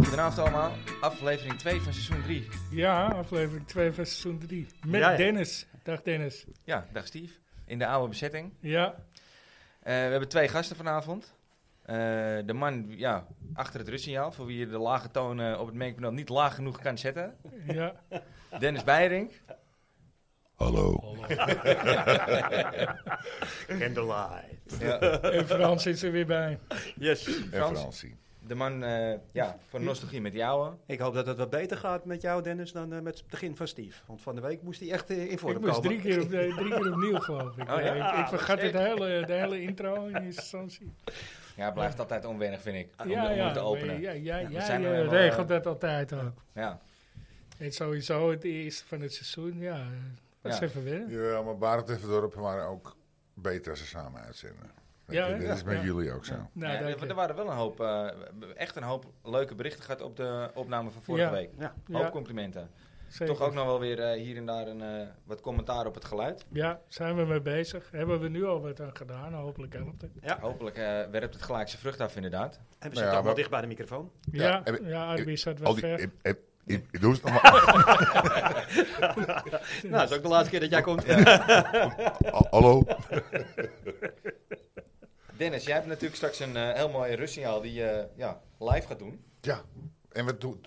Goedenavond allemaal, aflevering 2 van seizoen 3. Ja, aflevering 2 van seizoen 3. Met Ja, ja. Dennis. Dag Dennis. Ja, dag Steve. In de oude bezetting. Ja, Eh, we hebben twee gasten vanavond. Eh, de man ja, achter het rustsignaal, voor wie je de lage toon eh, op het mengpaneel niet laag genoeg kan zetten. ja. Dennis Beiring. Hallo. Candlelight. Ja, En Frans is er weer bij. Yes. Frans. En Fransie. de man eh, ja, van nostalgie met jou. Ik hoop dat het wat beter gaat met jou, Dennis, dan eh, met het begin van Steve. Want van de week moest hij echt eh, in vorm Ik moest komen. drie keer, op, eh, drie keer opnieuw, geloof ik. Oh, ja? ik, ik vergat het hele, de hele intro in eerste instantie. Ja, het blijft altijd onwennig, vind ik. Ah, Om, ja, om ja, te openen. maar Ja, ja, Ja, we jij, zijn er eh, helemaal, regelt eh, dat altijd ook. Ja. En sowieso het eerste van het seizoen, ja. Dat is Ja. even wennen. Ja, maar Barend en Verdorp waren ook beter als ze samen uitzenden. Weet Ja, je, hè? dit is met Ja. jullie ook zo. Nou, Ja, dank er, je. Eh, er waren wel een hoop, eh, echt een hoop leuke berichten gehad op de opname van vorige Ja. week. Ja. Hoop Ja, complimenten. zeker. Toch ook nog wel weer eh, hier en daar een, eh, wat commentaar op het geluid. Ja, zijn we mee bezig. Hebben we nu al wat aan gedaan. Hopelijk helpt het. Hopelijk eh, werpt het gelijk zijn vrucht af, inderdaad. En we Nou ja, zitten allemaal maar- dicht bij de microfoon. Ja, Ja, en- ja Arby zat Al oh, wat die, ver. ik, ik, ik- ik doe het nog maar. Nou, dat is ook de laatste keer dat jij komt. Al- Hallo. Dennis, jij hebt natuurlijk straks een eh, heel mooi rustsignaal die je ja, live gaat doen. Ja, en wat toe-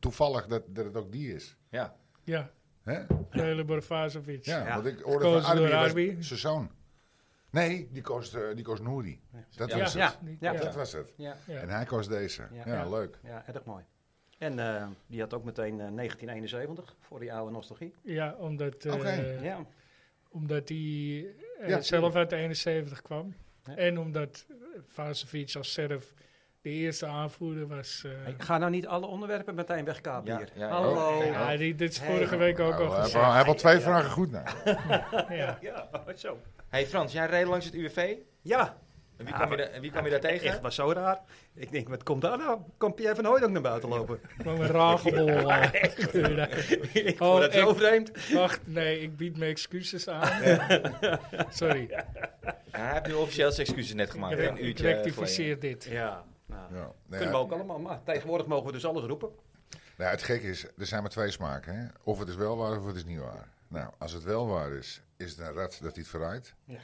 toevallig dat, dat het ook die is. Ja, Ja, Hè? Lele Borvazovic. Ja, Ja. want ik hoorde Gekozen van Arby, door was Arby. zijn zoon. Nee, die koos, eh, die koos Nouri. Dat Ja. was het. Ja. Niet- Ja. Dat was het. Ja, Ja. En hij koos deze. Ja, Ja. Ja. leuk. ja erg mooi. En eh, die had ook meteen eh, 1971 voor die oude nostalgie. Ja, omdat, eh, Oké. Ja. omdat hij eh, Ja, zelf uit de 71 kwam. Ja. En omdat Vazovic als Serf de eerste aanvoerder was. eh. Hey, ga nou niet alle onderwerpen meteen wegkapen Ja, hier. ja, ja. Hallo. Oh, ja, Ja, die- dit is Hey. vorige week ook al Nou, hij, heeft gezegd. al- hij heeft al twee Ja. vragen goed naar. Ja. zo. Hey Frans, jij reed langs het UWV. Ja, En wie, Ja, kwam, je da- en wie kwam je daar tegen? echt was zo raar. Ik denk, wat komt daar nou? Komt Pierre van Hooyd ook naar buiten lopen? Gewoon een ragebol. eh. ik Oh, vond het zo echt? vreemd. Wacht, nee, ik bied me excuses aan. Sorry, Ja, hij heeft nu officieel zijn excuses net gemaakt. ik, hè, re- een eh, ik uurtje eh, geleden. rectificeer dit. Ja, nou, Ja. Nou kunnen ja, we ook allemaal. Maar tegenwoordig mogen we dus alles roepen. Nou, het gekke is, er zijn maar twee smaken. Hè? Of het is wel waar of het is niet waar. Nou, als het wel waar is, is het een rat dat hij het verraadt. Ja.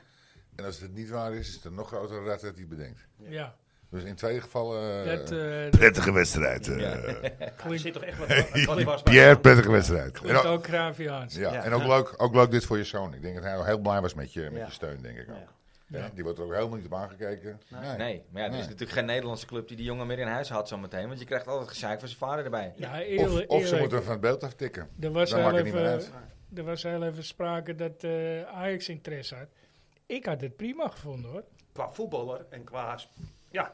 En als het niet waar is, is het een nog grotere rat dat hij bedenkt. Ja, Dus in twee gevallen... eh, dat eh, dat prettige wedstrijd. eh. Er zit klinkt, toch echt wat wat- Pierre, prettige wedstrijd. En klinkt ook, ook Graviaans. ja, Ja. en ook leuk, ook leuk dit voor je zoon. Ik denk dat hij wel heel blij was met je, met Ja. je steun, denk ik ook. Ja. Hè? Die wordt er ook helemaal niet op aangekeken. Nee. Nee, maar ja, er is Nee. natuurlijk geen Nederlandse club die die jongen meer in huis had zometeen. Want je krijgt altijd gezeik van zijn vader erbij. Ja, Of, eerlijk, of ze eerlijk. moeten hem van het beeld aftikken. Er was, Dan heel maakt het niet meer even, er was heel even sprake dat eh, Ajax interesse had. Ik had het prima gevonden hoor. Qua voetballer en qua. sp- Ja,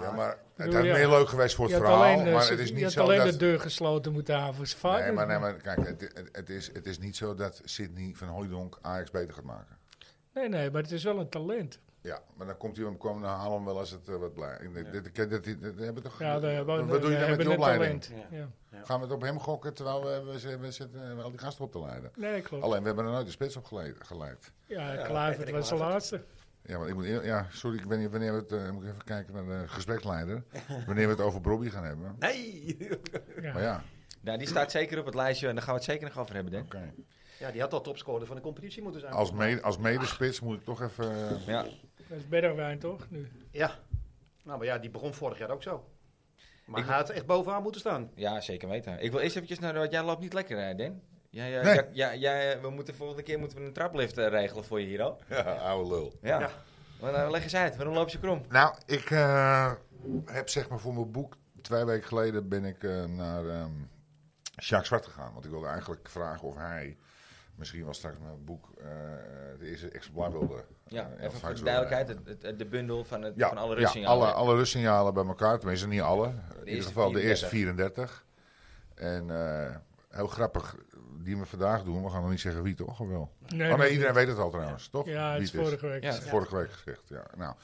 Ja, maar het bedoel, had ja. meer leuk geweest voor Je het had verhaal. alleen, eh, maar ze- het is je niet had zo alleen dat... de deur gesloten moeten halen voor zijn vader. Nee, maar, nee, maar kijk, het, het, het is, het is niet zo dat Sydney van Hooijdonk Ajax beter gaat maken. nee, nee, maar het is wel een talent. Ja, maar dan komt hij hem komen, dan haal hem wel als het eh, wat blij. Ik- Dit, dit, dit, dit, dit- dit hebben we toch, Ja, daar hebben- wat doe je we dan met hebben die een opleiding? talent. Ja. Gaan we het op hem gokken terwijl we, we, zi- we zitten eh, al die gasten op te leiden? Nee, klopt. Alleen, we hebben er nooit de spits op geleid. geleid. ja, Ja, Kluivert Patrick was de Kluivert. laatste. Ja, want ik moet, eer- ja, sorry, ik weet niet wanneer we het, eh, moet ik even kijken naar de gespreksleider, wanneer we het over Bobby gaan hebben. nee! Maar ja, Nou, die staat zeker op het lijstje en daar gaan we het zeker nog over hebben, denk ik. oké. Ja, die had al topscorer van de competitie moeten zijn. Als, mede, als medespits moet ik toch even... eh, Ja. Dat is Bergwijn toch? Nu. Ja. Nou, maar ja, die begon vorig jaar ook zo. Maar Ik- hij had echt bovenaan moeten staan. ja, zeker weten. Ik wil eerst eventjes naar... Jij loopt niet lekker, hè, Den? Jij, eh, Nee. jij- jij- jij, eh, we moeten volgende keer moeten we een traplift eh, regelen voor je hier al. ja, oude lul. Ja. Ja. Maar, nou, leg eens uit, waarom loop je krom? Nou, ik eh, heb zeg maar voor mijn boek twee weken geleden ben ik eh, naar ehm Jacques Zwart gegaan. Want ik wilde eigenlijk vragen of hij misschien wel straks mijn boek eh, het eerste exemplaar wilde. Ja, eh, even voor straks de wilde duidelijkheid, hebben. het, het- het- de bundel van, het, Ja, van alle ja, Russignalen. alle, alle rustsignalen bij elkaar. Tenminste, niet alle. in ieder eerste geval de eerste 34. En eh, heel grappig, die we vandaag doen. We gaan nog niet zeggen wie toch, of wel? Nee, oh nee, nee. iedereen dus. weet het al trouwens, toch? Ja, het Wie is het is. vorige week. Ja. Dat is vorige week gezegd, ja. Nou,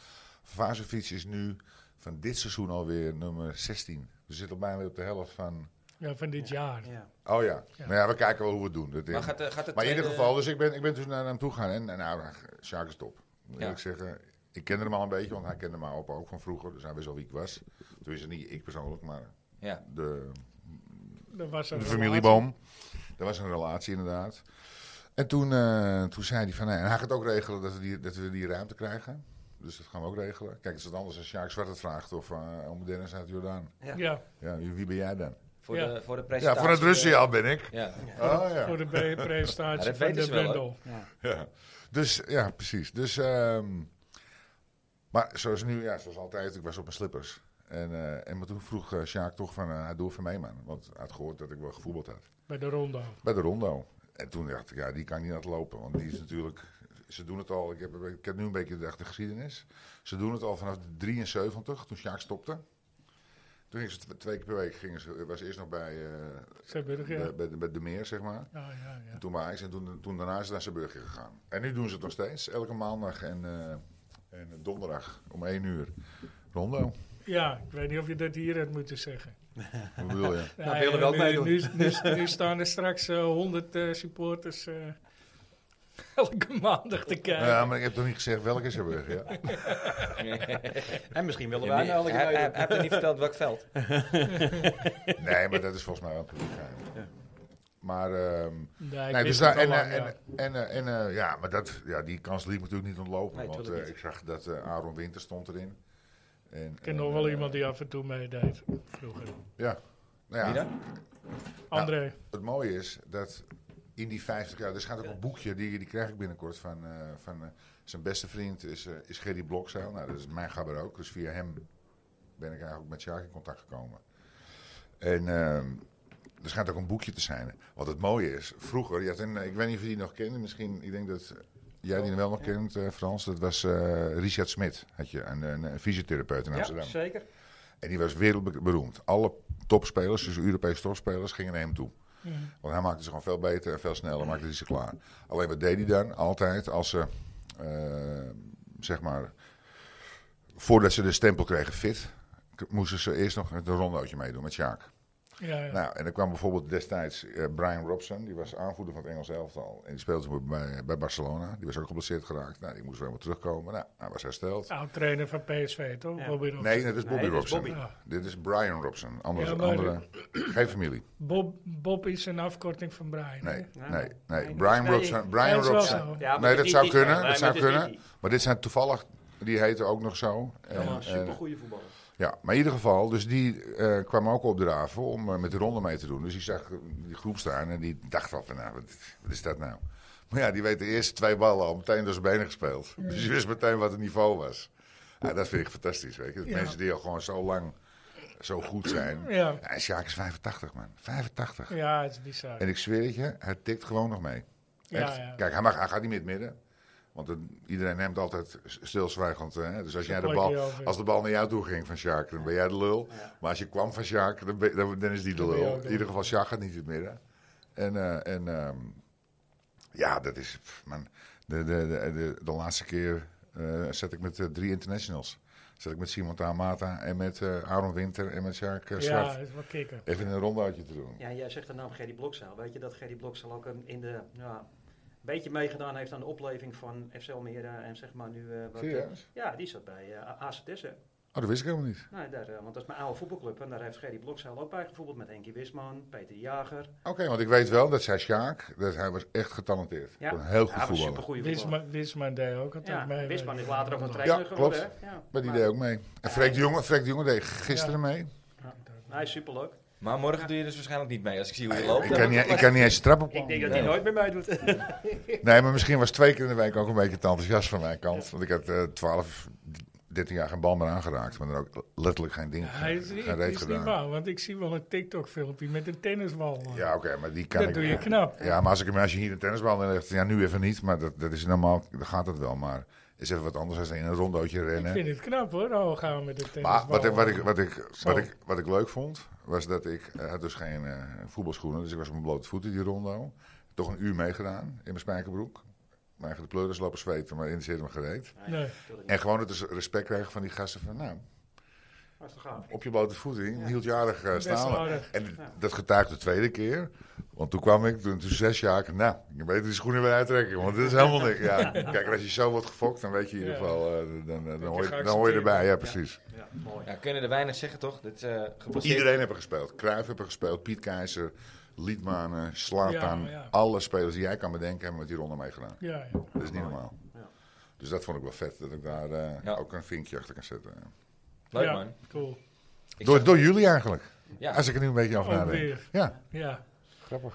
Vazovic is nu van dit seizoen alweer nummer 16. We zitten al bijna op de helft van... Ja, van dit jaar. Ja. Oh ja, Ja. nou ja, we kijken wel hoe we het doen. Dat is- Maar, gaat, de- gaat het maar in ieder tweede- geval, dus ik ben, ik ben dus naar hem toe gegaan. En, en nou, Sjaak is top. Moet Ja. ik zeggen, ik kende hem al een beetje, want hij kende mij op ook van vroeger. Dus hij wist al wie ik was. Toen is het niet ik persoonlijk, maar Ja. de, Er was een de relatie. familieboom. Er was een relatie inderdaad. En toen, eh, toen zei hij van, nee, en hij gaat ook regelen dat we, die, dat we die ruimte krijgen. Dus dat gaan we ook regelen. Kijk, het is wat anders als Sjaak Zwart het vraagt of eh, om Dennis uit Jordaan. Ja, Ja, wie ben jij dan? Voor, Ja. de, voor de Ja, presentatie. eh, voor het Russiaal ben ik. Ja. Oh, ja. voor de pre- Ja, presentatie dat van weten de ze wel, hoor. bundel. Ja. Ja. Dus ja, precies. Dus, ehm, maar zoals nu, ja, zoals altijd, ik was op mijn slippers. En, eh, en maar toen vroeg eh, Sjaak toch van, eh, doe even mee man. Want hij had gehoord dat ik wel gevoetbald had. Bij de rondo. Bij de Rondo. En toen dacht ik, ja, die kan ik niet laten lopen. Want die is natuurlijk, ze doen het al, ik heb, ik heb nu een beetje de geschiedenis. Ze doen het al vanaf 73, toen Sjaak stopte. Toen gingen ze tw- twee keer per week, gingen ze, was eerst nog bij, eh, Zeeburg, ja. de, bij, de, bij de meer, zeg maar. Ja, ja, ja. En toen bij Ajax en toen, toen daarna is het naar Zeeburgje gegaan. En nu doen ze het nog steeds. Elke maandag en, eh, en donderdag om 1 uur. Rondo. ja, ik weet niet of je dat hier had moeten zeggen. Hoe bedoel je? Ja, Nou, willen we ja, ook nu, meedoen. nu, nu, nu staan er straks eh, 100 eh, supporters eh, elke maandag te kijken. Ja, maar ik heb toch niet gezegd welke Zeeburgje. Ja. En misschien willen Ja, wij nee, nou hij, alle hij, hij keer meedoen. heeft er niet verteld welk veld. Nee, maar dat is volgens mij wel publiek. geheim. Maar, ehm, Nee, ik nee, dus wist daar, het en, al eh, lang, en, ja. en, eh, en, eh, ja, maar dat, ja, die kans liep natuurlijk niet ontlopen. Nee, want tuurlijk eh, niet. ik zag dat eh, Aaron Winter stond erin. En, Ik ken en, nog wel eh, iemand die af en toe meedeed vroeger. Ja. Nou Wie ja, dan? André. het mooie is dat in die 50 jaar, er schijnt ook een boekje, die, die krijg ik binnenkort van, eh, van eh, zijn beste vriend is, eh, is Gerry Blokzeil. Nou, dat is mijn gabber ook, dus via hem ben ik eigenlijk met Sjaak in contact gekomen. En ehm, er schijnt ook een boekje te zijn. Wat het mooie is, vroeger, je had een, ik weet niet of je die nog kent, misschien, ik denk dat jij die wel nog kent, eh, Frans, dat was eh, Richard Smit, had je, een, een, een fysiotherapeut in Ja, Amsterdam. zeker. En die was wereldberoemd. Alle topspelers, dus Europese topspelers, gingen naar hem toe. Want hij maakte ze gewoon veel beter en veel sneller, maakte hij ze klaar. Alleen wat deed hij dan altijd als ze, eh, zeg maar, voordat ze de stempel kregen fit, k- moesten ze eerst nog een rondootje meedoen met Sjaak. Ja, ja. Nou, en dan kwam bijvoorbeeld destijds eh, Brian Robson, die was aanvoerder van het Engels elftal. En die speelde toen bij, bij Barcelona, die was ook geblesseerd geraakt. Nou, die moest weer helemaal terugkomen. Nou, hij was hersteld. Oud trainer van PSV, toch? Ja. Robin Robson. Nee, dat is Bobby Nee, dat is Robson. Bobby. Ja. Dit is Brian Robson. Anders, Ah. Ja, maar- andere, geen familie. Bob, Bob is een afkorting van Brian. hè? Nee, Ja. nee, nee. Nee, Brian nee. Robson. Ja, Brian is wel Robson. zo. Ja, maar Nee, het dat is zou niet- kunnen. nee, Dat maar zou het is niet kunnen. Maar dit zijn toevallig, die heten ook nog zo. En, Ja, en- supergoeie voetballer. ja, maar in ieder geval, dus die eh, kwam ook op de raven om eh, met de ronde mee te doen. Dus die zag eh, die groep staan en die dacht al van, nou, wat, wat is dat nou? Maar ja, die weet de eerste twee ballen al meteen door zijn benen gespeeld. Mm. Dus je wist meteen wat het niveau was. Ja, dat vind ik fantastisch, weet je. Dat Ja. Mensen die al gewoon zo lang zo goed zijn. Ja. Ja, en Sjaak is 85, man. 85. ja, het is bizar. En ik zweer het je, hij tikt gewoon nog mee. Ja, Echt. ja. Kijk, hij, mag, hij gaat niet meer in het midden. Want dan- iedereen neemt altijd s- stilzwijgend. Hè? Dus als, jij de plakt bal, hij over. als de bal naar jou toe ging van Sjaak, dan ben jij de lul. Maar als je kwam van Sjaak, dan, ben- dan, dan is die de Dan ben je lul. ook de In ieder lul. geval, Sjaak gaat niet in het midden. En, eh, en ehm, ja, dat is... pff, man, de, de, de, de, de laatste keer eh zet ik met eh, drie internationals. Zet ik met Simon Tamata en met eh, Aaron Winter en met Sjaak eh, ja, Zwart. het is wel kikker. Even een rondoutje te doen. Ja, jij zegt de naam Gerry Blokzaal. Weet je dat Gerry Blokzaal ook een- in de... Ja, een beetje meegedaan heeft aan de opleving van FC Almere en zeg maar nu... eh, wat, eh, Serieus? ja, die zat bij eh, AZS. hè. Oh, dat wist ik helemaal niet. Nee, daar, eh, want dat is mijn oude voetbalclub en daar heeft Gerry Blokzaal ook bij gevoetbald met Enkie Wisman, Peter Jager. Oké, want ik weet wel dat zij Sjaak, dat hij was echt getalenteerd. Ja. Kon Heel goed Ja, was voetballer. supergoeie voetballer. Wisman, Wisman deed ook altijd Ja, mee. Wisman weet is je. later ook een Ja, trainer geworden. klopt. hè? Ja, Maar die deed ook mee. En Freek de Jonge, Freek de Jonge deed gisteren mee. Hij is superleuk. Maar morgen doe je dus waarschijnlijk niet mee als ik zie hoe je loopt. Ik kan, niet, ik kan niet eens de trap op. Ik denk dat hij nooit meer meedoet. Nee, maar misschien was twee keer in de week ook een beetje te enthousiast van mijn kant. Want ik had eh 12, 13 jaar geen bal meer aangeraakt. Maar er ook letterlijk geen ding, Hij is, geen het is reet niet gedaan. waar, want ik zie wel een TikTok-filmpje met een tennisbal. man. Ja, oké, maar die kan dat ik... doe je knap. Ja, maar als, ik, als je hier een tennisbal neerlegt, ja, nu even niet. Maar dat, dat is normaal, dan gaat dat wel. Maar is even wat anders dan in een rondootje Ik rennen. vind het knap hoor, al gaan we met de tennisbal. Maar wat ik, wat, ik, wat, ik, Zo. wat, ik, wat ik leuk vond, was dat ik eh, had dus geen eh, voetbalschoenen. Dus ik was op mijn blote voeten die rondo. Toch een uur meegedaan in mijn spijkerbroek. Maar de pleuris lopen zweten, maar interesseerde me gereed. Nee. natuurlijk niet. En gewoon het res- respect krijgen van die gasten van, nou... Hartstikke gaaf. op je blote voet hing, Ja. hield jarig eh, Best staan. aardig. En dat getuigt de tweede keer. Want toen kwam ik, toen, toen zes jaar, ik, nou, je weet die schoenen weer uittrekken, want dit is helemaal niks. Ja. Kijk, als je zo wordt gefokt, dan weet je in ieder Ja. geval, eh, dan, dan, dan, je hoor, je, dan hoor je geaccepteerd erbij. Ja, bent. precies. Ja, mooi. Ja, kunnen er weinig zeggen, toch? Dit, eh gebaseerd- Iedereen heeft er gespeeld. Cruijff heeft er gespeeld, Piet Keizer, Liedmanen, Slatan. Ja, ja. Alle spelers die jij kan bedenken hebben met die ronde meegedaan. Ja, ja. Dat is niet normaal. Ja. Dus dat vond ik wel vet, dat ik daar eh, Ja. ook een vinkje achter kan zetten. Leuk, Ja, man. Cool. Ik Door, zag- door jullie eigenlijk, Ja, als ik er nu een beetje over Ook nadenk. Oh, weer. Ja, Ja, grappig.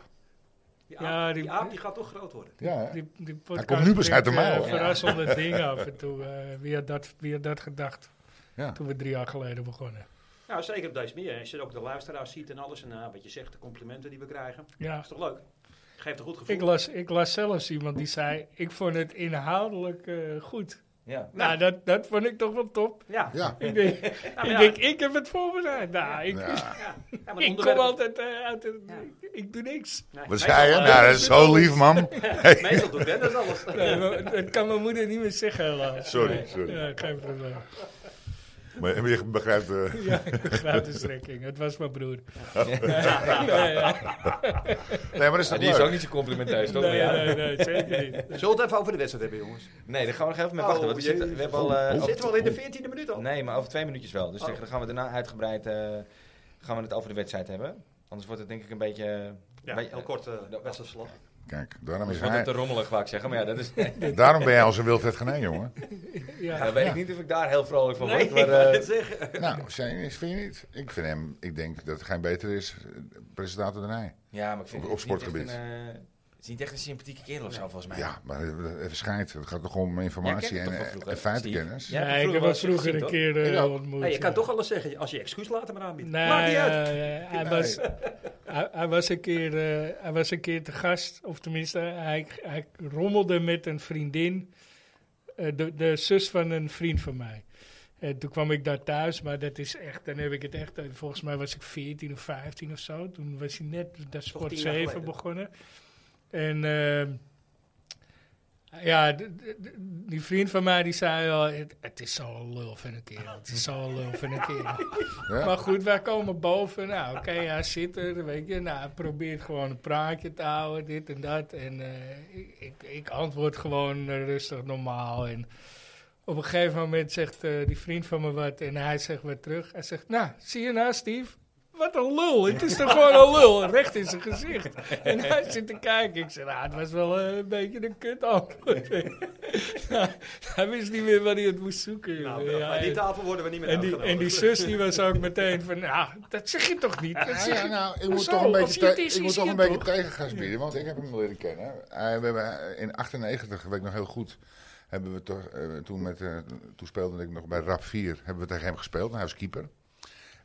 Die aap, Ja, die- die, aap die gaat toch groot worden. Ja, hè? die, die podcast komt nu pas brengt, uit de eh, mouw, hè? verrassende dingen af en toe. eh, wie, had dat, wie had dat gedacht Ja. toen we drie jaar geleden begonnen? Nou, zeker op deze manier. Als je ook de luisteraars ziet en alles. En nou, wat je zegt, de complimenten die we krijgen. Ja, Dat is toch leuk? Geeft een goed gevoel. ik las, ik las zelfs iemand die zei, ik vond het inhoudelijk eh, goed. ja. Nou, dat, dat vond ik toch wel top. ja. Ja. Ik denk, Nou, ik, ja. denk ik heb het voorbereid. Nou, ik, Ja. Ja, ja, maar de ik kom onderwerpen- altijd eh, uit het... Ja. Ik, ik doe niks. Nee, Wat meestal, zei je? eh, Nou, dat is zo lief, man. Meestal doet Dennis alles. Nee, maar dat kan mijn moeder niet meer zeggen, helaas. Sorry, Nee. sorry. Ja, geen probleem. Maar je begrijpt... eh, Ja, ik begrijp de strekking. Het was mijn broer. Ja. Ja, ja. Nee, maar dat is Ja, toch die is ook leuk? niet zo complimenteus, toch? Nee, Ja. nee, nee, zeker niet. Zullen we het even over de wedstrijd hebben, jongens? Nee, daar gaan we nog even mee Oh, wachten. want we, jee. zitten, we hebben al... eh, We over- zitten wel in de 14e minuut al. Nee, maar over twee minuutjes wel. Dus Oh. dan gaan we daarna uitgebreid eh, gaan we het over de wedstrijd hebben. Anders wordt het denk ik een beetje... eh, Ja, Weet je- heel kort eh dat- wedstrijdslag. Kijk, daarom, is anders wordt het te hij, rommelig, wou ik zeggen. Maar ja, dat is... daarom ben jij onze Wilfred Genee, jongen. Ja. Ja, weet ik niet of ik daar heel vrolijk van Nee, word. ik maar, wou eh, het zeggen. Nou, zijn is, vind je niet? Ik vind hem, ik denk dat hij beter is, eh, presentator dan hij. ja, maar ik vind Op- het op niet echt sportgebied. een, eh, het is niet echt een sympathieke kerel of zo, volgens mij. Ja, maar even schijt. Het gaat toch om informatie Jij kent hem toch en, van eh, vroeger, en feitenkennis. Steve? Ja, Nee, ik heb hem vroeger een gezien, keer eh, Ik ook. ontmoet. Nee, je kan ja. toch alles zeggen. Als je excuus later maar aanbiedt. Nee, Maakt niet uit. eh, hij, was, hij, hij was een keer, eh, hij was een keer te gast, of tenminste, hij, hij rommelde met een vriendin, eh, de, de zus van een vriend van mij. En toen kwam ik daar thuis, maar dat is echt, dan heb ik het echt, eh, volgens mij was ik 14 of 15 of zo. Toen was hij net de Sport tien jaar 7 geleden. begonnen. En ehm, ja, d- d- d- die vriend van mij die zei al, het, het is zo'n lul van een kerel, het is zo'n lul van een kerel. Ja. Maar goed, wij komen boven. Nou, oké, hij zit er, weet je. Nou, hij probeert gewoon een praatje te houden, dit en dat. En eh, ik, ik, ik antwoord gewoon eh, rustig, normaal. En op een gegeven moment zegt eh, die vriend van me wat en hij zegt wat terug. Hij zegt, nou, zie je nou, Steve? Wat een lul. Het is toch gewoon een lul. Recht in zijn gezicht. En hij zit te kijken. Ik zeg, nou, het was wel eh, een beetje een kut antwoord. Nou, hij wist niet meer wat hij het moest zoeken. Nou, joh. eh, Ja, bij die en- tafel worden we niet meer en die, en die uitgenodigd. zus die was ook meteen van, nou, dat zeg je toch niet? Dat Ja, zeg ja, je- nou, ik moet Zo, toch een als beetje, hij het te- is, ik is moet hij toch een het beetje toch? tegengas bieden, want ik heb hem leren kennen. Hij- we hebben, eh, in 98, weet ik nog heel goed, hebben we toch, eh, toen, met, eh, toen speelde ik nog bij RAP 4, hebben we tegen hem gespeeld, en hij was keeper.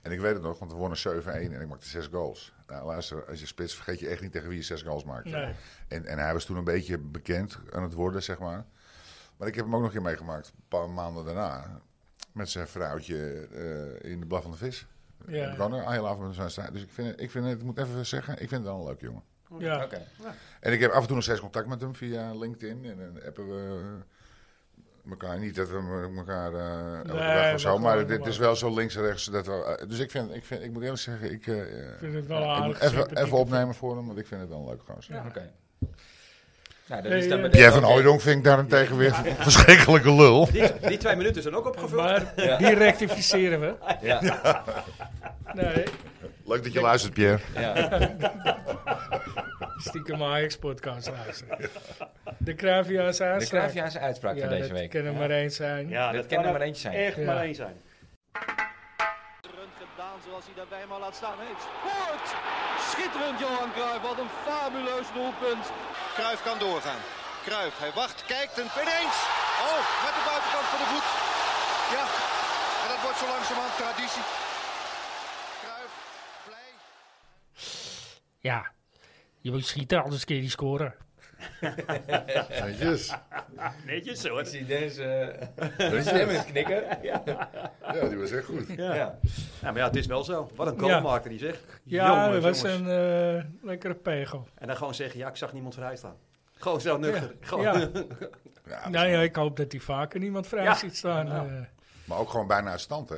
En ik weet het nog, want we wonnen 7-1 en ik maakte 6 goals. Nou, luister, als je spits vergeet je echt niet tegen wie je 6 goals maakt. Nee. En, en hij was toen een beetje bekend aan het worden, zeg maar. Maar ik heb hem ook nog een keer meegemaakt, een paar maanden daarna. Met zijn vrouwtje eh, in de Blaf van de Vis. Ja. Ja. Ik kan er heel af en toe zijn staan. Dus ik vind, het- ik vind het, ik moet even zeggen, ik vind het wel een leuk jongen. Ja. Oké. En ik heb af en toe nog steeds contact met hem via LinkedIn. En dan appen we eh, elkaar niet dat we me- elkaar eh elke Nee, dag dat of zo. Maar gewoon dit is normaal. wel zo links en rechts. Dat we, eh, dus ik vind, ik vind, ik moet eerlijk zeggen, ik, eh, Ik vind het wel een ik aardig moet even, sympathieke even opnemen voor hem, want ik vind het wel een leuk gozer. Ja, oké. Nou, dat Nee, is dan eh, bij Jij deze van ook weer- Hooydonk vind ik daarentegen weer een verschrikkelijke lul. Die, die twee minuten zijn ook opgevuld. Maar die rectificeren we. Ja, Nee, Leuk dat je luistert, Pierre. ja. stiekem Ajax-podcast luisteren. De Kravia's aanspraak. De Kraviaanse uitspraak Ja, van deze dat week. kan er maar één zijn. Ja, dat dat kan kan er er maar eentje zijn. Echt Ja. maar één zijn. gedaan zoals hij daarbij maar laat staan heeft. Scoort! Schitterend Johan Cruijff, wat een fabuleus doelpunt. Kruif kan doorgaan. Kruif, hij wacht, kijkt en ineens. Oh, met de buitenkant van de voet. Ja, en dat wordt zo langzamerhand traditie. Kruif, blij. Ja. Je moet schieten, anders kun je die scoren. Netjes. Netjes hoor. Ik zie Dennis uh, stem in het knikken. Ja, die was echt goed. Ja. Ja. Ja, maar ja, het is wel zo. Wat een Ja. goal maakte die zeg. Ja, dat Jongens, was jongens. een eh, lekkere pegel. En dan gewoon zeggen, ja, ik zag niemand vrij staan. Gewoon zo nuchter. Gewoon. Ja. Ja, Nou ja, ik hoop dat hij vaker niemand vrij Ja. ziet staan. eh. Maar ook gewoon bijna uit stand, hè?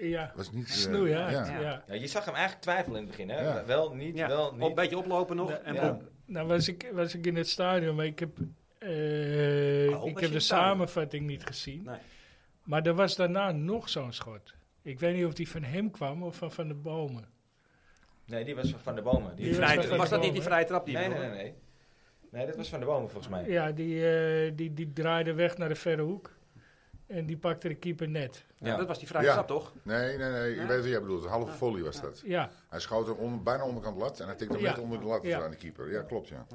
Ja, Was niet, eh, snoeihard. ja. Ja. Ja, je zag hem eigenlijk twijfelen in het begin, hè? Ja. Wel niet, Ja, wel Op- een niet. beetje oplopen nog. Ja. en Ja. boem. Nou was ik, was ik in het stadion, maar ik heb, eh, Oh, was je in ik het heb stadion? de samenvatting niet gezien. Nee. Maar er was daarna nog zo'n schot. Ik weet niet of die van hem kwam of van Van de Bomen. Nee, die was van Van der Bomen. Die was vrije- van was dat Bomen. niet die vrije trap? Die Nee, je nee, nee, bedoelde? nee. Nee, dat was Van der Bomen volgens mij. Ja, die, eh, die, die draaide weg naar de verre hoek. En die pakte de keeper net. Ja, Ja. Dat was die vrije Ja. trap, toch? Nee, nee, nee. Ik Ja? weet wat jij bedoelt. Een halve volley was dat. Ja, Hij schoot hem onder, bijna onderkant lat en hij tikte hem Ja. net onder de lat Ja. aan de keeper. Ja, klopt, ja.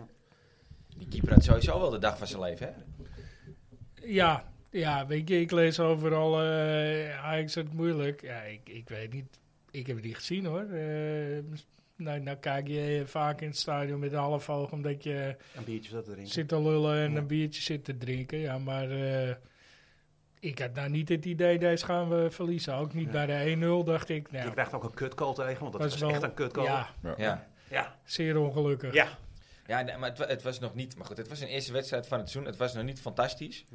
Die keeper had sowieso wel de dag van zijn leven, hè? ja, ja weet je, ik lees overal eh Ajax het moeilijk. Ja, ik, ik weet niet, ik heb het niet gezien hoor. Eh, nou, nou kijk je vaak in het stadion met een half oog, omdat je Een biertje dat erin. zit te lullen en Ja. een biertje zit te drinken. Ja, maar eh, ik had nou niet het idee, deze gaan we verliezen. Ook niet Ja. bij de 1-0, dacht ik. Je Nou, krijgt ook een kutkool tegen, want dat was was wel- echt een kutkool. ja, Ja, ja. zeer ongelukkig. ja. ja nee, maar het, wa- het was nog niet... Maar goed, het was een eerste wedstrijd van het seizoen. Het was nog niet fantastisch.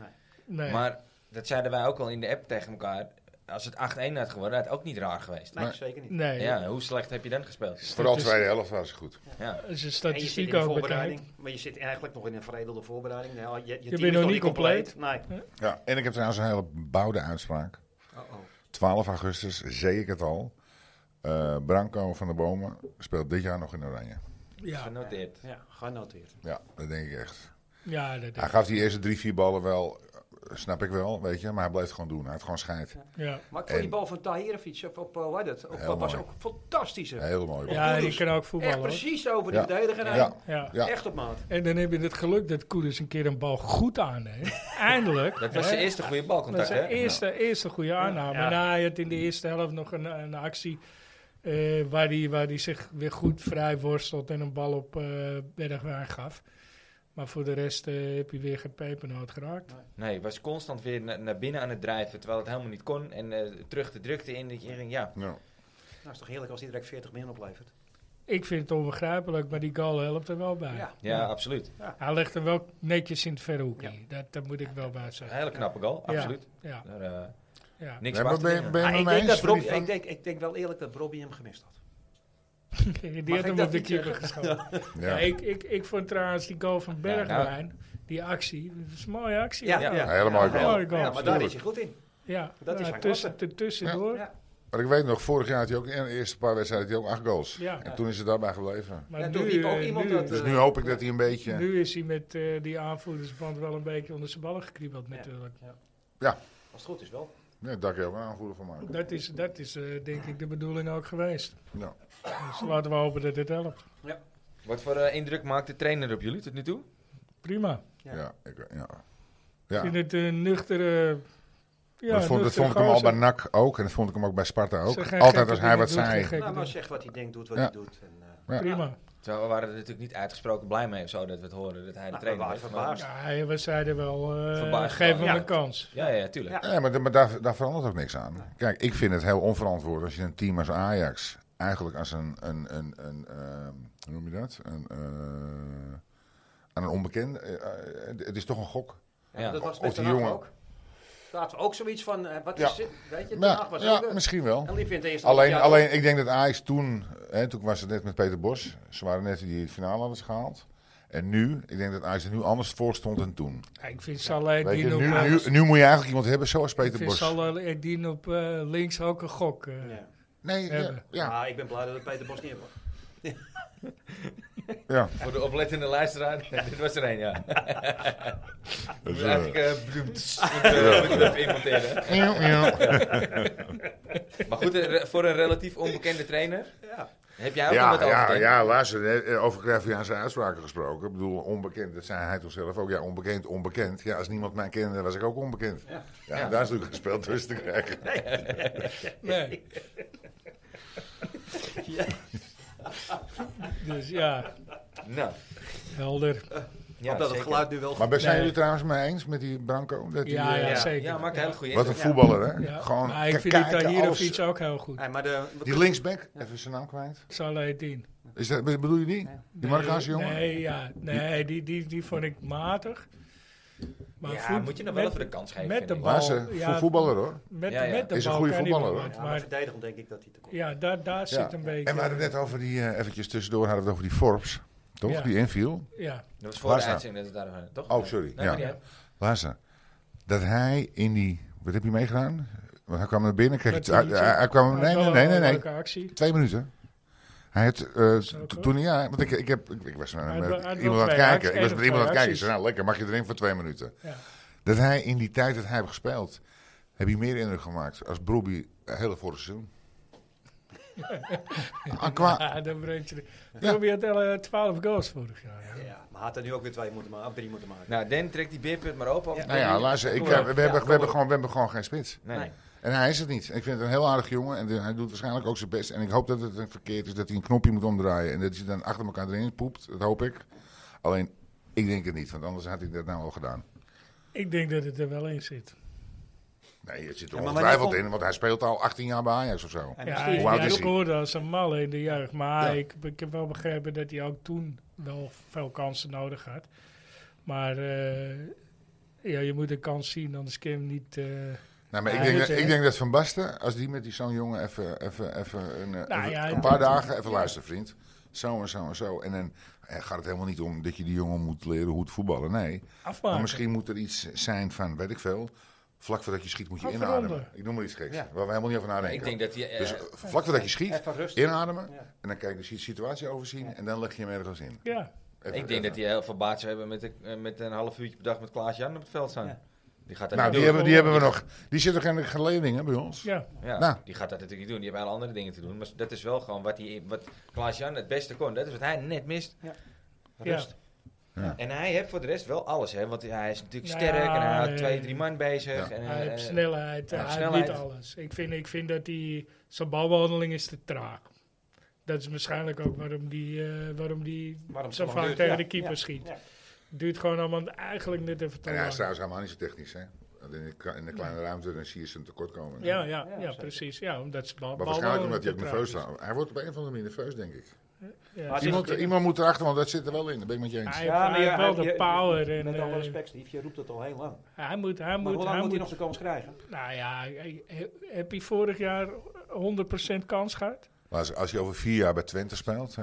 Nee. Maar dat zeiden wij ook al in de app tegen elkaar. Als het 8-1 had geworden, had het ook niet raar geweest. Nee, Maar- zeker niet. nee. Ja, hoe slecht heb je dan gespeeld? Vooral Dus- tweede helft was het goed. Ja. Als je En je zit in statistiek de ook bekijkt. voorbereiding, maar je zit eigenlijk nog in een veredelde voorbereiding. Nou, je, je, team bent is nog niet compleet. Nee. Ja, en ik heb trouwens een hele bouwde uitspraak. Oh, oh. 12 augustus, zei ik het al. Eh, Branco van der Bomen speelt dit jaar nog in Oranje. Ja, Genoteerd. Ja, genoteerd. Ja, dat denk ik echt. ja dat Hij gaf die eerste drie, vier ballen wel, eh, snap ik wel, weet je. Maar hij blijft gewoon doen. Hij heeft gewoon scheid. Ja. Maar ik vond die En- bal van Tahirovic op, op eh, hoe heet het? Op- Heel dat was mooi. ook fantastisch. hè. Hele mooie bal. ja, die Kudus. kan ook Echt voetballen. hoor. precies over de Ja. verdediger heen. Ja, Ja. ja. Echt op maat. En dan heb je het geluk dat Koeders een keer een bal goed aanneemt. Eindelijk. Dat was hè? zijn eerste goede Dat is balcontact, hè? Nou. zijn eerste, eerste goede aanname. Ja. En hij had Mm. in de eerste helft nog een, een actie eh, waar hij waar die zich weer goed vrij worstelt en een bal op eh Bergwijn gaf. Maar voor de rest eh, heb je weer geen pepernoot geraakt. Nee, was constant weer na- naar binnen aan het drijven, terwijl het helemaal niet kon. En eh, terug de drukte in, dat je denkt, ja, Ja. Nou, is toch heerlijk als die direct 40 miljoen oplevert. Ik vind het onbegrijpelijk, maar die goal helpt er wel bij. Ja. ja, absoluut. Hij legt hem wel netjes in het verre hoekje. Ja. Dat, dat moet ik wel bij Een zeggen. hele knappe goal, Ja. absoluut. Ja, Daar, eh, ja. niks Nee, was maar te ben, winnen. ben je Ah, met ik, mij denk eens? dat Van die Robbie- van- ik, denk, ik denk wel eerlijk dat Robbie hem gemist had. Die Mag had ik hem dat op de niet keeper zeggen? nou. geschoten. Ja. Ja, ik, ik, ik vond trouwens die goal van Bergwijn, die actie, dat is een mooie actie. ja. Hele mooie goal. Mooie goal. Ja, maar daar Tuurlijk. is hij goed in. Ja, Dat is zijn nou, tussen, tussendoor. Ja. Ja. Maar ik weet nog, vorig jaar had hij ook in de eerste paar wedstrijden had hij ook acht goals. Ja. En toen is het daarbij gebleven. Maar Ja, nu, toen liep ook eh, iemand nu, dat, Dus nu hoop ik dat hij een beetje... nu is hij met eh, die aanvoerdersband wel een beetje onder zijn ballen gekriebeld natuurlijk. Als het goed is wel. Nee, daar kun je ook een aanvoerder van maken. Dat is, dat is eh, denk ik de bedoeling ook geweest. Ja. Dus laten we hopen dat dit helpt. Wat voor eh, indruk maakt de trainer op jullie tot nu toe? Prima. Ja. Ja, ik, ja. Ik ja. vind het een nuchtere... Ja, dat vond, dat nuchtere vond ik hem al gozer. bij NAC ook en dat vond ik hem ook bij Sparta Ze ook. gaan Altijd gekke als hij dingen wat doen, geen zei. gekke Nou, maar dingen. zegt wat hij denkt, doet wat Ja. hij doet. En, eh, Ja. Prima. Zo, we waren er natuurlijk niet uitgesproken blij mee of zo, dat we het hoorden dat hij de Nou, trainer we was. waren maar- verbaasd. Ja, we zeiden wel, eh, Verbaasd geef hem waren. een kans. Ja, ja, tuurlijk. Ja. Ja, maar, da- maar daar, daar verandert ook niks aan. Kijk, ik vind het heel onverantwoord als je een team als Ajax eigenlijk als een, een, een, een ehm, hoe noem je dat? Een, eh, aan een onbekende, eh, eh, het is toch een gok. ja, Ja. Dat was Of met die Ten Hag jongen. ook. Daar hadden we ook zoiets van, eh, wat Ja. is dit? Weet je, Ten Ja, Hag was ja, ook... eh, misschien wel. En liep in het eerste Alleen, halfjaar alleen ik denk dat Ajax toen, hè, toen was het net met Peter Bos, ze waren net die het finale hadden ze gehaald. En nu, ik denk dat Ajax er nu anders voor stond dan toen. Ja, ik vind Salah Weet je, Eddin op, nu, eh, nu, nu moet je eigenlijk iemand hebben zoals ik Peter vind Bos. Salah Eddin op eh, links ook een gok. eh. Ja. Nee, ja, hebben. ja, Ah, ik ben blij dat het Peter Bos niet was. ja. Voor de oplettende luisteraar, dit was er een, ja. Dat is, Dus eh, eigenlijk eh, bloem, tss, moet, eh, moet ik even inmonteren. ja, ja. Maar goed, eh, re- voor een relatief onbekende trainer Ja. heb jij ook nog Ja, wat over te ja, denken? ja, luister, hè, eh, over Graviaanse uitspraken gesproken. Ik bedoel, onbekend, dat zei hij toch zelf ook. Ja, onbekend, onbekend. Ja, als niemand mij kende, was ik ook onbekend. Ja, daar is natuurlijk gespeeld tussen te krijgen. Nee. dus ja, Nou, helder. ja, dat het zeker. geluid nu wel... Maar ben- zijn Nee. jullie trouwens mee eens met die Branco? Dat die, Ja, eh, ja, ja. zeker. Ja, maakt een hele goede Wat een indruk. voetballer, hè? Ja. Gewoon maar ik vind kijken die hier als- iets ook heel goed. Nee, maar de, wat- Die linksback, even zijn naam kwijt. Salah Eddin. Is dat, bedoel je die? Die Marokkaanse jongen? Nee, ja, nee die, die, die vond ik matig. Maar ja, voet- moet je dan met- wel even de kans geven. met vind de ik. bal. Maar ze, ja, voor voetballer hoor. Met, Ja, ja. met de Is een bal goede kan voetballer, iemand hoor. wat, Ja, maar maar verdedigend denk ik dat hij tekort ja, daar, daar zit een beetje... En we hadden het net over die, eh, eventjes tussendoor hadden we het over die Forbes. Toch? Ja. Die inviel. Ja, Dat was voor Waar de staat- uitzending dat we daar toch? Oh, sorry. Nee, Ja. maar niet uit. Luister, dat hij in die... Wat heb je meegedaan? Want hij kwam naar binnen, kreeg Met het, hij, die liedje. hij- hij kwam... dat Nee, was nee, wel nee, een nee, nee. leuke actie. Twee minuten. Hij had, eh, Zo, t- hoor. toen ja, want ik, ik, heb, ik, ik was met, Hij met had wel- hij had wel iemand aan het twee kijken. Ik acties, was met iemand aan het kijken. Ik acties. zei, nou lekker, mag je erin voor twee minuten. Ja. Dat hij in die tijd dat hij heeft gespeeld, heb je meer indruk gemaakt als Broby het hele vorige seizoen. Ah, qua, Ja, dan breekt je... Ja. Robbie had al, eh, 12 goals vorig jaar. ja. Ja, maar had er nu ook weer twee moeten maken, of drie moeten maken. Nou, Den trekt die beerput maar open. Ja. nou ja, luister, ik, Kom eh, maar we, op. hebben, we, hebben gewoon, we hebben gewoon geen spits. Nee. Nee. En hij is het niet. Ik vind het een heel aardig jongen en de- hij doet waarschijnlijk ook zijn best. En ik hoop dat het een verkeerd is dat hij een knopje moet omdraaien en dat hij dan achter elkaar erin poept. Dat hoop ik. Alleen, ik denk het niet, want anders had hij dat nou al gedaan. Ik denk dat het er wel in zit. Nee, het zit er Ja, maar ongetwijfeld wanneer- in, want hij speelt al 18 jaar bij Ajax of zo. Nou, En ja, misschien- Hoe oud hij is hij? scoorde als een malle in de jeugd. Maar dus- Ja. ik, ik heb wel begrepen dat hij ook toen wel veel kansen nodig had. Maar eh, ja, je moet een kans zien, anders kun je hem niet... eh, Nou, maar Ja, ik, denk dus, dat, eh, ik denk dat Van Basten, als die met die zo'n jongen even, even, even, een, eh, Nou even- ja, een paar dat- dagen, even ja. luisteren vriend. Zo en zo en zo. En dan eh, gaat het helemaal niet om dat je die jongen moet leren hoe het voetballen, nee. Maar afmaken. misschien moet er iets zijn van, weet ik veel, vlak voordat je schiet moet je Gaan inademen. veranderen. Ik noem maar iets geks, Ja. waar we helemaal niet over nadenken. Ik denk dat hij... eh, dus eh, vlak voordat je schiet, Even rustig. inademen. Ja. En dan kijk je de situatie overzien en dan leg je hem ergens in. Ja, Even- ik denk even. dat die heel veel baat zou hebben met, de- eh, met een half uurtje per dag met Klaas-Jan op het veld staan. Ja. Die gaat dat Nou, die niet hebben, doen. die hebben we nog. Die zit toch in de geledingen bij ons? ja. Ja, Nou. Die gaat dat natuurlijk niet doen. Die hebben hele andere dingen te doen. Maar dat is wel gewoon wat, die, wat Klaas-Jan het beste kon. Dat is wat hij net mist. Rust. En hij heeft voor de rest wel alles. Hè? Want hij is natuurlijk Ja, sterk en hij houdt eh, twee, drie man bezig. Ja. En, Hij eh, heeft snelheid, hij hij heeft heeft niet snelheid. alles. Ik vind, ik vind dat hij, zijn balbehandeling is te traag. Dat is waarschijnlijk ook waarom die, eh, waarom die Waarom zo het zo lang vaak duurt. tegen de Ja, keeper ja, schiet. ja. Duurt gewoon allemaal eigenlijk net even te En hij is lang. trouwens helemaal niet zo technisch, hè? Want in de, ka- in de kleine ruimte dan zie je ze tekort komen. Ja, ja, Ja, ja, zeker. precies. Ja, omdat ze bal, Maar waarschijnlijk balbehandeling omdat hij ook te nerveus traag staat. Hij wordt op een of andere manier nerveus, denk ik. is. Ja. dus Maar het is- Iemand, iemand moet erachter, want dat zit er wel in. Dat ben ik met je eens. Hij heeft, hij heeft wel de power. En, Met alle eh, respect, Steve, je roept het al heel lang. hij moet, hij Maar moet, hoe lang hij moet hij moet. nog de kans krijgen? Nou ja, hij- hij- heb je vorig jaar 100% kans gehad? Maar als, als je over vier jaar bij Twente speelt, hè,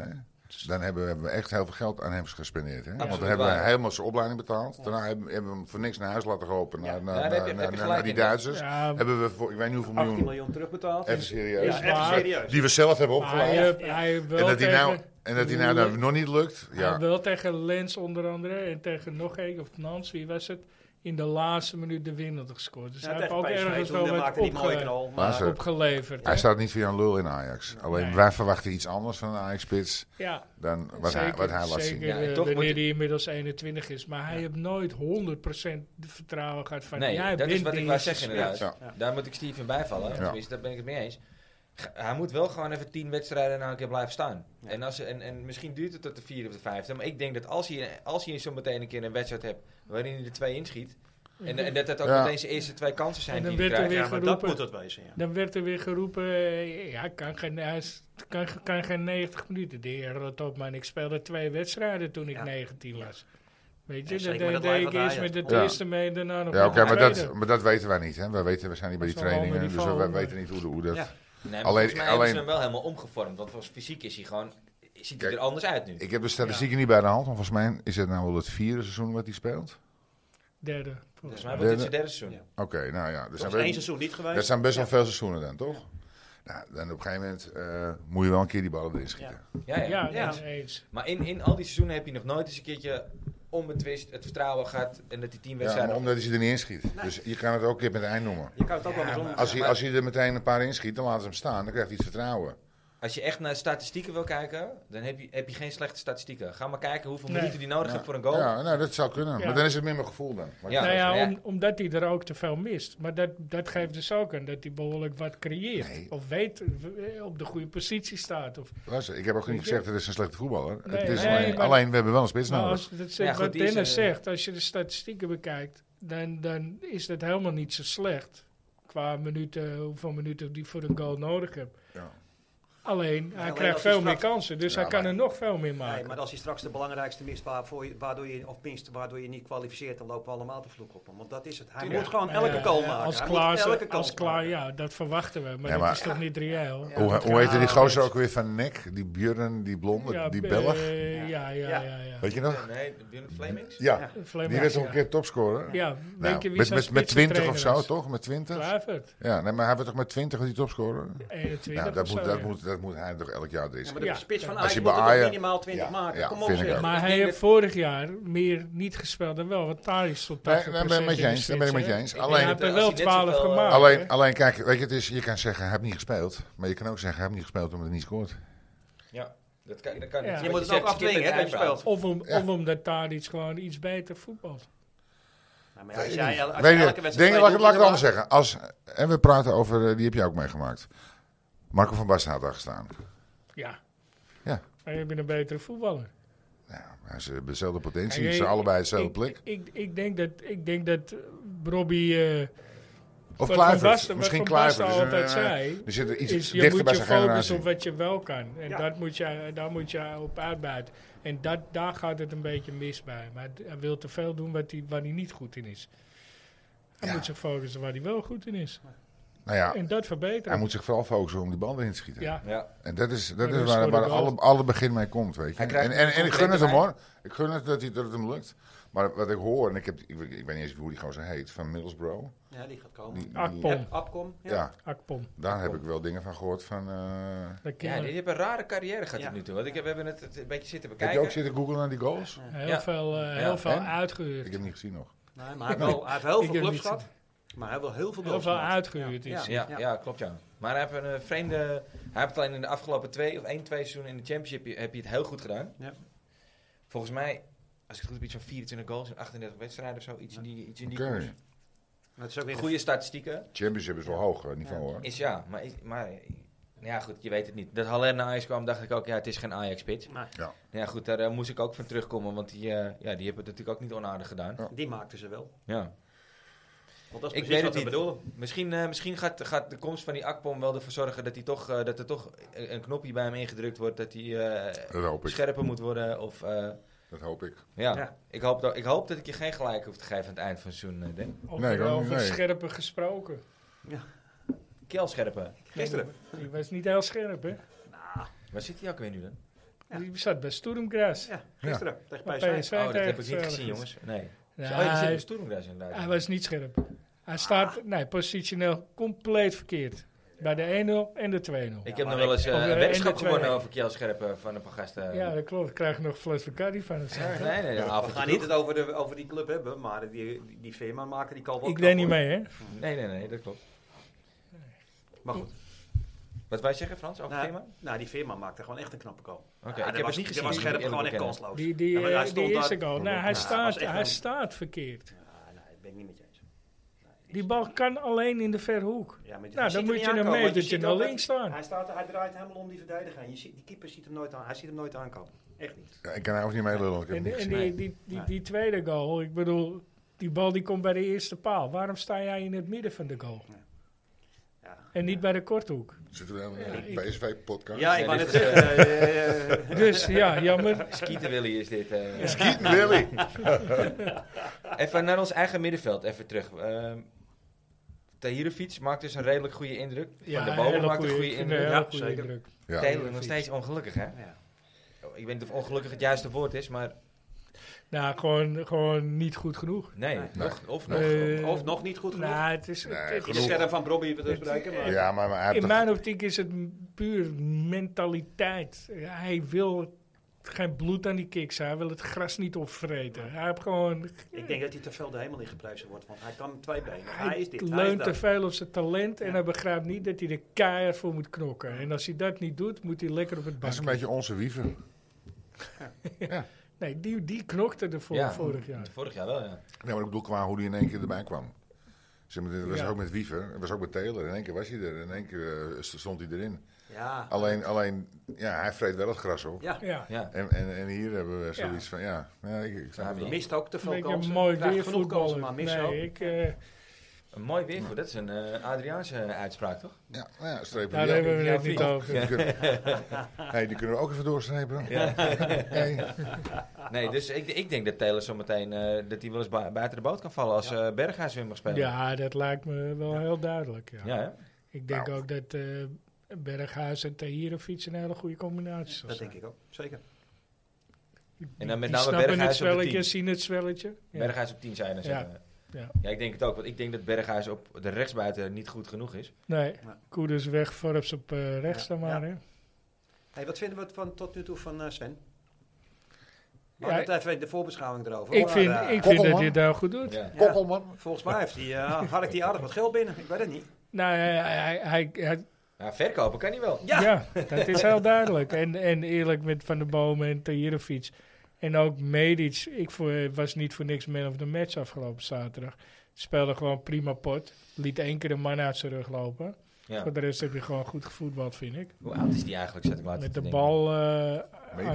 dan hebben we, hebben we echt heel veel geld aan hem gespendeerd. Hè? Want dan Absoluut hebben we waar. helemaal zijn opleiding betaald. Daarna hebben, hebben we hem voor niks naar huis laten lopen. Naar, naar, Ja, daar heb je- naar- heb je naar- naar gelijk die in, ja. Duitsers. Ja, Hebben we voor, ik weet niet hoeveel 18 miljoen. miljoen terugbetaald. Even serieus. Is waar. serieus. Die we zelf hebben maar hij, opgeleid. heeft- hij heeft wel En dat hij tegen, nou, en dat, hij nou dat nog niet lukt. hij heeft Ja. wel tegen Lens onder andere en tegen nog een of Nans, wie was het? In de laatste minuut de winnende gescoord. Dus Ja, hij heeft tegen ook PSV ergens toen, wel daar wat maakte hij een mooie opge- knal. Maar Maar ze- opgeleverd. Hij hè? staat niet voor Jan Lul in Ajax. Alleen Nee. wij verwachten iets anders van een Ajax-spits Ja, dan wat, hij, zeker, wat hij laat zeker, zien. Ja, en eh, toch moet wanneer je- hij inmiddels 21 is. Maar hij heeft nooit 100% de vertrouwen gehad van... nee, jij dat is bent wat de ik wou eerste zeggen spits. inderdaad. Ja. Daar moet ik Steve in bijvallen. Ja. Tenminste, daar ben ik het mee eens. G- Hij moet wel gewoon even tien wedstrijden na een keer blijven staan. En, als, en, en misschien duurt het tot de vierde of de vijfde. Maar ik denk dat als hij, als hij zo meteen een keer een wedstrijd hebt waarin hij er twee inschiet. En, en dat dat ook Ja. meteen zijn eerste twee kansen zijn En dan die hij werd er krijgt. weer ja, maar dat geroepen. moet het wezen, ja. Dan werd er weer geroepen, eh, ja, ik kan geen, hij is- kan, kan geen 90 minuten. De heer Rotopman, ik speelde twee wedstrijden toen ik Ja. 19 was. Weet je, Ja, zeker dat met deed- deed het ik lijf eerst wat met de hij had. eerste mee en daarna nog Ja, met oké, de maar, tweede. dat, maar dat weten wij niet. Hè? Wij weten, we zijn niet bij die Dat is wel een trainingen, dus ander we we niveau, weten niet hoe, hoe dat... Ja. Nee, maar Alleen- volgens mij hebben ze alleen- hem wel helemaal omgevormd. Want volgens fysiek is hij gewoon, ziet hij Kijk, er anders uit nu. Ik heb de statistieken niet bij de hand, maar volgens mij is het nou wel het vierde seizoen wat hij speelt. Derde. Volgens volgens mij mij. wordt dit Derde- zijn derde Ja. seizoen. Oké, nou ja. Er Dat zijn, is één best, seizoen niet dat geweest. zijn best wel veel seizoenen dan, toch? Nou, dan op een gegeven moment eh, moet je wel een keer die ballen erin schieten. Ja, ja. Ja, Ja. eens, eens. Maar in, in al die seizoenen heb je nog nooit eens een keertje onbetwist het vertrouwen gehad. En dat die tien Ja, maar wedstrijden... omdat hij ze er niet inschiet. Dus je kan het ook een keer met eind noemen. Je kan het ook wel eens om. Als hij, maar- als hij er meteen een paar inschiet, dan laten ze hem staan. Dan krijgt hij het vertrouwen. Als je echt naar statistieken wil kijken, dan heb je, heb je geen slechte statistieken. Ga maar kijken hoeveel Nee. minuten die nodig Ja. hebt voor een goal. Ja, nou, dat zou kunnen. Ja. Maar dan is het meer mijn gevoel dan. Maar Ja. nou ja, ja. om- omdat hij er ook te veel mist. Maar dat, dat geeft dus ook aan dat hij behoorlijk wat creëert. Nee. Of weet, eh, op de goede positie staat. Of, Luister, ik heb ook niet gezegd dat het een slechte voetballer Nee, het is. nee, alleen, maar- alleen, we hebben wel een spits Maar nodig. als, dat zegt, Ja, goed, wat die is, Dennis eh, zegt, als je de statistieken bekijkt, dan, dan is dat helemaal niet zo slecht. Qua minuten, hoeveel minuten die voor een goal nodig hebt. Ja. Alleen, hij alleen krijgt als hij veel meer straks- kansen, dus Ja, hij kan maar- er nog veel meer maken. Nee, maar als hij straks de belangrijkste mist, waarvoor je, waardoor je, of minst waardoor je niet kwalificeert, dan lopen we allemaal te vloeken op hem. Want dat is het. Hij Tuurlijk. moet gewoon Ja, elke goal ja, maken. Eh, Als Hij klaar, moet elke goal als klaar maken. ja, dat verwachten we. Maar Ja, dat maar- is toch niet reëel? hoe, Dat hoe heette die kan- gozer ook weer van Nick? Die Björn, die blonde, Ja, die eh, Belg. Ja, ja, Ja. ja. ja. Weet je nog? Nee, Björn Flemings? Ja, Vleemhuis, die werd nog ja. een keer topscorer. Ja, Nou, denk je wie met, zijn met, met spitsentrainer 20 of zo, was? toch? Met 20? Kluivert, Ja, nee, maar hij werd toch met 20 die topscorer? 21 Nou, dat of moet, zo, dat, ja. moet, dat moet hij toch elk jaar Ja, erin zitten. maar de Ja. spits van Als Ajax je moet bij er Ajax- toch minimaal 20 Ja, maken. ja, Kom op vind ik zeg. ook. Maar hij heeft vorig jaar meer niet gespeeld dan wel. Want Thais tot 80% Nee, daar ben ik met je in de eens. Daar ben ik spits, met je hè. eens. Ik En hij denk Alleen, heeft er Als wel hij net 12 zoveel, eh, gemaakt. alleen, hè. alleen kijk, weet je, het is, je kan zeggen, hij heeft niet gespeeld. Maar je kan ook zeggen, hij heeft niet gespeeld omdat hij niet scoort. Ja, dat kan, dat kan Ja. niet. Je Wat moet het zegt, ook afdwingen, skip hè, het dat je uitpraat. Of, om, Ja. of omdat Tadic gewoon iets beter voetbalt. Nou, maar ja, als Weet jij je el- niet. als Weet je je, elke wedstrijd dingen, laat ik twee laat ik het doelpunten anders zeggen. Als, en we praten over, eh, die heb je ook meegemaakt. Marco van Basten had daar gestaan. Ja. Ja. Maar je bent een betere voetballer. Ja, maar ze hebben dezelfde potentie, Kijk, ze ik- allebei dezelfde plek. Ik, ik, ik denk dat, ik denk dat eh, Robbie... eh, Of Wat Kluivert, Van Basten, misschien wat Van Basten Kluivert. Dus, eh, altijd zei, die zit er iets is, je dichter moet bij je zijn focussen generatie. op wat je wel kan. En Ja. dat moet je, daar moet je op uitbuiten. En dat, daar gaat het een beetje mis bij. Maar d- hij wil te veel doen wat hij, waar hij niet goed in is. Hij Ja. moet zich focussen waar hij wel goed in is. Nou ja, En dat hij verbeteren. moet zich vooral focussen om die bal erin te schieten. ja. Ja, En dat is, dat Maar is dat waar, is waar voor de alle, alle begin mee komt, weet je. Hij krijgt En, en, en ik gun het hem concrete hoor. Ik gun het dat, hij, dat het hem lukt. Maar wat ik hoor, en ik, heb, ik, weet- ik weet niet eens hoe die gozer heet, van Middlesbrough. maken. Ja, die gaat Die, komen. die- Akpom. Abkom. ja. Ja. Akpom. daar heb ik wel dingen van gehoord van... eh, Dat ken ja, je. die hebben een rare carrière gehad Ja. tot nu toe. Want ik heb, we hebben het, het een beetje zitten heb je ook bekijken. zitten googlen naar die goals? Heel Ja. veel, eh, Ja. heel veel En? uitgehuurd. Ik heb hem niet gezien nog. Nee, maar hij heeft wel- hij heeft heel Ik veel heb clubs niet- gehad. Maar hij wil heel veel heel goals veel gemaakt. uitgehuurd Ja. is. Ja. Ja, ja, klopt ja. Maar hij heeft een eh, vreemde... Hij heeft het alleen in de afgelopen twee of één, twee seizoenen in de championship heb je het heel goed gedaan. Ja. Volgens mij, als ik het goed heb, iets van 24 goals in 38 wedstrijden of zo. Iets in die, iets in die Oké. koers. Dat is ook weer Goede statistieken. Championship is wel hoog eh, niveau Ja. hoor. Is ja, maar, is- maar eh, nou ja, goed, je weet het niet. Dat Haller naar Ajax kwam, dacht ik ook, ja, het is geen Ajax-pitch. Maar Nou ja, goed, daar eh, moest ik ook van terugkomen, want die, eh, ja, die hebben het natuurlijk ook niet onaardig gedaan. Ja. die maakten ze wel. Ja. Want dat is Ik precies weet het wat we niet. bedoelen. Misschien, eh, misschien gaat, gaat de komst van die Akpom wel ervoor zorgen dat, hij toch, eh, dat er toch een een knopje bij hem ingedrukt wordt, dat hij eh, Dat hoop ik. scherper moet worden. Of, eh, Dat hoop ik. ja. Ja. Ik, hoop dat, ik hoop dat ik je geen gelijk hoef te geven aan het eind van het seizoen, eh, Denk. Of Nee, er dat- over nee. scherpe gesproken. Keel scherpen. Gisteren. Die was niet heel scherp, hè? Waar zit hij ook weer nu dan? Ja. Die zat bij Stoerumgras. Ja, gisteren. Tegen Bij PSV. PSV Oh, dat heb ik tegen niet Feyenoord. gezien, jongens. Nee. Ja, oh, je zit hij- bij Stoerumgras inderdaad. Hij was niet scherp. Hij Ah. staat nee, positioneel compleet verkeerd. Bij de 1-0 en de 2-0. Ik Ja, heb maar nog wel ik- eens eh, Over de een weddenschap ene, twee. gewonnen over Kjell Scherpen van een paar gasten. eh, Ja, dat klopt. Ik krijg nog een fles Bacardi van het Nee, zaken. nee, nee, een avondje We gaan niet het over, de, over die club hebben, maar die, die, die firma maken die kan wel Ik knap, deed niet hoor. mee, hè? goed. Nee, nee, nee, dat klopt. Maar goed, Wat wij zeggen, Frans, over nou, thema? nou, die firma maakte gewoon echt een knappe goal. Oké, Ja, ik dat heb was, het niet gezien. Dat was moet scherp ik eerlijk gewoon echt bekennen. kansloos. Die, die, Ja, maar hij eh, die stond daar- eerste goal. Nou, hij, Ja, dat was staat, echt hij een- staat verkeerd. Ja, nee, dat ben ik niet met je eens. Die bal kan alleen in de verhoek. Ja, maar die- Nou, dan ziet hem moet niet je hem aankomen, mee want dat je ziet naar ook dat- links staat. Hij, staat, hij draait helemaal om die verdediger. heen. Je ziet, die keeper ziet hem nooit aan. Hij ziet hem nooit aankomen. Echt niet. Ja, ik kan nou ook niet meelullen, want ik heb En, hem niet en gezien. die, die, die, Nee. die tweede goal, ik bedoel, die bal die komt bij de eerste paal. Waarom sta jij in het midden van de goal? Ja, En niet bij de korthoek? Zitten we eh, helemaal Ja, in ik- de PSV-podcast? ja ik Nee, wou dit net is, zeggen. eh, eh, Dus ja, jammer. Skieten Willy is dit. eh. Kiet Willy! Even naar ons eigen middenveld, even terug. Ehm Tahirovic maakt dus een redelijk goede indruk. Ja, van de Bomen hele maakt een goede- goede ik vind een indruk. hele Ja, goede zeker. indruk. Ja. Taylor nog steeds ongelukkig, hè? ja. Ik weet niet of ongelukkig het juiste woord is, maar Nou, gewoon, gewoon niet goed genoeg. nee. Nee. Nog, of nog. Eh, Of nog niet goed genoeg. Nou, het is, Nee, het- het is- de scherm van Bobby te bespreken. Maar Ja, maar, maar hij heeft in toch- mijn optiek is het m- puur mentaliteit. Hij wil geen bloed aan die kiks. Hij wil het gras niet opvreten. Hij heeft gewoon... ik denk dat hij te veel de hemel in geplezen wordt. Want hij kan twee benen. Hij Hij is dit. Hij is leunt te dat. veel op zijn talent en Ja. hij begrijpt niet dat hij er keihard voor moet knokken. En als hij dat niet doet, moet hij lekker op het dat is een bankje. beetje onze wiever. Nee, die, die knokte ervoor Ja. vorig jaar. Vorig jaar wel, ja. Nee, maar ik bedoel qua hoe die in één keer erbij kwam. Zeg maar, dat was Ja. ook met Wiever, dat was ook met Taylor. In één keer was hij er, in één keer eh, st- stond hij erin. Ja. Alleen, alleen ja, hij vreet wel het gras op. Ja. Ja, ja. En, en, en hier hebben we zoiets van, ja, ja ik, ik snap Ja, het wel. Mist ook te een veel beetje kansen. mooi Krijgt weer genoeg kansen, maar voetballen. mist ook. Nee, ik... eh, Een mooi weer voor. Dat is een eh, Adriaanse uitspraak, toch? Ja, nou ja, strepen Daar die hebben ook. we het niet over. Die kunnen, hey, die kunnen we ook even doorstrepen. Hey, Nee, dus ik, ik denk dat Taylor zometeen eh dat hij wel eens bui- buiten de boot kan vallen als eh Berghuis weer mag spelen. Ja, dat lijkt me wel heel duidelijk. Ja. Ja, hè? Ik denk ook dat eh, Berghuis en Tahirovic een hele goede combinatie zal Dat zijn. denk ik ook, zeker. En dan met Die name snappen Berghuis het op de zwelletje, 10. zien het zwelletje. Ja. Berghuis op 10 zijn. dan Ja. zeggen we. Ja. ja, ik denk het ook. Want ik denk dat Berghuis op de rechtsbuiten niet goed genoeg is. Nee, Ja. Koeders weg, Forbes op eh, rechts Ja. dan maar. hè. Hey, wat vinden we van, tot nu toe van eh, Sven? Ja, We hadden het even de voorbeschouwing erover. Ik maar, vind, eh, ik vind dat Kokkelman. hij het heel goed doet. Ja. ja, Kokkelman. volgens mij heeft hij, eh, harkt hij aardig wat geld binnen. Ik weet het niet. Nou, hij, hij, hij, hij- Nou, verkopen kan hij wel. Ja. ja. dat is heel duidelijk. En, en eerlijk met Van der Bomen en Tahirovic. En ook Medic. Ik voor- was niet voor niks man of the match afgelopen zaterdag. Speelde gewoon prima pot. Liet één keer de man uit zijn rug lopen. Ja. Voor de rest heb je gewoon goed gevoetbald, vind ik. Hoe oud is die eigenlijk? Zet ik later Met te de denken. bal eh, aan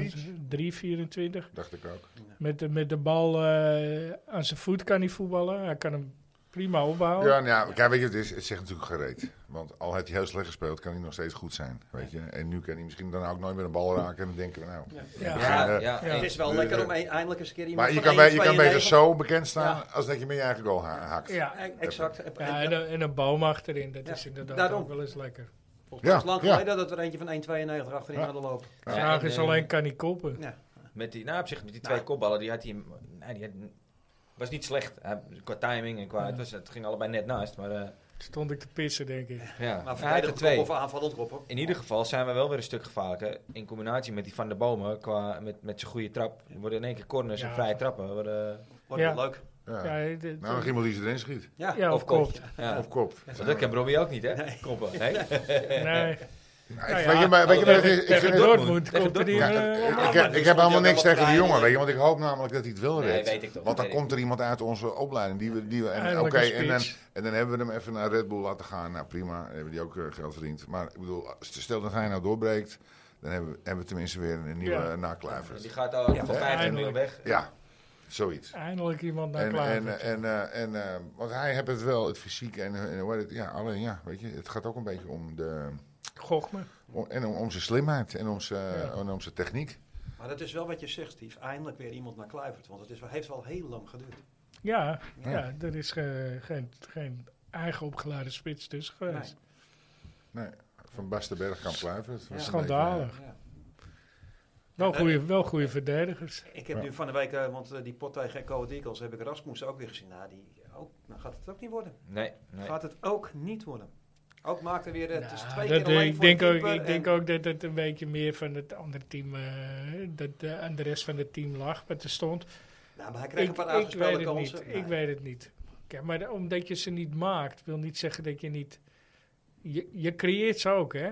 Medic? z- 3,24. Dacht ik ook. Met de, met de bal eh, aan zijn voet kan hij voetballen. Hij kan hem prima Oh. opbouwen. Ja, nou ja, kijk, weet je, het, is, het zegt natuurlijk gereed. Want al had hij heel slecht gespeeld, kan hij nog steeds goed zijn. Weet je? En nu kan hij misschien dan ook nooit meer een bal raken. En dan denken we, nou... Ja. Ja, eh, ja, Ja. Het is wel Dus, lekker eh, om een- eindelijk eens een keer iemand Maar van je kan, 1, bij, je kan 92 beter zo bekend staan Ja. als dat je met je eigen goal ha- haakt. Ja. Eh, Exact. En- en- Ja, en, een- en een boom achterin, dat Ja, is inderdaad daarom. ook wel eens lekker. Volgens mij is Ja, het lang ja. geleden dat er eentje van 1,92 achterin Ja. hadden lopen. De Ja, vraag en, is eh, alleen, kan hij koppen? Ja. Met die, nou, op zich, met die twee Nou. kopballen, die had hij... Nee, die had, was niet slecht. Hij- qua timing en qua... Het, was, het ging allebei net naast, maar... eh, Stond ik te pissen, denk ik. ja. hij Maar had er verdedigend kop twee. of aanvallend kop. hoor. In ieder geval zijn we wel weer een stuk gevaarlijker. In combinatie met die Van der Bomen, qua, met, met zijn goede trap. Er worden in één keer corners en Ja. vrije trappen. We Worden, Wordt wel Ja. leuk. Ja. Ja, dit- dit- Nou, nog iemand die ze erin schiet. Ja. ja, of of kop. kopt. ja. Of kop. Want dat kan Robbie ook niet, hè? Koppen. Nee. Nee. Nou, Nou ik- ja, Weet je, maar, weet je, maar het is- ik Tegen vind het- Dortmund Tegen komt er die... Ja, eh, ik- op- ik, heb, ik heb helemaal niks tegen die Ja. jongen, weet je, want ik hoop namelijk dat hij het wel Nee, redt. weet ik toch, want dan weet ik. komt er iemand uit onze opleiding. Die we, die we, en, Eindelijk oké, een en, dan, spits. en dan hebben we hem even naar Red Bull laten gaan. Nou prima, dan hebben die ook eh, geld verdiend. Maar ik bedoel, als- stel dat hij nou doorbreekt, dan hebben we, hebben we tenminste weer een nieuwe Ja. eh, nakluiver. Die gaat al voor 50 miljoen Eindelijk. weg. Ja, zoiets. Eindelijk iemand naar En, klaar. en, eh, en, eh, en, eh, want hij heeft het wel, het fysiek en, eh, en hoe heet het, ja, alleen ja, weet je, het gaat ook een beetje om de, Gochme. om, en om, om zijn slimheid en om zijn, Ja. en om zijn techniek. Maar dat is wel wat je zegt, Steve. Eindelijk weer iemand naar Kluivert. Want het is, heeft wel heel lang geduurd. Ja, ja. er is ge- geen, geen eigen opgeladen spits tussen geweest. Nee, van Bastenberg kan Kluivert. Dat was een eh, Schandalig. Ja. Wel eh, goede, wel goede verdedigers. Ik heb nu van de week, eh, want eh, die pot tegen Echo Deagles heb ik Rasmussen ook weer gezien. Nou, die ook, nou gaat het ook niet worden. Nee, nee. Gaat het ook niet worden. Ook maakt er weer, eh, het is Nou, twee dat, keer eh, alleen ik voor de denk, ook, keeper ik denk en- ook dat het een beetje meer van het andere team, eh, dat eh, aan de rest van het team lag, wat er stond. Nou, maar hij kreeg een paar ik weet aangespeelde het kansen. Niet. Nee. Ik weet het niet. Kijk, maar de- omdat je ze niet maakt, wil niet zeggen dat je niet. Je, je creëert ze ook, hè?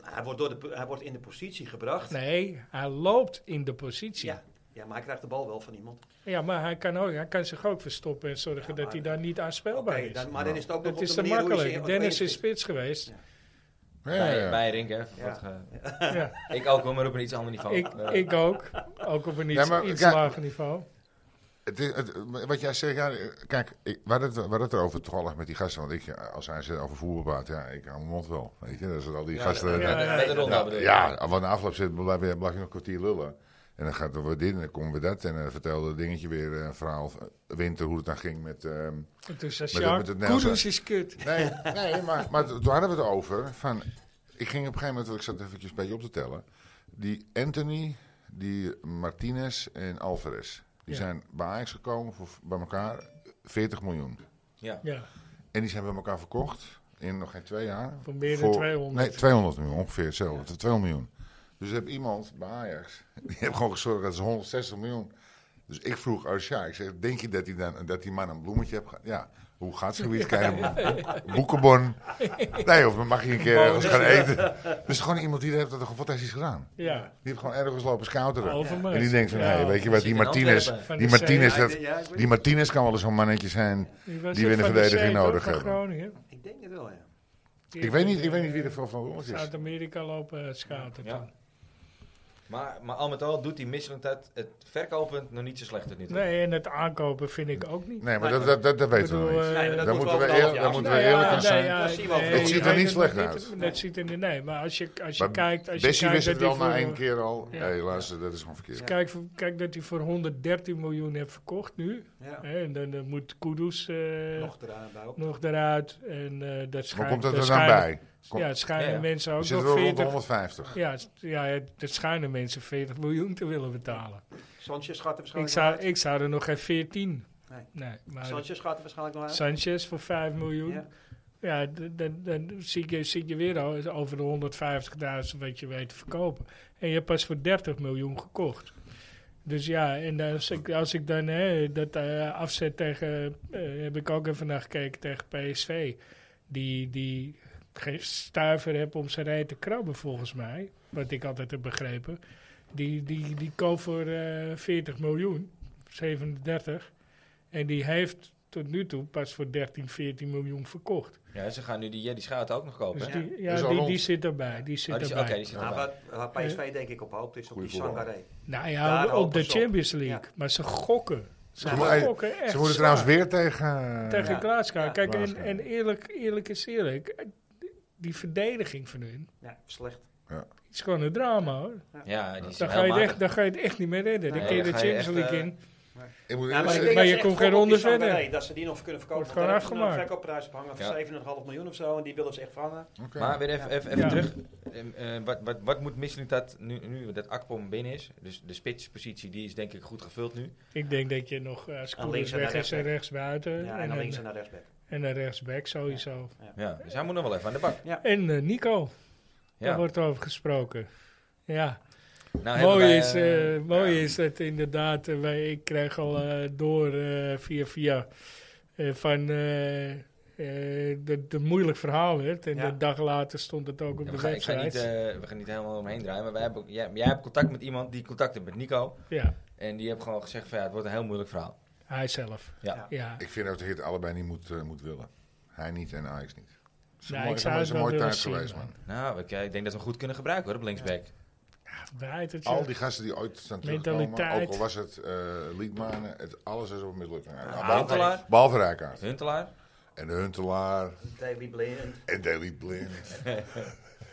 Nou, hij, wordt door de, hij wordt in de positie gebracht. Nee, hij loopt in de positie. Ja. Ja, Ja, maar hij krijgt de bal wel van iemand. maar hij kan, ook, hij kan zich ook verstoppen en zorgen Ja, dat maar- hij daar niet Oké, aanspeelbaar is. dan, maar dan is het ook nog dat op is de te manier hoe je makkelijk. ze- Dennis hoe je is ze- spits geweest. beetje, ja, ja, Bij, ja. bij Rink, hè? Ja. Wat ge- Ja. Ik ook, hoor, maar op een iets ander niveau. Ik, Eh, ik ook. Ook op een iets, Ja, maar iets kijk- lager niveau. Het is, het, wat jij zegt, ja, kijk, ik, waar het, waar het erover toevallig met die gasten, want ik, als hij zegt over voetbal praat, ja, ik hou mijn mond wel. Weet je, dat is het al die ja, gasten. met- ja, met- ja, met de ja. ronde Nou, bedoel je? ja, want na afloop zit, blijf, je- blijf je nog een kwartier lullen. En dan gaat er weer dit en dan komen we dat. En dan vertelde het dingetje weer eh, een verhaal, eh, Winter, hoe het dan ging met... ehm, En toen zei Met- met Sjaak, het Nederlands- Kudus is kut. Nee, nee maar, maar toen hadden we het over. Van, ik ging op een gegeven moment, want ik zat eventjes een beetje op te tellen. Die Anthony, die Martinez en Alvarez. Die Ja. zijn bij Ajax gekomen voor bij elkaar 40 miljoen. Ja. Ja, En die zijn bij elkaar verkocht in nog geen twee jaar. Voor meer dan 200. Nee, 200 miljoen, ongeveer hetzelfde. 200 miljoen. Dus er heb iemand bij Ajax, die heeft gewoon gezorgd dat ze 160 miljoen... Dus ik vroeg Arsha, ik zeg, denk je dat die, dan, dat die man een bloemetje heeft gehad? Ja, hoe gaat het zoiets? Kan je hem- boekenbon? Nee, of mag je een keer ergens gaan eten? Dus gewoon iemand die heeft dat toch fantastisch gedaan. ja. Die heeft gewoon ergens lopen scouteren. Overmars. En die denkt van, Ja. hé, weet je wat, Zit die in Martinez, Antwerpen. Van die de Martinez, Ja, ik dat, denk- ja, ik weet- die Martinez kan wel eens zo'n mannetje zijn. was Die het winnen van de verdediging Zee, toch, nodig van hebben. Groningen? Ik denk het wel, ja. Eh, Ik weet niet, ik weet niet wie er van van ons is. Zuid-Amerika lopen eh, scouten. Ja. toen. Maar, maar al met al doet die Michelin dat het verkopend nog niet zo slecht tot nu toe. Nee, en het aankopen vind ik ook niet. Nee, maar dat, dat, dat, dat weten we bedoel, nog eh, niet. Nee, maar dat Daar moet moeten wel we, van eer- half jaar daar moeten we eerlijk in zijn. ja, Dat zien we wel. Het ziet er niet slecht dat- uit. Dat ziet er niet, nee, maar als je, als je Maar kijkt... eh, Als je Bessie kijkt wist het dat wel hij na voor- één keer al. Hé, Ja. luister, dat is gewoon verkeerd. Kijk, voor- kijk dat hij voor 113 miljoen heeft verkocht nu. Ja. Hè, en dan, eh, moet Kudus eh, nog. Nog eraan bij op. eruit. En eh dat Maar schijnt- komt dat dat er dan schijnen- bij? Kom- Ja, het schijnen Ja, ja. mensen We ook zitten nog wel rond de 40... 150. Ja, het- ja, het het schijnen mensen 40 miljoen te willen betalen. Sanchez gaat er Ik waarschijnlijk nog zou, uit. ik zou er nog geen 14. Nee. maar Sanchez gaat er waarschijnlijk nog uit. Sanchez voor 5 miljoen. Ja. Ja, d- dan, dan zie, je, zie je weer al over de 150.000 wat je weet te verkopen. En je hebt pas voor 30 miljoen gekocht. Dus ja, en als ik, als ik dan hè, dat eh, afzet tegen, eh, heb ik ook even naar gekeken tegen PSV. Die, die geen stuiver heeft om zijn rij te krabben volgens mij. Wat ik altijd heb begrepen. Die, die, die koopt voor eh, 40 miljoen, 37. En die heeft tot nu toe pas voor 13, 14 miljoen verkocht. Ja, ze gaan nu die Jerry Schouten ook nog kopen. Dus hè? die, ja, Dus al die, rond. die zit erbij. Die zit Oh, die- erbij. Oké, die zit Nou, erbij. waar, waar PSV denk ik op hoopt is op Goeie die voetballer. Sangaré. Nou Daar ja, op- op hopen de ze op. Champions League. Ja. Maar ze gokken. Ze, Ze moeten- gokken echt Ze moeten zwaar. trouwens weer tegen... eh, Tegen Ja. Glasgow. Ja. Kijk, en, Glasgow. en eerlijk, eerlijk is eerlijk. eh, Die verdediging van hun Ja, slecht. is gewoon een drama hoor. Ja, die is Dan heel ga, je het matig. echt, dan ga je het echt niet meer redden. Dan Nee, kun je de dan ga je Champions echt, League eh, in. Ik moet Ja, eerlijk maar ik zeggen- Maar denk dat je ze komt echt geen gokken op die ronde verder. Sangaré, Dat ze die nog kunnen verkopen. Wordt gewoon Want daar hebben ze afgemaakt. Een verkoopprijs op hangen Ja. van 7,5 miljoen of zo. En die willen ze echt vangen. Oké. Maar weer even, even, even Ja. terug. Eh, eh, wat, wat, wat moet Misseling dat nu, nu dat Akpom binnen is? Dus de spitspositie die is denk ik goed gevuld nu. Ik denk dat je nog eh, als Aan Koeders links en weg naar is en rechts. rechts buiten. Ja, en en, dan links en een, naar rechtsback. en een rechtsback sowieso. Ja, dus hij moet nog wel even aan de bak. En eh, Nico, daar Ja. wordt over gesproken. Ja, Nou, hebben mooi, wij, is, eh, eh, mooi is dat inderdaad, eh, wij, ik kreeg al eh, door eh, via via eh, van eh, eh, dat het een moeilijk verhaal werd. En Ja. een dag later stond het ook op ja, de we, gaan, ik ga website. niet, eh, we gaan niet helemaal omheen draaien, maar wij hebben, ook- jij, jij hebt contact met iemand die contact heeft met Nico. Ja, En die heeft gewoon gezegd van ja, het wordt een heel moeilijk verhaal. hij zelf. Ja. Ja. ja. Ik vind dat hij het allebei niet moet, eh, moet willen. Hij niet en Ajax niet. Het is een Nou, mooi- ik zou het is het wel een mooi willen tijd zien, geweest, man. man. Nou, ik, eh, ik denk dat we hem goed kunnen gebruiken hoor, op linksback. Draait het Al je. die gasten die ooit zijn Mentaliteit. teruggekomen, ook al was het eh Liedmanen, het, alles is op mislukt. behalve, Huntelaar. behalve Rijkaard. Huntelaar. En Huntelaar Daily Blind, en Daily Blind.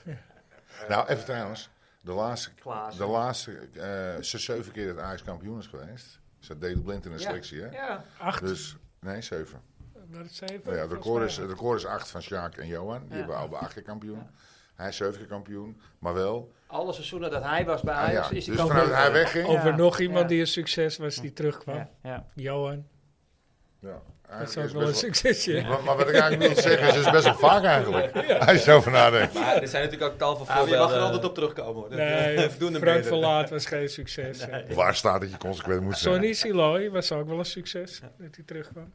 nou, even trouwens. De laatste, Klaas. de laatste eh, zes, zeven keer dat Ajax kampioen is geweest, zat Daily Blind in de Ja. selectie, hè? Ja, Acht, Dus, nee, zeven. waar het zeven? Nou ja, het volgens record mij. is, het record is acht van Sjaak en Johan. Die hebben allebei acht keer kampioen. Hij is zeven keer kampioen, maar wel... alle seizoenen dat hij was bij Ah, Ajax ja. is Dus hij vanuit hij wegging, Over Ja, nog iemand ja. die een succes was die terugkwam. Ja, ja. Johan, Ja, dat eigenlijk is ook is wel een best wel- succesje. maar, maar wat ik eigenlijk wil zeggen is, het is best wel vaak eigenlijk. Als je erover nadenkt. Maar er zijn natuurlijk ook tal van Ah, je mag er voorbeelden. altijd op terugkomen hoor. Dat, Nee, eh, we doen hem Frank eerder. Verlaat was geen succes. Waar staat dat je consequent moet zijn? Sonny Siloy was ook wel een succes dat hij terugkwam.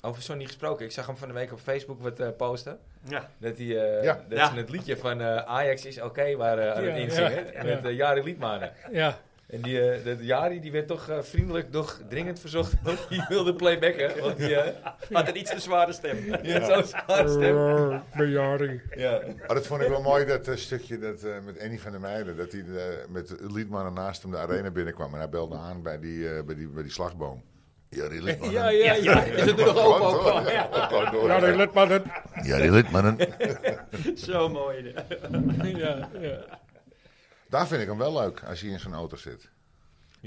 Over Sonny gesproken, ik zag hem van de week op Facebook wat eh, posten. Ja. Dat, hij, eh, Ja. dat Ja. ze het liedje van eh, Ajax is oké waren aan Ja, het inzingen. ja, ja. Met eh, Jari Liedmanen. Ja, En die, eh, dat Jari die werd toch eh, vriendelijk, toch dringend verzocht. Want die wilde playbacken. Want die eh, Had een iets te zware stem. die had zo'n zware stem. Eh, Bejari. Ja. Maar Oh, dat vond ik wel mooi, dat eh, stukje dat, eh, met Annie van der Meijden. Dat hij eh, met Liedman naast hem de arena binnenkwam. En hij belde aan bij die, eh, bij die, bij die slagboom. Jari Liedman. Ja, ja, ja. Is het nu nog open ook? Gewoon door, ja, gewoon door. Ja, let maar dat. Jari Liedman. Zo mooi. Ja, ja. Daar vind ik hem wel leuk, als hij in zo'n auto zit.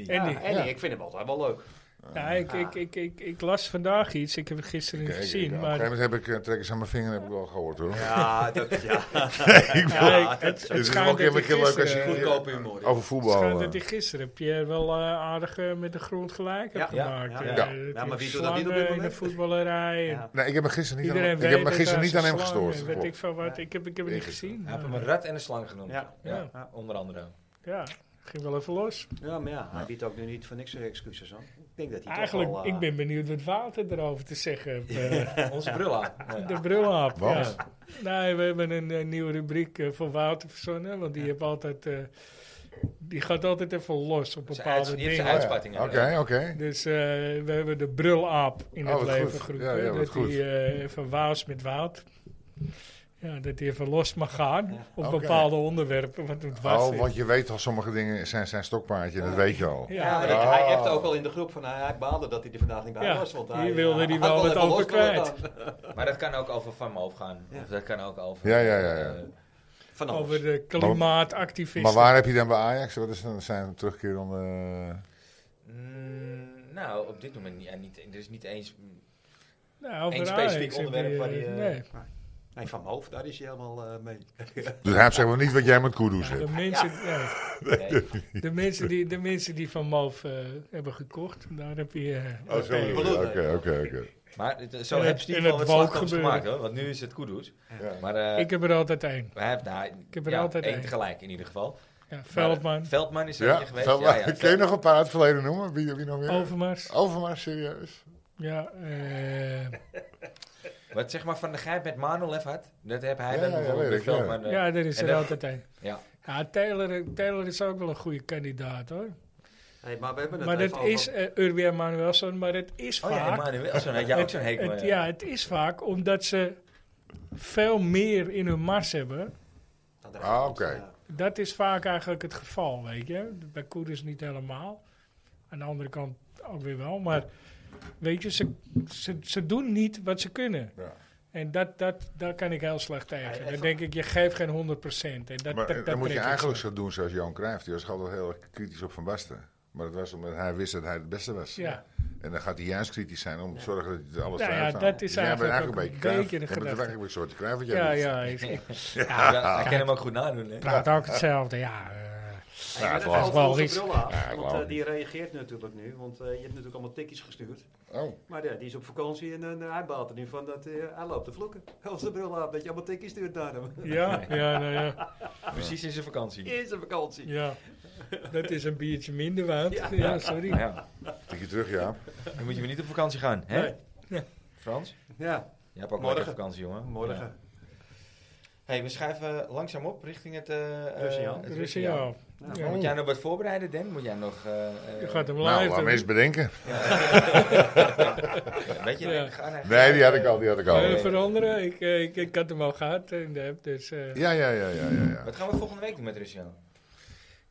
En Andy. Ja. ik vind hem altijd wel leuk. Ja, ik, ik, ik, ik, ik las vandaag iets, ik heb het gisteren niet Kijk, ik- op gezien. een gegeven Maar moment heb ik, eh, trek eens aan mijn vinger, heb ik wel gehoord hoor. Ja, dat, ja. ik wil- Ja, ik- het- dat het is Het is schijnt wel een keer dat hij leuk als je gisteren- goedkoop humor. over het voetbal. schijnt eh, dat hij gisteren Pierre wel eh, aardig eh, met de grond gelijk heeft Ja, gemaakt. ja, Eh, ja. dat Ja, maar hij wie doet dat niet op dit slangen in de moment? voetballerij. en- Ja. Nee, ik heb me gisteren niet, aan, Iedereen ik heb me weet gisteren dat hij niet aan hem zijn slang gestoord. is, Weet ik Klopt. van wat, ik heb, ik heb het niet gezien. Hij heeft hem een rat en een slang genoemd. Ja. Ja. Ja. onder andere. Ja, ging wel even los. Ja, maar ja, hij biedt ook nu niet voor niks zijn excuses aan. Ik denk dat hij Eigenlijk, toch wel... eh, ik ben benieuwd wat Wouter erover te zeggen heeft. eh, Onze bril aan. Ja. de brulhap. Wat? Ja. Nee, we hebben een, eh, nieuwe rubriek eh, voor Wouter verzonnen. Want die, heeft altijd, eh, die gaat altijd even los Zijn op uits- bepaalde die heeft zijn dingen. uitspattingen. Oh, Oké, oké. Dus eh, we hebben de brulaap in Oh, het wat leven goed. geroepen. Ja, ja, wat dat goed. die eh, van Waals met Wout. Ja, dat hij even los mag gaan op Oké. bepaalde onderwerpen. Want het was Oh, het. want je weet al, sommige dingen zijn zijn stokpaardje, dat weet je al. Ja, Ja, maar en ik- hij Oh. appte ook al in de groep van hij baalde dat hij er vandaag niet bij Ja, was. Want hier hij wilde ja, hij had wel wat even over los willen kwijt. gaan. Maar dat kan ook over Van Moof gaan. Ja. Of dat kan ook over... Ja, ja, ja, ja. eh, Van alles. over de klimaatactivisten. Maar waar heb je dan bij Ajax? Wat is dan zijn terugkeer eh, onder... mm, nou, op dit moment niet, ja, niet, er is niet eens... Nou, over Eén Ajax specifiek heb onderwerp je- waar die, eh, nee. Nee, van mijn hoofd, daar is hij helemaal eh, mee. Dus hij zegt maar niet wat jij met Kudus De hebt. mensen, nee. Nee. De, mensen die, de mensen die van Moof eh, hebben gekocht, daar heb je... eh, Oh, zo eh, bedoel je. Oké, oké, oké. Maar het- zo En heb het- Steve en wel het wat wou ook slachtoffers gebeuren. gemaakt hoor. Want nu is het Kudus. Ja. Maar eh, Ik heb er altijd één. hij heeft, nou, ik heb er ja, altijd één één. tegelijk in ieder geval. Ja, Maar, Veldman, eh, Veldman is er Ja, eentje geweest. Vel- Ja, ja, kun je nog een paar uit het verleden noemen? Wie, wie nog meer? Overmars. Oh. Overmars, serieus? Ja, eh, Wat zeg maar Van de Gijp met Manolev had. Dat heb hij Ja, dan ja, bijvoorbeeld weet met ik, ja. Veldman. eh, ja, er is en er dat- altijd één. ja. Ja, Taylor, Taylor is ook wel een goede kandidaat hoor. Hey, maar we hebben het Maar even dat over- is eh Urbian Manuelson, maar het is Oh ja, vaak... Emmanuelson had jij ook zo'n hekel. het, aan, ja, het is vaak omdat ze veel meer in hun mars hebben. Nou, daar- Ah, oké. Ja. Dat is vaak eigenlijk het geval, weet je. Bij Koerders niet helemaal. Aan de andere kant ook weer wel. Maar weet je, ze, ze, ze doen niet wat ze kunnen. Ja. En dat, dat, daar kan ik heel slecht tegen. Dan denk ik, je geeft geen 100%. En dat, Maar dat, eh, dat dan moet je trek ik eigenlijk zo. zo doen zoals Johan Cruijff. Die was altijd heel erg kritisch op Van Basten. Maar dat was omdat hij wist dat hij het beste was. Ja. En dan gaat hij juist kritisch zijn om te zorgen dat hij alles Nou ja, eruit haalt. dat is Dus jij bent eigenlijk ook een Cruijff. beetje de Jij bent gedachte. eigenlijk een soort Cruijff wat jij Ja, doet. ja, ik, ik Ja, ja, hij kan hem ook goed nadoen. Hè. praat ook hetzelfde. Ja, eh, Hey, maar het even was over wel onze iets. bril af, Ja, het want was eh, die reageert natuurlijk nu. Want eh, je hebt natuurlijk allemaal tikjes gestuurd. Oh, Maar ja, die is op vakantie en eh, hij baalt er nu van dat eh, hij loopt te vloeken. Onze bril af, dat je allemaal tikjes stuurt naar hem. ja, ja, nou ja, Precies in zijn vakantie. In zijn vakantie. ja. Dat is een biertje minder waard. Ja, sorry. Nou ja, tikje terug, ja. dan moet je weer niet op vakantie gaan. Hè? Nee. Frans? Ja, Jij hebt ook Morgen. morgen vakantie, jongen. morgen. Ja. hey, we schuiven langzaam op richting het... eh, eh, Russenjaal. het Russie, Russenjaal. ja. Nou, Ja. Moet jij nog wat voorbereiden, Den? Moet jij nog... eh, eh, Je gaat hem Nou, live laat doen. me eens bedenken. Weet je, Ja. ga naar- Nee, die had ik al, die had ik al. Eh, veranderen. Ik, eh, ik, ik had hem al gehad in de app, dus eh, ja. Ja, ja, ja, ja, ja. ja. Wat gaan we volgende week doen met Russia?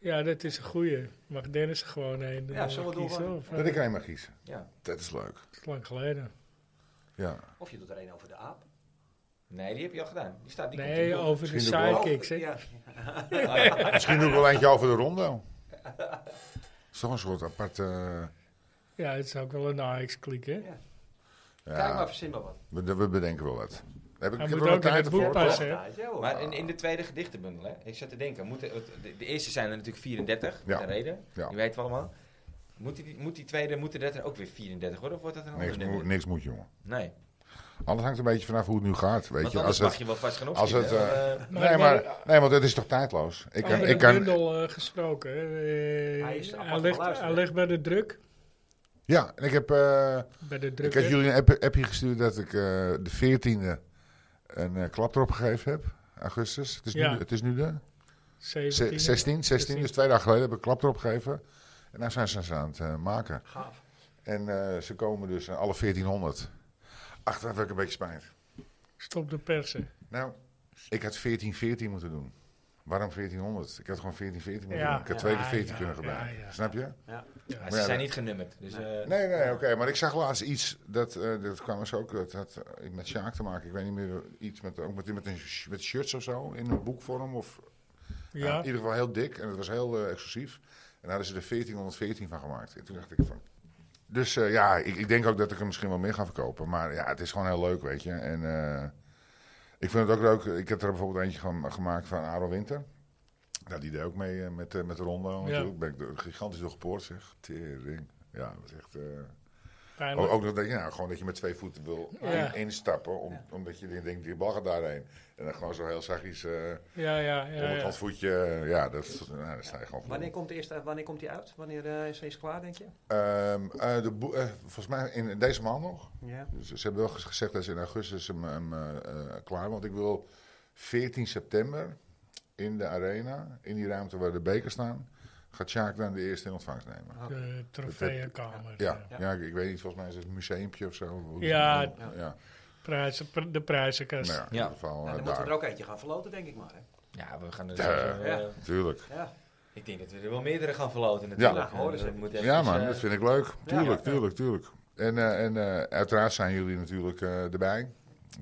dat is een goeie. Mag Dennis er gewoon heen Ja, zullen we doorgaan? of, eh, Dat ik alleen maar gissen. Ja. Dat is leuk. dat is eh, lang geleden. Ja. Of je doet er een over de aap. Nee, die heb je al gedaan. Die staat, die Nee, komt over de Misschien doe ik wel- sidekicks. hè. Oh, Ja, Misschien doe ik wel eentje over de rondo. Dat is toch een soort aparte... Ja, het is ook wel een Ajax-kliek, hè? Kijk maar, Ja, verzin maar wat. we, we bedenken wel wat. Heb ik, Hij ik heb moet er wel ook in tijd het boek ervoor. passen, hè? Ja, ja, hoor. maar in, in de tweede gedichtenbundel, hè? ik zat te denken, moeten het- de, de eerste zijn er natuurlijk 34, met Ja. een reden, Ja. die weten we allemaal. Moet die, moet die tweede, moeten dat er ook weer 34 worden, of wordt dat een ander Niks, nummer? moet, niks moet, jongen. Nee, Alles hangt een beetje vanaf hoe het nu gaat, weet want je. anders Als mag het, je wel vast gaan als opschieten. het, hè, want, eh, nee, maar, nee, want het is toch tijdloos? Ik kan, Over ik de kan, bundel eh, gesproken. hè. Eh, Hij is apart hij, ligt, beluisterd, hij hè? ligt bij de druk. ja, en ik heb, eh, Bij de druk, ik heb hè. jullie een app, appje gestuurd dat ik eh, de 14e een eh, klap erop gegeven heb. Augustus. Het is Ja. nu, het is nu de... 17. 16, 16, 16, dus twee dagen geleden heb ik klap erop gegeven. En daar zijn ze ze aan het eh, maken. Gaaf. En eh, ze komen dus aan alle 1400. Achteraf heb ik een beetje spijt. Stop de persen. Nou, ik had 1414 moeten doen. Waarom 1400? Ik had gewoon 1414 moeten Ja. doen. Ik had twee Ja, keer 14 ja, kunnen ja, gebruiken. ja. Snap je? ze Ja, zijn dat- niet genummerd, dus... eh, Nee, nee, oké. Maar ik zag laatst iets, dat, eh, dat kwam dus ook, dat had eh, met Sjaak te maken. Ik weet niet meer, iets met, ook met, met, een, sh- met shirts of zo, in een boekvorm of Ja. Ja. in ieder geval heel dik en het was heel eh, exclusief. En daar hadden ze er 1414 van gemaakt. En toen dacht ik van... Dus eh, ja, ik, ik denk ook dat ik hem misschien wel meer ga verkopen. Maar ja, het is gewoon heel leuk, weet je. En eh, ik vind het ook leuk. Ik heb er bijvoorbeeld eentje gem- gemaakt van Aro Winter. Nou, die deed ook mee eh, met, eh, met de Rondo natuurlijk. Ben ik er gigantisch door gepoord, zeg. Tering. Ja, dat is echt... eh, Pijnlijk. ook, ook nog dat je, nou, gewoon dat je met twee voeten wil Ja. in- instappen. Om, Omdat je denkt, die bal gaat daarheen. En dan gewoon zo heel zachtjes... eh, Ja, ja, ja. ja. Onderkant voetje, ja, dat, is- nou, dat sta je gewoon voor. Wanneer komt, de eerste, wanneer komt die uit? Wanneer eh, is hij klaar, denk je? Ehm, eh, de boe- eh, volgens mij in deze maand nog. Ja. Dus ze hebben wel ges- gezegd dat ze in augustus hem, hem, eh, eh, klaar Want ik wil 14 september in de arena, in die ruimte waar de beker staan, gaat Sjaak dan de eerste in ontvangst nemen. De trofeeënkamer. Ja, ja. Ja. ik, ik weet niet, volgens mij is het een museumpje of zo. Ja. ja. Prijzen, pr- de prijzenkast. Nou ja, in Ja. ieder geval Nou, eh, dan moeten we er daar. ook eentje gaan verloten, denk ik maar. Hè. Ja, we gaan er Ja. sowieso, eh, Ja. Tuurlijk. Ja. Ik denk dat we er wel meerdere gaan verloten natuurlijk. Ja, hoor eens Eh, we even. moeten Ja eventjes, man, eh, dat vind ik leuk. ja, Tuurlijk, ja. tuurlijk, tuurlijk. En, eh, en eh, uiteraard zijn jullie natuurlijk eh, erbij.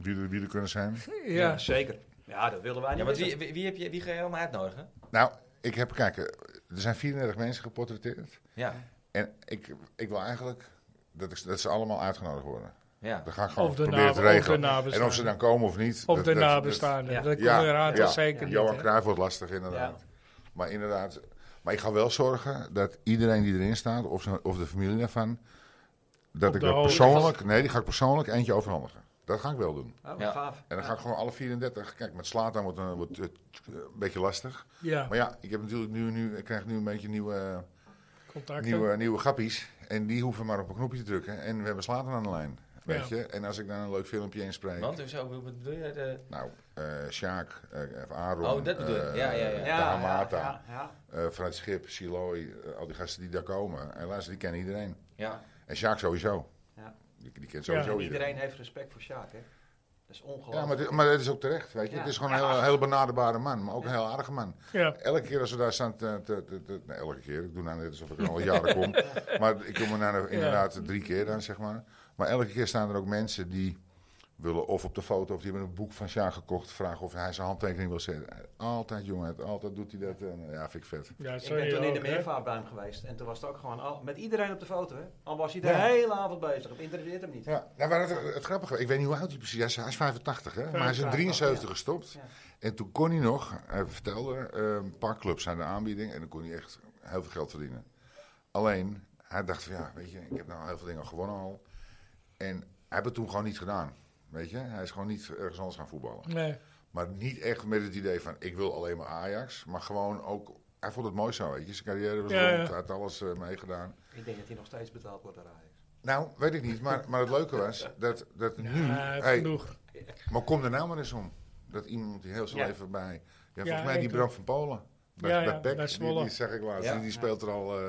Wie er, wie er kunnen zijn. Ja. zeker. Ja, dat willen wij Ah, niet. Ja, want missen. wie, wie, wie heb je, wie ga je allemaal uitnodigen? Nou, ik heb, kijk, eh, er zijn 34 mensen geportretteerd. Ja, En ik, ik wil eigenlijk dat, ik, dat ze allemaal uitgenodigd worden. ja. Dan ga ik gewoon Of de proberen na- te of de regelen. en of nabestaanden. ze dan komen of niet. Of dat- de dat- dat- nabestaanden. ja. Dat komt Ja, er aan ja. te zeker niet. Johan hè. Cruijff wordt lastig inderdaad. Maar inderdaad, maar ik ga wel zorgen dat iedereen die erin staat, of, zijn- of de familie daarvan, dat Op ik de dat hoogte persoonlijk, nee, die ga ik persoonlijk eentje overhandigen. Dat ga ik wel doen. Oh, Ja. gaaf. En dan ga ik gewoon alle 34. Kijk, met Slatan wordt, een- wordt het eh, een beetje lastig. Ja, Maar ja, ik heb natuurlijk nu, nu ik krijg nu een beetje nieuwe, contacten. nieuwe, nieuwe grappies. En die hoeven maar op een knopje te drukken. En we hebben Slatan aan de lijn. Weet Ja. je? En als ik dan een leuk filmpje inspreek. Want, hoezo, wat bedoel je? De, Nou, eh Sjaak, eh, of Aaron. Oh, dat bedoel ik. eh, Ja, ja, ja. de ja, Hamata, ja, ja. eh, vanuit Schip, Siloy, eh, al die gasten die daar komen. En luister, die kennen iedereen. ja, En Sjaak sowieso. Ja. Die, die kent Ja. sowieso Iedereen. iedereen. Iedereen heeft respect voor Sjaak, hè. Dat is ongelooflijk. Ja, maar, het- maar dat is ook terecht, weet je. Ja. Het is gewoon een heel, heel benaderbare man, maar ook een heel aardige man. Ja. Elke keer als we daar staan, te, te- te- te- nee, elke keer, ik doe nou net alsof ik er al jaren kom. Maar ik kom er nou inderdaad drie keer dan, zeg maar. Maar elke keer staan er ook mensen die willen of op de foto, of die hebben een boek van Sjaak gekocht, vragen of hij zijn handtekening wil zetten. Altijd, jongen, altijd doet hij dat. En, ja, vind ik vet. Ja, Ik ben sorry toen in ook, de hè. meervaart bij hem geweest. En toen was het ook gewoon al, met iedereen op de foto. Hè? Al was hij de Ja. hele avond bezig. Het interesseert hem niet. Ja, nou, maar het, het grappige, ik weet niet hoe oud hij precies is. Hij is 85, hè? maar hij is 85, in 73 gestopt. Ja. En toen kon hij nog, hij vertelde, eh, een paar clubs aan de aanbieding. En dan kon hij echt heel veel geld verdienen. Alleen, hij dacht van ja, weet je, ik heb nou heel veel dingen gewonnen al. En hij heeft het toen gewoon niet gedaan. Weet je, hij is gewoon niet ergens anders gaan voetballen. Nee. Maar niet echt met het idee van ik wil alleen maar Ajax. Maar gewoon ook, hij vond het mooi zo, weet je. Zijn carrière was Ja, rond, ja. hij had alles eh, meegedaan. Ik denk dat hij nog steeds betaald wordt door Ajax. Nou, weet ik niet, maar, maar het leuke was dat, dat nu... Ja, Hmm. hey, eh, genoeg. maar kom er nou maar eens om. Dat iemand die heel snel Ja. even bij... Ja, Ja, volgens mij die ik- Bram van Polen. Bij, Ja, bij ja, PEC, bij die, Zwolle. die zeg ik laatst. Ja. Die, die speelt er al eh,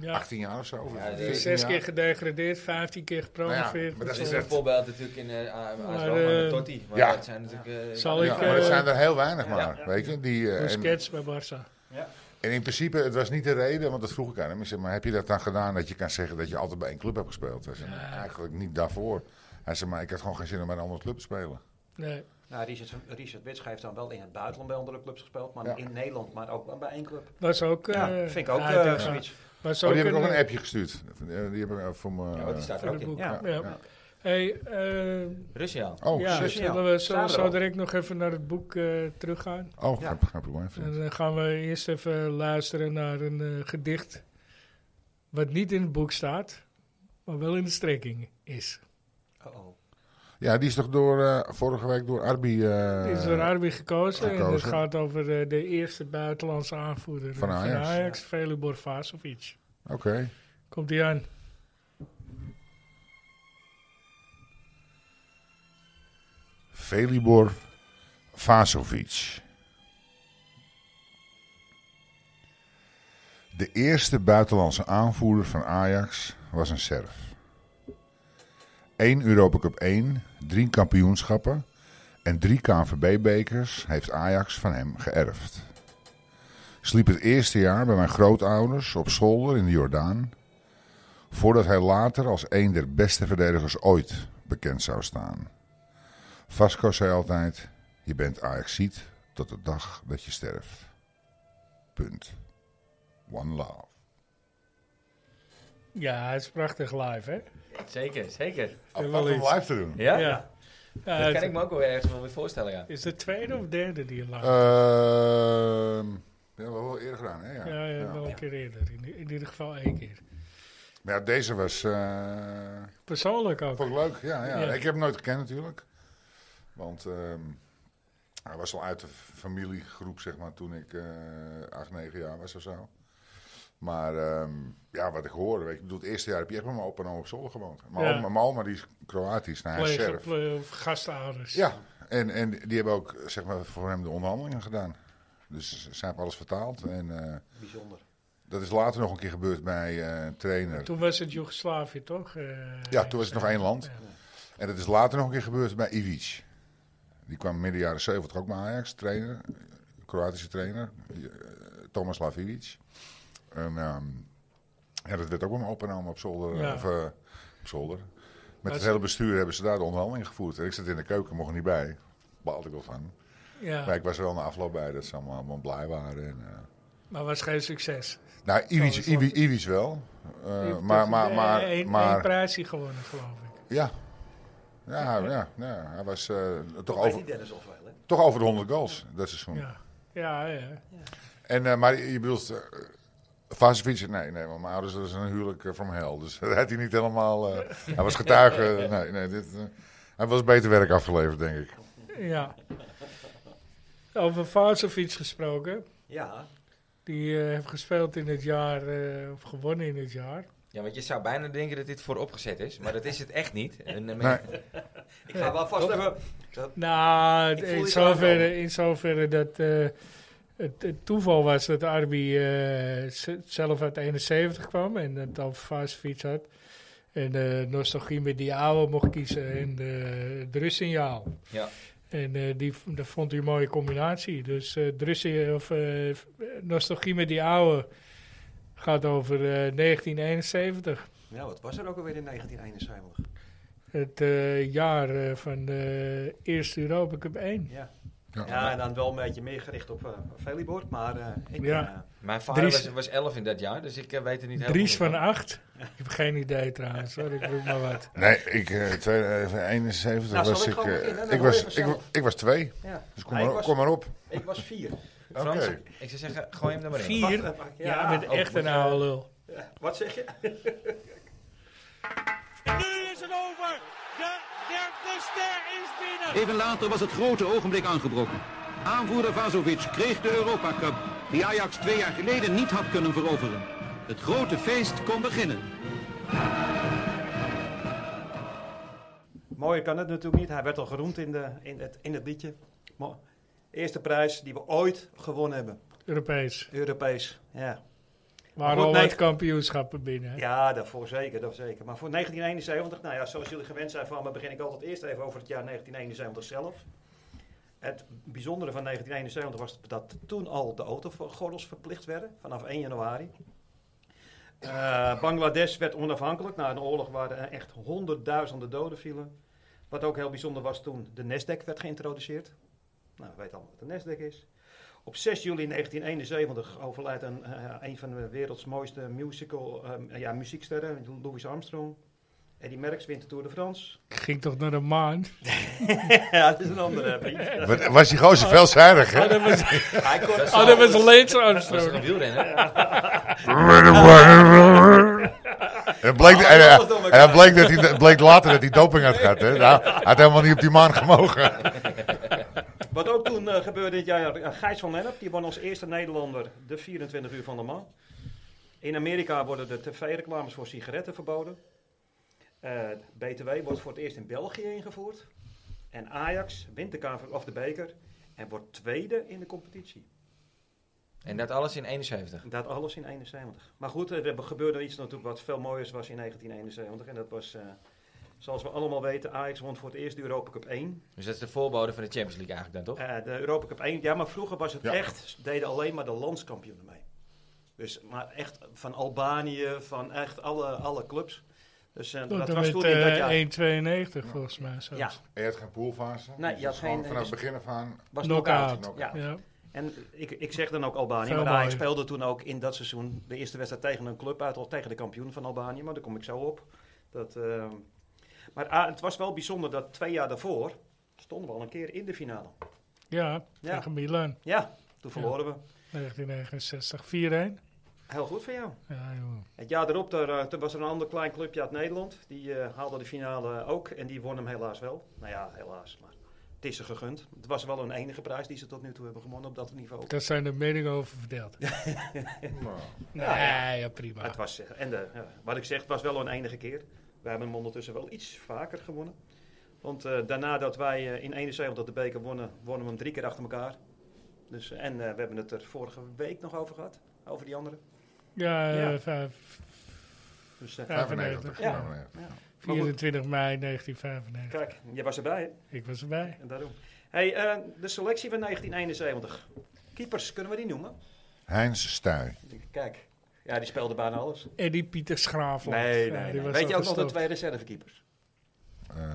Ja. eh, 18 jaar of zo. Ja, die- 14 Zes jaar. keer gedegradeerd, 15 keer Nou ja, gepromoveerd. maar dat dat is is echt- een voorbeeld natuurlijk in eh A- ASL Maar, van de eh, Totti. Maar ja. dat zijn natuurlijk... eh, Zal Ja, ik, maar dat eh, zijn er heel weinig maar, ja. weet je. Die, eh, en- Busquets bij Barça. En in principe, het was niet de reden, want dat vroeg ik aan hem. Ik zei, maar heb je dat dan gedaan dat je kan zeggen dat je altijd bij één club hebt gespeeld? Hij zei, "Nou, eigenlijk niet daarvoor. Hij zei, maar ik had gewoon geen zin om bij een andere club te spelen. Nee. Nou, Richard, Richard Witsch heeft dan wel in het buitenland bij andere clubs gespeeld. Maar Ja. in Nederland, maar ook wel bij één club. Was ook... Ja, eh, vind ik ook ja, eh, denk, zoiets. was Oh, ook die heb ik ook een- een appje gestuurd. Eh, Die heb ik eh, voor mijn... Ja, want die staat voor er ook het in. boek. Ja, Ja. Hey, eh, Russiaal. Oh, ja, shit. zullen we Samen zo, zo wel. direct nog even naar het boek eh, teruggaan? Oh, Ja. geen, geen probleem. vriend. En dan gaan we eerst even luisteren naar een eh, gedicht. Wat niet in het boek staat, maar wel in de strekking is. Oh, oh. Ja, die is toch door, eh, vorige week door Arbi... eh, Dit is door Arby gekozen, en het gekozen. gaat over eh, de eerste buitenlandse aanvoerder Van eh, Ajax. Velibor Vasovic. Oké. Komt ie aan. Velibor Vasovic. De eerste buitenlandse aanvoerder van Ajax was een Serf. Eén Europa Cup 1, drie kampioenschappen en drie KNVB-bekers heeft Ajax van hem geërfd. Sliep het eerste jaar bij mijn grootouders op zolder in de Jordaan, voordat hij later als een der beste verdedigers ooit bekend zou staan. Vasco zei altijd: Je bent Ajaxiet tot de dag dat je sterft. Punt. One love. Ja, het is prachtig live, hè? Zeker, zeker. Apart om live te doen. Ja? Ja, Dat het- kan ik me ook wel ergens wel weer voorstellen, ja. Is de tweede of derde die je live? Eh, Ehm, ja, we hebben wel eerder gedaan, hè? Ja. ja, ja, Ja. wel een keer eerder. In, in ieder geval één keer. Maar ja, deze was. eh, Persoonlijk ook. vond ik leuk, ja, ja. Ja. Ik heb hem nooit gekend natuurlijk. Want ehm, hij was al uit de familiegroep, zeg maar, toen ik eh acht, negen jaar was of zo. Maar ehm, ja, wat ik hoorde, weet je, ik bedoel, het eerste jaar heb je echt met mijn opa en oma op zolder gewoond. Mijn Ja. oma, mijn oma, die is Kroatisch, nou, hij is Collega- Serf. ple- of gastouders. Ja, en, en die hebben ook, zeg maar, voor hem de onderhandelingen gedaan. Dus ze hebben alles vertaald en... eh, bijzonder. dat is later nog een keer gebeurd bij eh, een trainer. Toen was het Joegoslavië, toch? Eh, Ja, toen was het nog één land. En dat is later nog een keer gebeurd bij Ivic. Die kwam midden jaren 70 ook bij Ajax, trainer, Kroatische trainer, eh, Tomislav Ivic. En ehm, ja, dat werd ook wel opgenomen op zolder. Ja. Of, eh, op zolder. Met Maar het ze- hele bestuur hebben ze daar de onderhandeling gevoerd. En ik zat in de keuken, mocht er niet bij. Baalde ik wel van. Ja, Maar ik was er wel na afloop bij dat ze allemaal, allemaal blij waren. En, eh, maar was geen succes. nou, Zo, Iwis, dat is Iwi- Iwis wel. Eh, Die heeft maar, toch maar, een- maar, één- één maar, prijsje gewonnen, geloof ik. ja. Ja, ja, ja. Hij was eh, toch, Weet die over, Dennis al veel, hè? toch over de 100 goals dat seizoen. Ja, ja, ja. En, eh, maar je bedoelt, eh Vasevic, nee, nee, want mijn ouders dat is een huwelijk eh, from hell. Dus dat had hij niet helemaal, eh, hij was getuige. nee, nee, dit, eh, hij was beter werk afgeleverd, denk ik. ja. Over Vasovic gesproken. Ja, Die eh, heeft gespeeld in het jaar, eh, of gewonnen in het jaar. Ja, want je zou bijna denken dat dit vooropgezet is, maar dat is het echt niet. En, eh, Nee. ik ga wel vast even... Nou, Ik voel in iets zoverre, aankomen. in zoverre dat eh, het, het toeval was dat Arby eh, z- zelf uit 71 kwam en het over Vasovic had. En eh nostalgie met die oude mocht kiezen en eh, het rustsignaal. Ja. En eh, die, v- dat vond hij een mooie combinatie. Dus eh, het rustig- of, eh, f- nostalgie met die oude gaat over eh, 1971. Ja, wat was er ook alweer in 1971? Het eh, jaar eh, van de eerste Europa Cup 1. Ja. Ja. ja, en dan wel een beetje meer gericht op eh Velibor, maar eh, ik... Ja. eh, Mijn vader Dries- was, was 11 in dat jaar, dus ik eh, weet het niet helemaal. Dries van meer. 8. Ik heb geen idee trouwens hoor, ik roep maar wat. Nee, ik, eh 71 Nou, zal was ik ik, gewoon eh, beginnen? Dan ik, hoor je was, ik, wa- vanzelf. ik was twee, ja. dus kom, Ah, maar, ik op- was- kom maar op. Ik was vier. Frans, Oké. ik zou zeggen, gooi hem er maar in. Vier. Wacht, eh, wacht, Ja, met echt een oude lul. Wat zeg je? Even later was het grote ogenblik aangebroken. Aanvoerder Vazovic kreeg de Europa Cup, die Ajax twee jaar geleden niet had kunnen veroveren. Het grote feest kon beginnen. Mooier kan het natuurlijk niet. Hij werd al geroemd in, de, in, het, in het liedje. Mo- Eerste prijs die we ooit gewonnen hebben. Europees. Europees. Ja, Waar Goed, al nee. wat kampioenschappen binnen. hè? ja daarvoor zeker, daarvoor zeker. Maar voor 1971, nou ja, zoals jullie gewend zijn van me, begin ik altijd eerst even over het jaar 1971 zelf. Het bijzondere van 1971 was dat toen al de autogordels verplicht werden, vanaf 1 januari. Eh, Bangladesh werd onafhankelijk na een oorlog waar eh, echt honderdduizenden doden vielen. Wat ook heel bijzonder was toen de Nasdaq werd geïntroduceerd. Nou, we weten allemaal wat de Nasdaq is. Op 6 juli 1971 overlijdt een, eh, een van de werelds mooiste musical, eh, ja, muzieksterren, Louis Armstrong. Eddie Merckx wint de Tour de France. Ik ging toch naar de maan. ja, dat is een andere vriend. Wat- Was die gozer veelzijdig, hè? Oh, dat was, Hij kon- Dat is oh, dat was Lance Was dat een Armstrong. wielrenner? En, bleek, en, alles en- door elkaar. en het bleek, dat hij, het bleek later dat hij doping had gehad. Hè? Nou, hij had helemaal niet op die maan gemogen. Wat ook toen eh, gebeurde dit jaar, eh, Gijs van Lennep, die won als eerste Nederlander de 24 uur van de man. In Amerika worden de tv-reclames voor sigaretten verboden. Eh, BTW wordt voor het eerst in België ingevoerd. En Ajax wint de, KV of de beker en wordt tweede in de competitie. En dat alles in 71. Dat alles in 71. Maar goed, er gebeurde iets natuurlijk wat veel mooiers was in 1971. En dat was, eh, zoals we allemaal weten, Ajax won voor het eerst de Europa Cup 1. Dus dat is de voorbode van de Champions League eigenlijk dan, toch? Eh, de Europa Cup 1. Ja, maar vroeger was het Ja. echt, deden alleen maar de landskampioenen mee. Dus, maar echt van Albanië, van echt alle, alle clubs. Dus eh, Tot dat en was met toen in dat jaar. eh 1,92 volgens mij. Zo. Ja, Je had geen poolfase. Nee, je had Dus gewoon geen- Vanaf het dus- begin af aan. was knock-out. Knock-out. Ja. Ja. En ik, ik zeg dan ook Albanië, Veel maar Ajax mooier. speelde toen ook in dat seizoen de eerste wedstrijd tegen een club uit, al tegen de kampioen van Albanië, maar daar kom ik zo op. Dat, ehm, maar ah, het was wel bijzonder dat twee jaar daarvoor stonden we al een keer in de finale. ja, Ja. tegen Milan. Ja, toen verloren we. 1969, 4-1. Heel goed voor jou. Ja, joh. Het jaar erop daar, eh, toen was er een ander klein clubje uit Nederland. Die eh, haalde de finale ook en die won hem helaas wel. Nou ja, helaas, maar het is ze gegund. Het was wel een enige prijs die ze tot nu toe hebben gewonnen op dat niveau. Daar zijn de meningen over verdeeld. Nee, ja, prima. Maar het was, eh, en de, ja, wat ik zeg, het was wel een enige keer. We hebben hem ondertussen wel iets vaker gewonnen. Want eh, daarna dat wij eh, in 71 de beker wonnen, wonnen we hem drie keer achter elkaar. Dus, eh, en eh, we hebben het er vorige week nog over gehad, over die andere. Ja, Ja. eh, vijf- Dus, eh, 95. Ja. Ja. 24 mei 1995. Kijk, je was erbij, hè? Ik was erbij. En daarom. Hey, eh, de selectie van 1971. Keepers, kunnen we die noemen? Heinz Stuy. Kijk. Ja, die speelde bijna alles. Eddie Pieter Schraafland. Nee, Ja, nee, die nee. was Weet je ook nog gestopt. de twee reservekeepers? Eh, eh,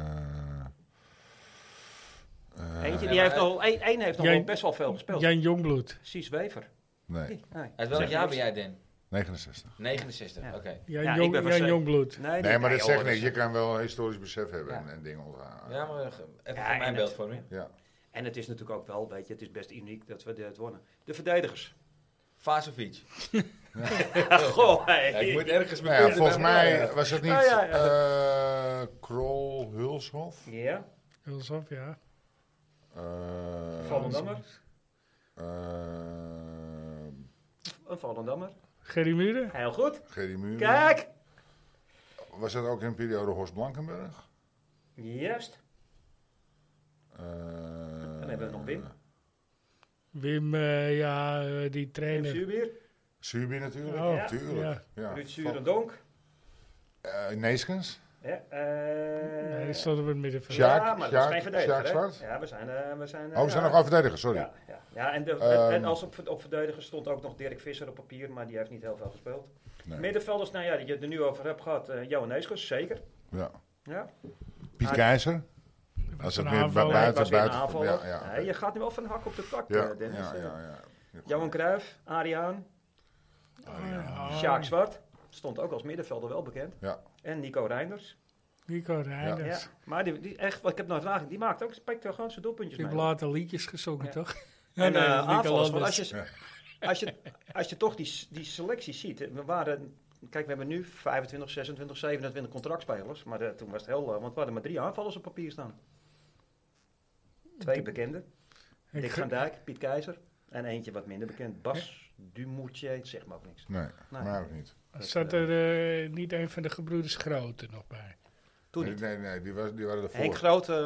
Eentje, nee, die heeft maar- al, één, één heeft nog Jij- wel best wel veel gespeeld. Jan Jongbloed. Precies, Wever. nee, Nee. nee. Uit welk Zeg jaar niks. ben jij, Dan? 69. 69, Ja. oké. Jan, Ja, ik Jong, ben van Jan Zee. Jongbloed. Nee, Nee, maar dat joh, zegt niks. Je is- kan wel een historisch besef hebben en, Ja. en dingen onthouden. Ja, maar eh, even Ja, voor en mijn het- beeldvorming. Ja. En het is natuurlijk ook wel, weet je, het is best uniek dat we dit wonnen. De verdedigers. Vasovic. Goh, hey. Ja, ik moet ergens Nou ja, beginnen. volgens mij was het niet Ja, eh ja, ja. Krol Hulshof. Ja, Alsof, ja. Eh, Volendammer. eh, Een Volendammer. Gerry Muren. Heel goed. Gerry Muren. Kijk. Was dat ook in een periode Horst Blankenburg? Juist. Eh, Dan hebben we nog Eh, Wim. Wim, eh, ja, eh, die Wim trainer. Zuurbier. Subi natuurlijk. Oh, Ja, tuurlijk. Ja. Ruud Van- Surendonk. eh, Neeskens. Ja, eh, Nee, die stond op het middenveld. Ja. Sjaak, ja, maar dat is Sjaak, geen verdediger. Sjaak hè? Zwart? Ja, we zijn... eh, we zijn eh, Oh, we zijn ja. nog aan verdedigers, sorry. Ja, ja. ja en, de- Ehm. en als op, op verdediger stond ook nog Dirk Visser op papier, maar die heeft niet heel veel gespeeld. Nee. Middenvelders, nou ja, die je het er nu over hebt gehad. eh Johan Neeskens, zeker. Ja. Ja. Piet Ah, Keizer. Als het een weer aanvaller. buiten, Hij was buiten. weer een buiten aanvaller. ja, ja, Nee, je gaat nu wel van hak op de tak, ja, eh, Dennis. ja, ja, ja. Johan Cruijff, Ariaan, Oh, Ah, Sjaak Zwart. Stond ook als middenvelder wel bekend. Ja. En Nico Reinders. Nico Ja. Reinders. Maar die, die echt, wat ik heb nog vragen, die maakt ook spektaculäre Ik doelpuntjes heb mee. later liedjes gezongen, Ja. toch? En nee, eh, dat is Nico aanvallers, want Landers. als je, als je, als je toch die, s- die selectie ziet. eh, We waren, kijk, we hebben nu 25, 26, 27 contractspelers. Maar eh, toen was het heel... eh, want we hadden maar drie aanvallers op papier staan. Twee bekende. Ik Dick ge- van Dijk, Piet Keizer. En eentje wat minder bekend. Bas Dumoutier, zeg maar ook niks. Nee, Nee. maar ook niet. Zat er eh, niet een van de gebroeders Grote nog bij? Toen nee, niet. nee, nee, die, was, die waren ervoor. Henk Groot... eh, We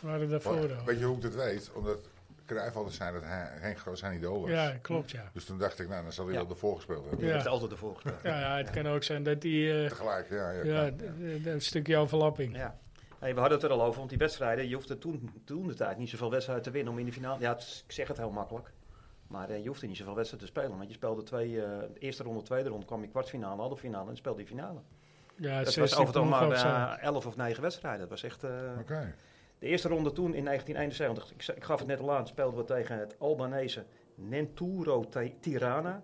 waren Maar daarvoor al. Weet je hoe ik dat weet? Omdat Cruijff altijd zei dat hij, Henk Groot zijn idool was. Ja, klopt, ja. Dus toen dacht ik, nou, dan zal hij Ja. wel ervoor gespeeld hebben. die Ja. heeft altijd ervoor gespeeld. Ja, ja, het kan ook zijn dat die... eh Tegelijk, ja. ja, ja, kan, ja. d- d- een stukje overlapping. Ja. Hey, we hadden het er al over, want die wedstrijden, je hoefde toen, toen de tijd niet zoveel wedstrijden te winnen om in de finale. Ja, het is- ik zeg het heel makkelijk. Maar eh, je hoefde niet zoveel wedstrijden te spelen. Want je speelde twee, eh, de eerste ronde, tweede ronde, kwam je kwartfinale, halve finale en speelde je finale. Ja, Dat 16 was overal ploegen maar of zo. eh, elf of negen wedstrijden. Dat was echt. eh, Oké. De eerste ronde toen in 1971, ik, ze- ik gaf het net al aan, speelden we tegen het Albanese Nenturo Ti- Tirana.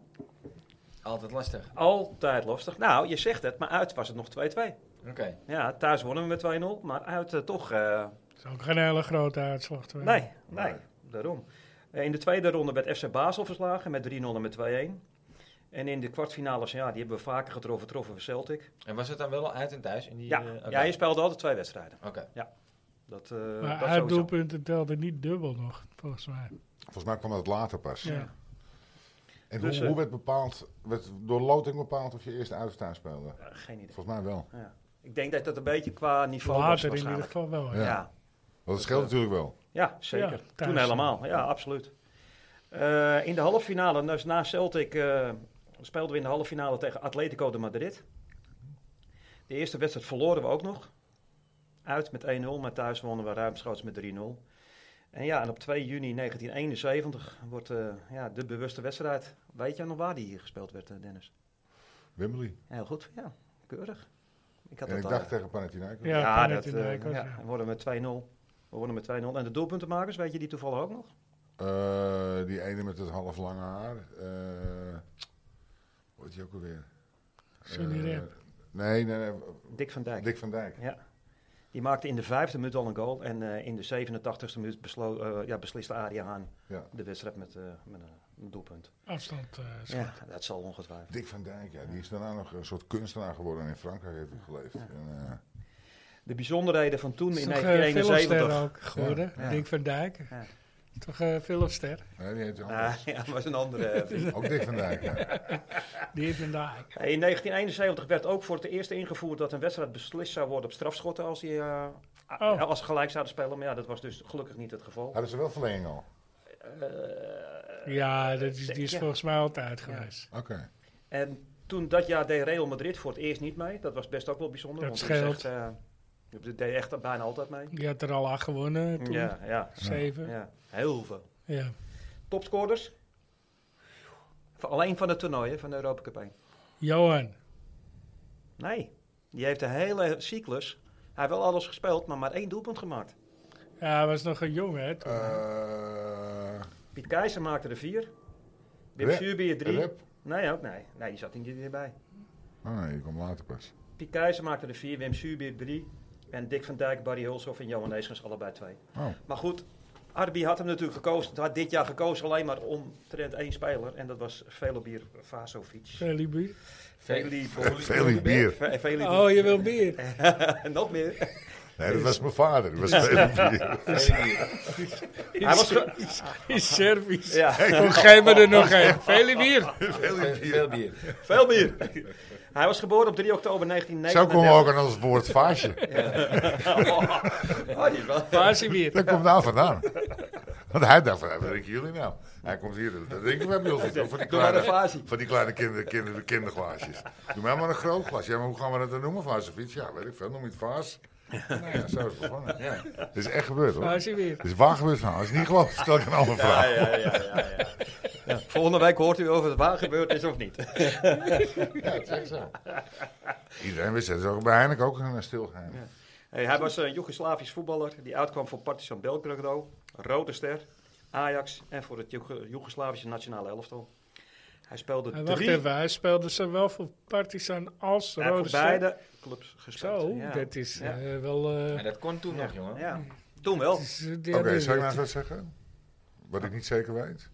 Altijd lastig. Altijd lastig. Nou, je zegt het, maar uit was het nog 2-2. Oké. Ja, thuis wonnen we met 2-0, maar uit eh, toch. eh, Het is ook geen hele grote uitslag. te Nee, nee, Nee. daarom. Eh, In de tweede ronde werd FC Basel verslagen met 3-0 en met 2-1. En in de kwartfinales, ja, die hebben we vaker getroffen, troffen we Celtic. En was het dan wel al uit en thuis? In die, Ja, eh, oké. ja je speelde altijd twee wedstrijden. Oké. Dat, eh Maar dat sowieso. uitdoelpunten telden niet dubbel nog, volgens mij. Volgens mij kwam dat later pas. Ja. En Dus, hoe, eh, hoe werd bepaald, werd door loting bepaald of je eerst uit of thuis speelde? Eh, geen idee. Volgens mij wel. Ik denk dat dat een beetje qua niveau was Later in ieder waarschijnlijk. geval wel. Ja. Ja. Ja. Dat scheelt natuurlijk wel. ja, zeker. Ja, thuis. Toen helemaal, ja, absoluut. Eh, in de halve finale, dus na Celtic, eh, speelden we in de halve finale tegen Atletico de Madrid. De eerste wedstrijd verloren we ook nog. Uit met 1-0, maar thuis wonnen we ruimschoots met 3-0. En ja, en op 2 juni 1971 wordt eh, ja, de bewuste wedstrijd. Weet je nog waar die hier gespeeld werd, eh, Dennis? Wembley. Heel goed, ja, keurig. Ik had En ik al- dacht eh, tegen Panathinaikos. Ja, ja, dat, Panathinaikos, eh, ja, ja. we worden met 2-0. We worden met 2-0. En de doelpuntenmakers, weet je die toevallig ook nog? Eh, die ene met het half lange haar. eh wat je ook alweer? Johnny Eh, Rep. Nee, nee, nee. Dick van Dijk. Dick van Dijk. Die maakte in de vijfde minuut al een goal. En eh, in de 87ste minuut beslo- eh, ja, besliste Arie Haan Ja. de wedstrijd met, eh, met een een doelpunt. Afstand. eh, is Ja, dat zal ongetwijfeld. Dick van Dijk, ja. Die is daarna nog een soort kunstenaar geworden en in Frankrijk heeft hij geleefd. En, eh, De bijzonderheden van toen Is in toch eh, filmster 1971. ook geworden? Ja. Dick van Dijk. Ja. Is Toch eh filmster? nee, die heet Ah, ja, dat was een andere. eh, vriend. Ook Dick van Dijk, ja. Die van Dijk. Hey, in 1971 werd ook voor het eerst ingevoerd dat een wedstrijd beslist zou worden op strafschotten als, die, eh, a- Oh. als ze gelijk zouden spelen. Maar ja, dat was dus gelukkig niet het geval. Hadden ze wel verlenging al? Eh, Ja, dat is, die is ja. volgens mij altijd geweest. Oké. En Toen dat jaar deed Real Madrid voor het eerst niet mee. Dat was best ook wel bijzonder. Dat want scheelt. Dat is echt, eh, die deed echt bijna altijd mee. Je had er al acht gewonnen toen. Ja, ja, Zeven. Ja. ja, heel veel. Topscorers? Alleen van het toernooi, hè, van de Europa Cup 1. Johan. Nee, die heeft de hele cyclus. Hij heeft wel alles gespeeld, maar maar één doelpunt gemaakt. Ja, hij was nog een jongen, hè? toen. eh, Eh, Piet Keizer maakte er vier. Wim Rep. Suurbier drie. Rep? Nee, ook nee. Nee, die zat er niet bij. Oh nee, die komt later pas. Piet Keizer maakte er vier, Wim Suurbier drie. En Dick van Dijk, Barry Hulshoff en Johan Neeskens allebei twee. Oh. Maar goed, Arby had hem natuurlijk gekozen. Had dit jaar gekozen alleen maar om trend één speler. En dat was Velobier Vasovic. Felipe. Velobier. Veel bier. Oh, je wil bier. Nog meer. Nee, dat was mijn vader. Dat was veel bier. Hij was ge- Is service. ja. Hoe geef me er nog een? Vele bier. Veel Veel bier. bier. Veel meer. Hij was geboren op 3 oktober Zo komen we ook 1939. aan ons woord vaasje. Oh, die is wel. Quasi bier. Dat komt daar vandaan. Want hij dacht van, "Ja, wat drinken jullie nou? Hij komt hier, dat drinken we bij ons niet. hoor, Van die Doe maar een kleine, fasie. van die kleine kinder, kinder, kinderglaasjes. Doe mij maar een groot glas. Ja, maar hoe gaan we dat dan noemen, vaasjefiets? Ja, weet ik veel, noem je het vaas? Nou ja, zo is het begonnen. Ja. Het is echt gebeurd hoor. Quasi bier. Het is waar gebeurd van. Als je het niet gelooft, stel ik een andere vraag. ja, ja, ja, ja. Volgende week hoort u over het waar gebeurd is of niet. Ja, het is echt zo. Iedereen wist het. Dat is ook bij Heineken ook een eh, stilgeheim. Hey, hij was een Joegoslavisch voetballer die uitkwam voor Partizan Belgrado, Rode Ster, Ajax en voor het Joeg- Joegoslavische nationale elftal. Hij speelde Hij wacht drie even, hij speelde zowel voor Partizan als hij heeft Rode voor Ster. beide clubs gespeeld. Zo, ja. dat is Ja. eh, wel... eh, En dat kon toen Ja, nog, jongen. ja. Toen wel. het is, eh, Oké, derde zou ik nou wereld. eens wat zeggen? Wat ik niet zeker weet.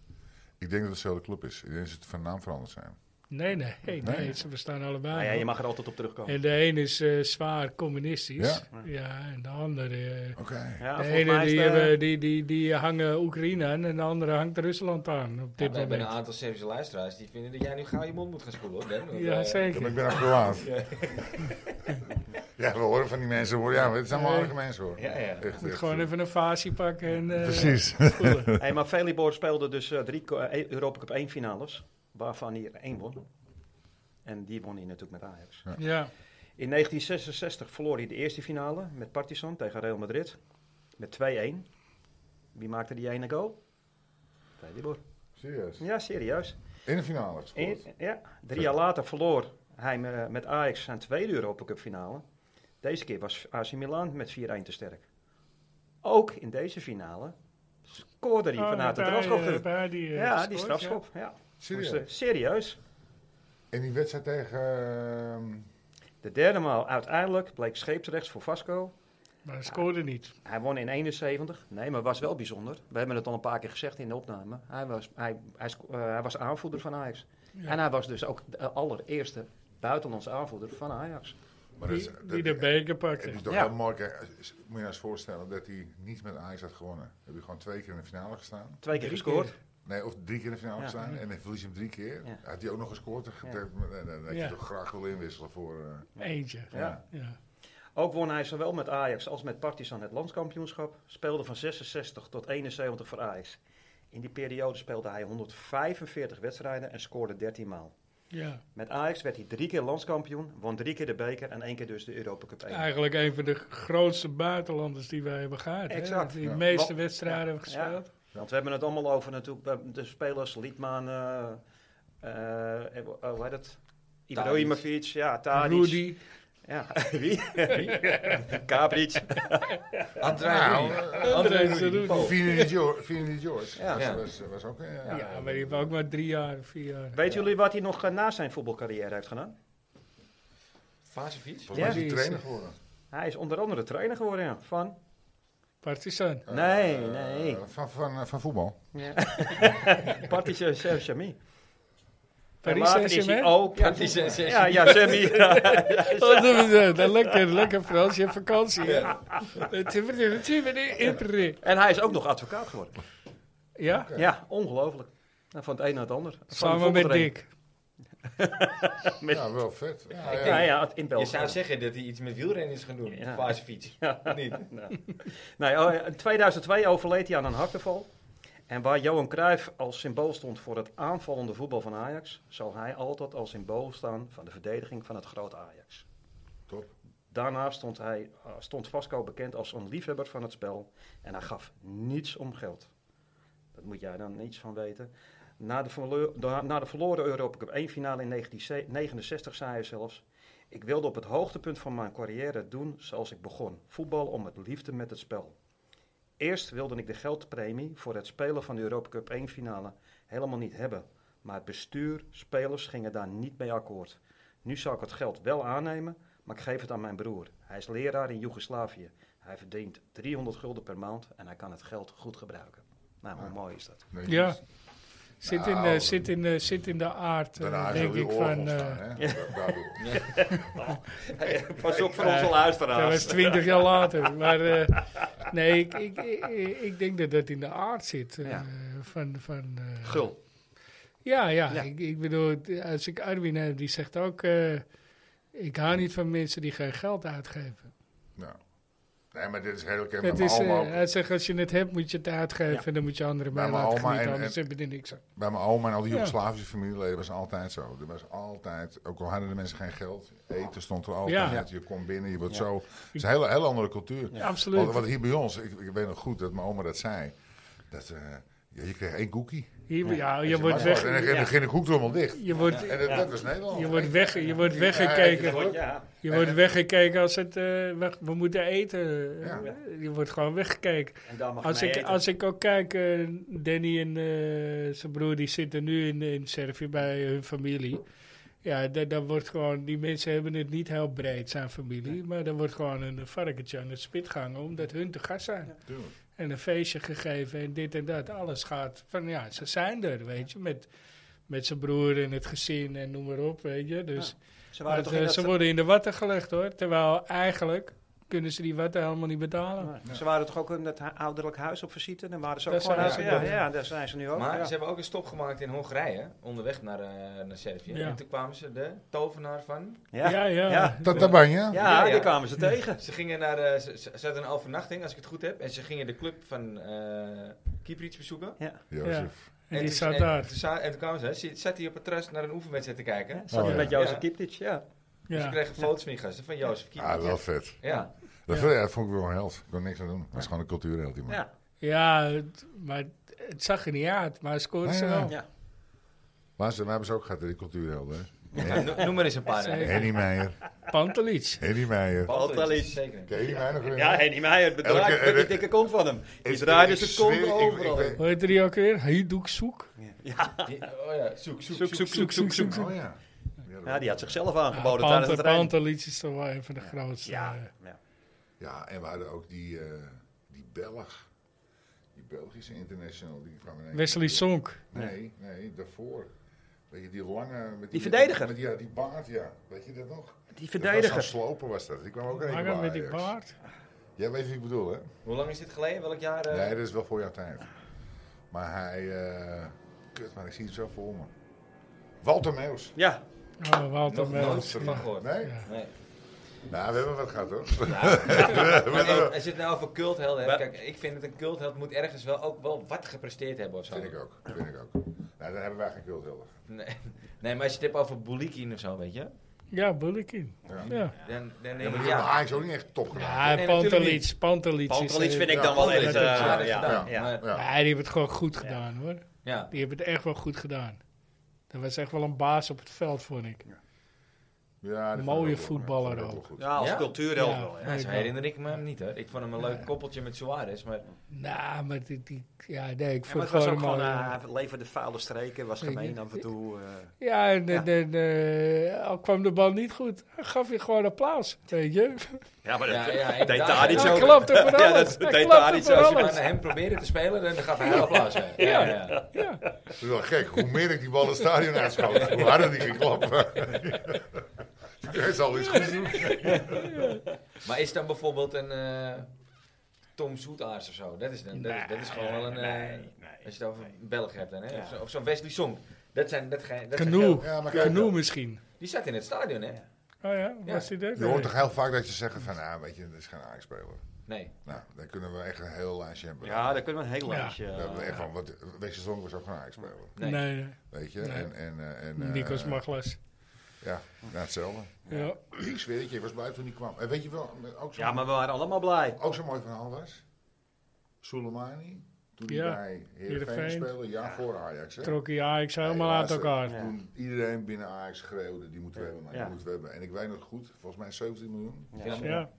Ik denk dat het dezelfde club is. Ik denk dat ze van naam veranderd zijn. Nee, nee, nee, Nee. ze bestaan allebei. Nou ja, je nog. mag er altijd op terugkomen. En de een is eh, zwaar communistisch. Ja. Ja. en de andere... eh, Oké. Ja, de volgens mij ene is die, de- hebben, die, die, die hangen Oekraïne aan en de andere hangt Rusland aan op Ja, dit we hebben een moment. aantal Servische luisteraars die vinden dat jij nu gauw je mond moet gaan spoelen, hoor, Ben. Want, Ja, eh, Ja, maar ik zeker. ben ook Kroaat. Ja, we horen van die mensen hoor. Ja, maar het zijn wel Nee. aardige mensen hoor. Ja, ja. Echt, Moet echt. gewoon even een fasie pakken en... eh, Precies. voelen. eh, Hey, maar Velibor speelde dus eh, drie ko- eh, Europa Cup 1 finales, waarvan hij er één won. En die won hij natuurlijk met Ajax. ja. In 1966 verloor hij de eerste finale met Partizan tegen Real Madrid. Met 2-1. Wie maakte die ene goal? Velibor. Serieus. Ja, serieus. In de finale. gescoord. In- ja. Drie jaar later verloor hij me- met Ajax zijn tweede Europa Cup finale. Deze keer was AC Milan met 4-1 te sterk. Ook in deze finale scoorde hij Oh, vanuit de bij, eh, strafschop. bij die, eh, Ja, die gescoord, strafschop. Ja. Serieus. Dus, eh, serieus. En die wedstrijd tegen... ehm, De derde maal uiteindelijk bleek scheepsrechts voor Vasco. ja. Maar hij scoorde niet. Hij won in 71. Nee, maar was wel bijzonder. We hebben het al een paar keer gezegd in de opname. Hij was, hij, hij, sco- eh, hij was aanvoerder van Ajax. En hij was dus ook de allereerste buitenlandse aanvoerder van Ajax. maar dat is- Die, die dat- de beker Het pakte. is toch Ja. heel mooi. Kijk, als- als- moet je je eens voorstellen dat hij niet met Ajax had gewonnen. Heb je gewoon twee keer in de finale gestaan. Twee keer gescoord. Nee, of drie keer in de finale Ja. gestaan. En dan verlies je hem drie keer. Ja. Had hij ook nog gescoord. Dan, Ja. dan, dan, dan had je Ja. toch graag willen inwisselen voor... eh, Eentje. Ja. ja. Ja. Ook won hij zowel met Ajax als met Partizan het landskampioenschap. Speelde van 66 tot 71 voor Ajax. In die periode speelde hij 145 wedstrijden en scoorde 13 maal. ja. Met Ajax werd hij drie keer landskampioen, won drie keer de beker en één keer dus de Europa Cup 1. Eigenlijk een van de grootste buitenlanders die wij hebben gehad. hè? Exact. Die de Ja. meeste Wat- wedstrijden hebben Ja. gespeeld. Want we hebben het allemaal over natuurlijk eh, de spelers, Liedman, eh eh, eh, hoe heet het? Ibrahimovic, ja, Tadic. Rudy. Ja, wie? Kabric. André Nou, Rudy. André eh, André Rudy. Rudy. Fieri George, Fieri George Ja. was, Ja. was, was ook... eh, Ja, maar die hebben ook maar drie jaar, vier jaar. Weet jullie wat hij nog eh, na zijn voetbalcarrière heeft gedaan? Vasefiets? Volgens mij is hij die is- trainer geworden. Hij is onder andere trainer geworden ja, van... Partizan. Nee, Eh, nee. Van, van, eh, van voetbal. Ja. Partizan Saint-Germain. En Paris later is hij Saint-Germain. ook... Ja, die zijn Ja, ja, Sammy. Ja, Oh, dat is- dat is lekker, lekker Frans, je hebt vakantie. hè? Het is- het is- het is- het is- het is- En hij is ook nog advocaat geworden. Ja, Ja, ongelooflijk. Nou, Van het een naar het ander. Van de samen met voetbaltrainer. Dick. Met- Ja, wel vet. Ja, ja. Ja, ja, het- in Je België. zou zeggen dat hij iets met wielrennen is gaan doen. Ja. Vasefiets. Niet? oh, Nou, in 2002 overleed hij aan een hartaanval. En waar Johan Cruijff als symbool stond voor het aanvallende voetbal van Ajax, zal hij altijd als symbool staan van de verdediging van het grote Ajax. Top. Daarna stond, hij, eh, stond Vasco bekend als een liefhebber van het spel en hij gaf niets om geld. Dat moet jij dan iets van weten. Na de, verlo- da- na de verloren Europa Cup 1 finale in 1969 zei hij zelfs... Ik wilde op het hoogtepunt van mijn carrière doen zoals ik begon. Voetbal om het liefde met het spel. Eerst wilde ik de geldpremie voor het spelen van de Europa Cup 1 finale helemaal niet hebben. Maar het bestuur, spelers gingen daar niet mee akkoord. Nu zou ik het geld wel aannemen, maar ik geef het aan mijn broer. Hij is leraar in Joegoslavië. Hij verdient 300 gulden per maand en hij kan het geld goed gebruiken. Nou, hoe mooi is dat? Nee, Ja. Zit in, de, Nou, zit, in de, zit in de aard, eh, Daarna denk is ik, ook van... van, eh, staan, hè? Daar- daardoor. Pas op voor onze Eh, Dat luisteraars. was twintig jaar later. Maar eh, nee, ik, ik, ik, ik denk dat dat in de aard zit. eh, Ja. van, van, eh, Gul. ja, ja. Ja. Ik, ik bedoel, als ik Arwin heb, die zegt ook... eh, ik hou niet van mensen die geen geld uitgeven. Nou. Nee, maar dit is heel kent bij Het mijn is, oma eh, ook. hij zegt, als je het hebt, moet je het uitgeven. Ja. En dan moet je anderen Bij bij mijn laten oma genieten, en- anders en- hebben die niks aan. Bij mijn oma en al die Ja. Joegoslavische familieleden was altijd zo. Er was altijd, ook al hadden de mensen geen geld, eten stond er altijd. Ja. uit. Je komt binnen, je wordt Ja. zo. Het is een hele, hele andere cultuur. Absoluut. Want wat hier bij ons, ik, ik weet nog goed dat mijn oma dat zei. Dat, eh, ja, je kreeg één koekie. Hier, ja, je, Als wordt was weg... En dan, en dan ging de koektrommel dicht. Je wordt, En dat, dat was Nederland. je wordt, Eén- weg, je wordt Ja, weggekeken. ja, ja. Ja, Je wordt weggekeken als het. eh, weg- we moeten eten. Ja. Je wordt gewoon weggekeken. en daar mag Als je mee ik, eten. als ik ook kijk, eh, Danny en eh, zijn broer die zitten nu in, in Servië bij hun familie. Ja, da- dan wordt gewoon. Die mensen hebben het niet heel breed, zijn familie. Maar dan wordt gewoon een varkentje aan het spit gehangen, omdat hun te gast zijn. Tuurlijk. En een feestje gegeven en dit en dat. Alles gaat van ja, ze zijn er, weet je. Met, met zijn broer en het gezin en noem maar op, weet je. Dus. Ze Maar het, waren toch eh, in dat ze worden in de watten gelegd hoor. Terwijl eigenlijk kunnen ze die watten helemaal niet betalen. Nee. Ze waren toch ook in dat hu- ouderlijk huis op visite? Dan waren ze ook Daar gewoon zijn uit- ze ja, dan. ja, daar zijn ze nu ook. Maar ja. ze hebben ook een stop gemaakt in Hongarije, onderweg naar, eh, naar Servië. Ja. En toen kwamen ze de tovenaar van. Ja. Ja. ja. Ja. Dat, dat ben je. Ja, ja. die kwamen ze tegen. Ze gingen naar, eh, ze, ze ze hadden een overnachting, als ik het goed heb. En ze gingen de club van eh Kieprits bezoeken. Jozef. En die toen- staat en- daar. toen za- En toen kwamen ze, ze- zat hij op het terras naar een oefenwedstrijd te kijken. Zat Oh, hij ja. met Jozef Ja. Kiptic, ja. Dus ze Ja. kregen foto's van die gasten, van Jozef Kieprits. Ah, wel vet. Ja. Dat Ja. vond- ja, vond ik wel een held. Ik kon niks aan doen. Dat is gewoon een cultuurheld. die man. ja. ja, het- maar het zag er niet uit, maar hij scoorde Nee, ze nee. wel. Ah, Ja. Luister, wij hebben ze ook gehad, die cultuurhelden. hè. Ja, no- noem maar eens een paar. Zeker. hè. Henny Meijer. Pantelits. Henny Meijer. Altijd Altijd iets, iets. Zeker. Ken je Henny Meijer nog? Ja, Henny Meijer, het bedraagt Elke- met die elke- dikke kont van hem. Die Ik- draaide ik zijn kont zweer, ik- overal. ik- in. Hoe heette die ook weer? Heidoek Soek. Die- oh ja, zoek, zoek, Zoek, zoek, zoek, zoek, zoek. Oh ja. Ja, die had zichzelf aangeboden tijdens Pante- het rijden. Pantelits Ah, is toch wel een van de grootste. Ja, eh. ja. Ja, en we hadden ook die, eh, die Belg. Die Belgische international. Die kwam in één Wesley keer. Sonk. Nee, nee, daarvoor. Weet je, die lange... Met die, verdediger. Met die, ja, die baard, ja. Weet je dat nog? Die Dat was verdediger. zo'n sloper was dat. Die kwam ook in één keer Hangen bij met die Ajax. baard. Jij weet wie ik bedoel, hè? Hoe lang is dit geleden? Welk jaar? eh? Nee, dat is wel voor jouw tijd. Maar hij... eh, kut, maar ik zie het zo voor me. Walter Meus. Ja, Oh, Walter Nog nooit Meels. van gehoord. Nee? Ja. Nee. Nou, we hebben wat gehad, hoor. Maar eh, als je het nou over culthelden hebt, Maar- kijk, ik vind het een cultheld moet ergens wel ook wel wat gepresteerd hebben of zo. Vind ik ook. Vind ik ook. Nou, dan hebben wij geen culthulder. Nee. nee, maar als je het hebt over Boulikin of zo, weet je, Ja, Bullekin. Ja. Ja, dan, dan Ja, denk maar ik die hebben ja. Ajax ook niet echt top gedaan. ja nee, natuurlijk Pantelits. Pantelits. is, Pantelits eh, vind ik ja, dan wel Pantelits echt... heeft het eh, aardig Ja, gedaan. ja. Maar, Ja. Ja, die hebben het gewoon goed gedaan hoor. ja. Die hebben het echt wel goed gedaan. Dat was echt wel een baas op het veld, vond ik. Ja, dat Mooie vond ik wel- voetballer vond ik wel ook. goed. Ja, als Ja? cultuurheld Ja. wel. ja. Ja, zo herinner ik me hem niet hoor. Ik vond hem een leuk koppeltje met Suarez, maar Nou, maar die, die- ja, nee, ik Ja, maar vond het het was gewoon ook gewoon, mooi. eh, hij leverde vuile streken, was gemeen af en toe. eh. ja, en, en- en, eh, al kwam de bal niet goed, hij gaf je gewoon applaus, weet je. Ja, maar Ja, dat ja, deed inderdaad. daar iets Hij over. klapte voor Ja, alles. dat Hij deed klapte daar iets voor over. als je maar alles. naar hem probeerde te spelen, dan gaf hij een applaus. hè. Ja, ja. ja. Ja, Het is wel gek, hoe meer ik die bal het stadion uitschoot, hoe harder die ging klappen. Hij zal iets goed doen. Maar is dan bijvoorbeeld een eh, Tom Soetaars of zo? Dat is, dan, dat, is, dat is gewoon wel een... eh, als je het over Belg hebt dan, hè? Of zo- Of zo'n Wesley Song. Dat zijn... Dat ga, dat zijn Canoe. heel- Ja, maar kijk, Genoeg misschien. die zat in het stadion, hè? Oh ja, was Ja. hij dat? nou, je hoort toch heel vaak dat je zegt van, ah, weet je, dat is geen Ajax-speler. Nee. Nou, dan kunnen we echt een heel lijstje hebben. Ja, daar kunnen we een heel Ja. lijstje. We hebben eh, echt van, wat, wees je zong was ook gaan Ajax spelen. Nee. Nee, nee. Weet je? Nee. En, en, eh, en, eh, Nikos Maglas. Ja, nou, hetzelfde. Ja. Ik zweer het je, ik was blij toen hij kwam. En weet je wel, ook zo'n Ja, maar we waren allemaal blij. ook zo'n mooi verhaal was. Soleimani, toen hij Ja, bij Heerenveen Heerenveen. speelde, een jaar voor Ajax. Hè? Trok hij Ajax helemaal Nee, uit luister, elkaar. Ja. Toen iedereen binnen Ajax schreeuwde, die moeten we hebben, maar die Ja. moeten we hebben. En ik weet nog goed, volgens mij 17 miljoen. Ja. Ja,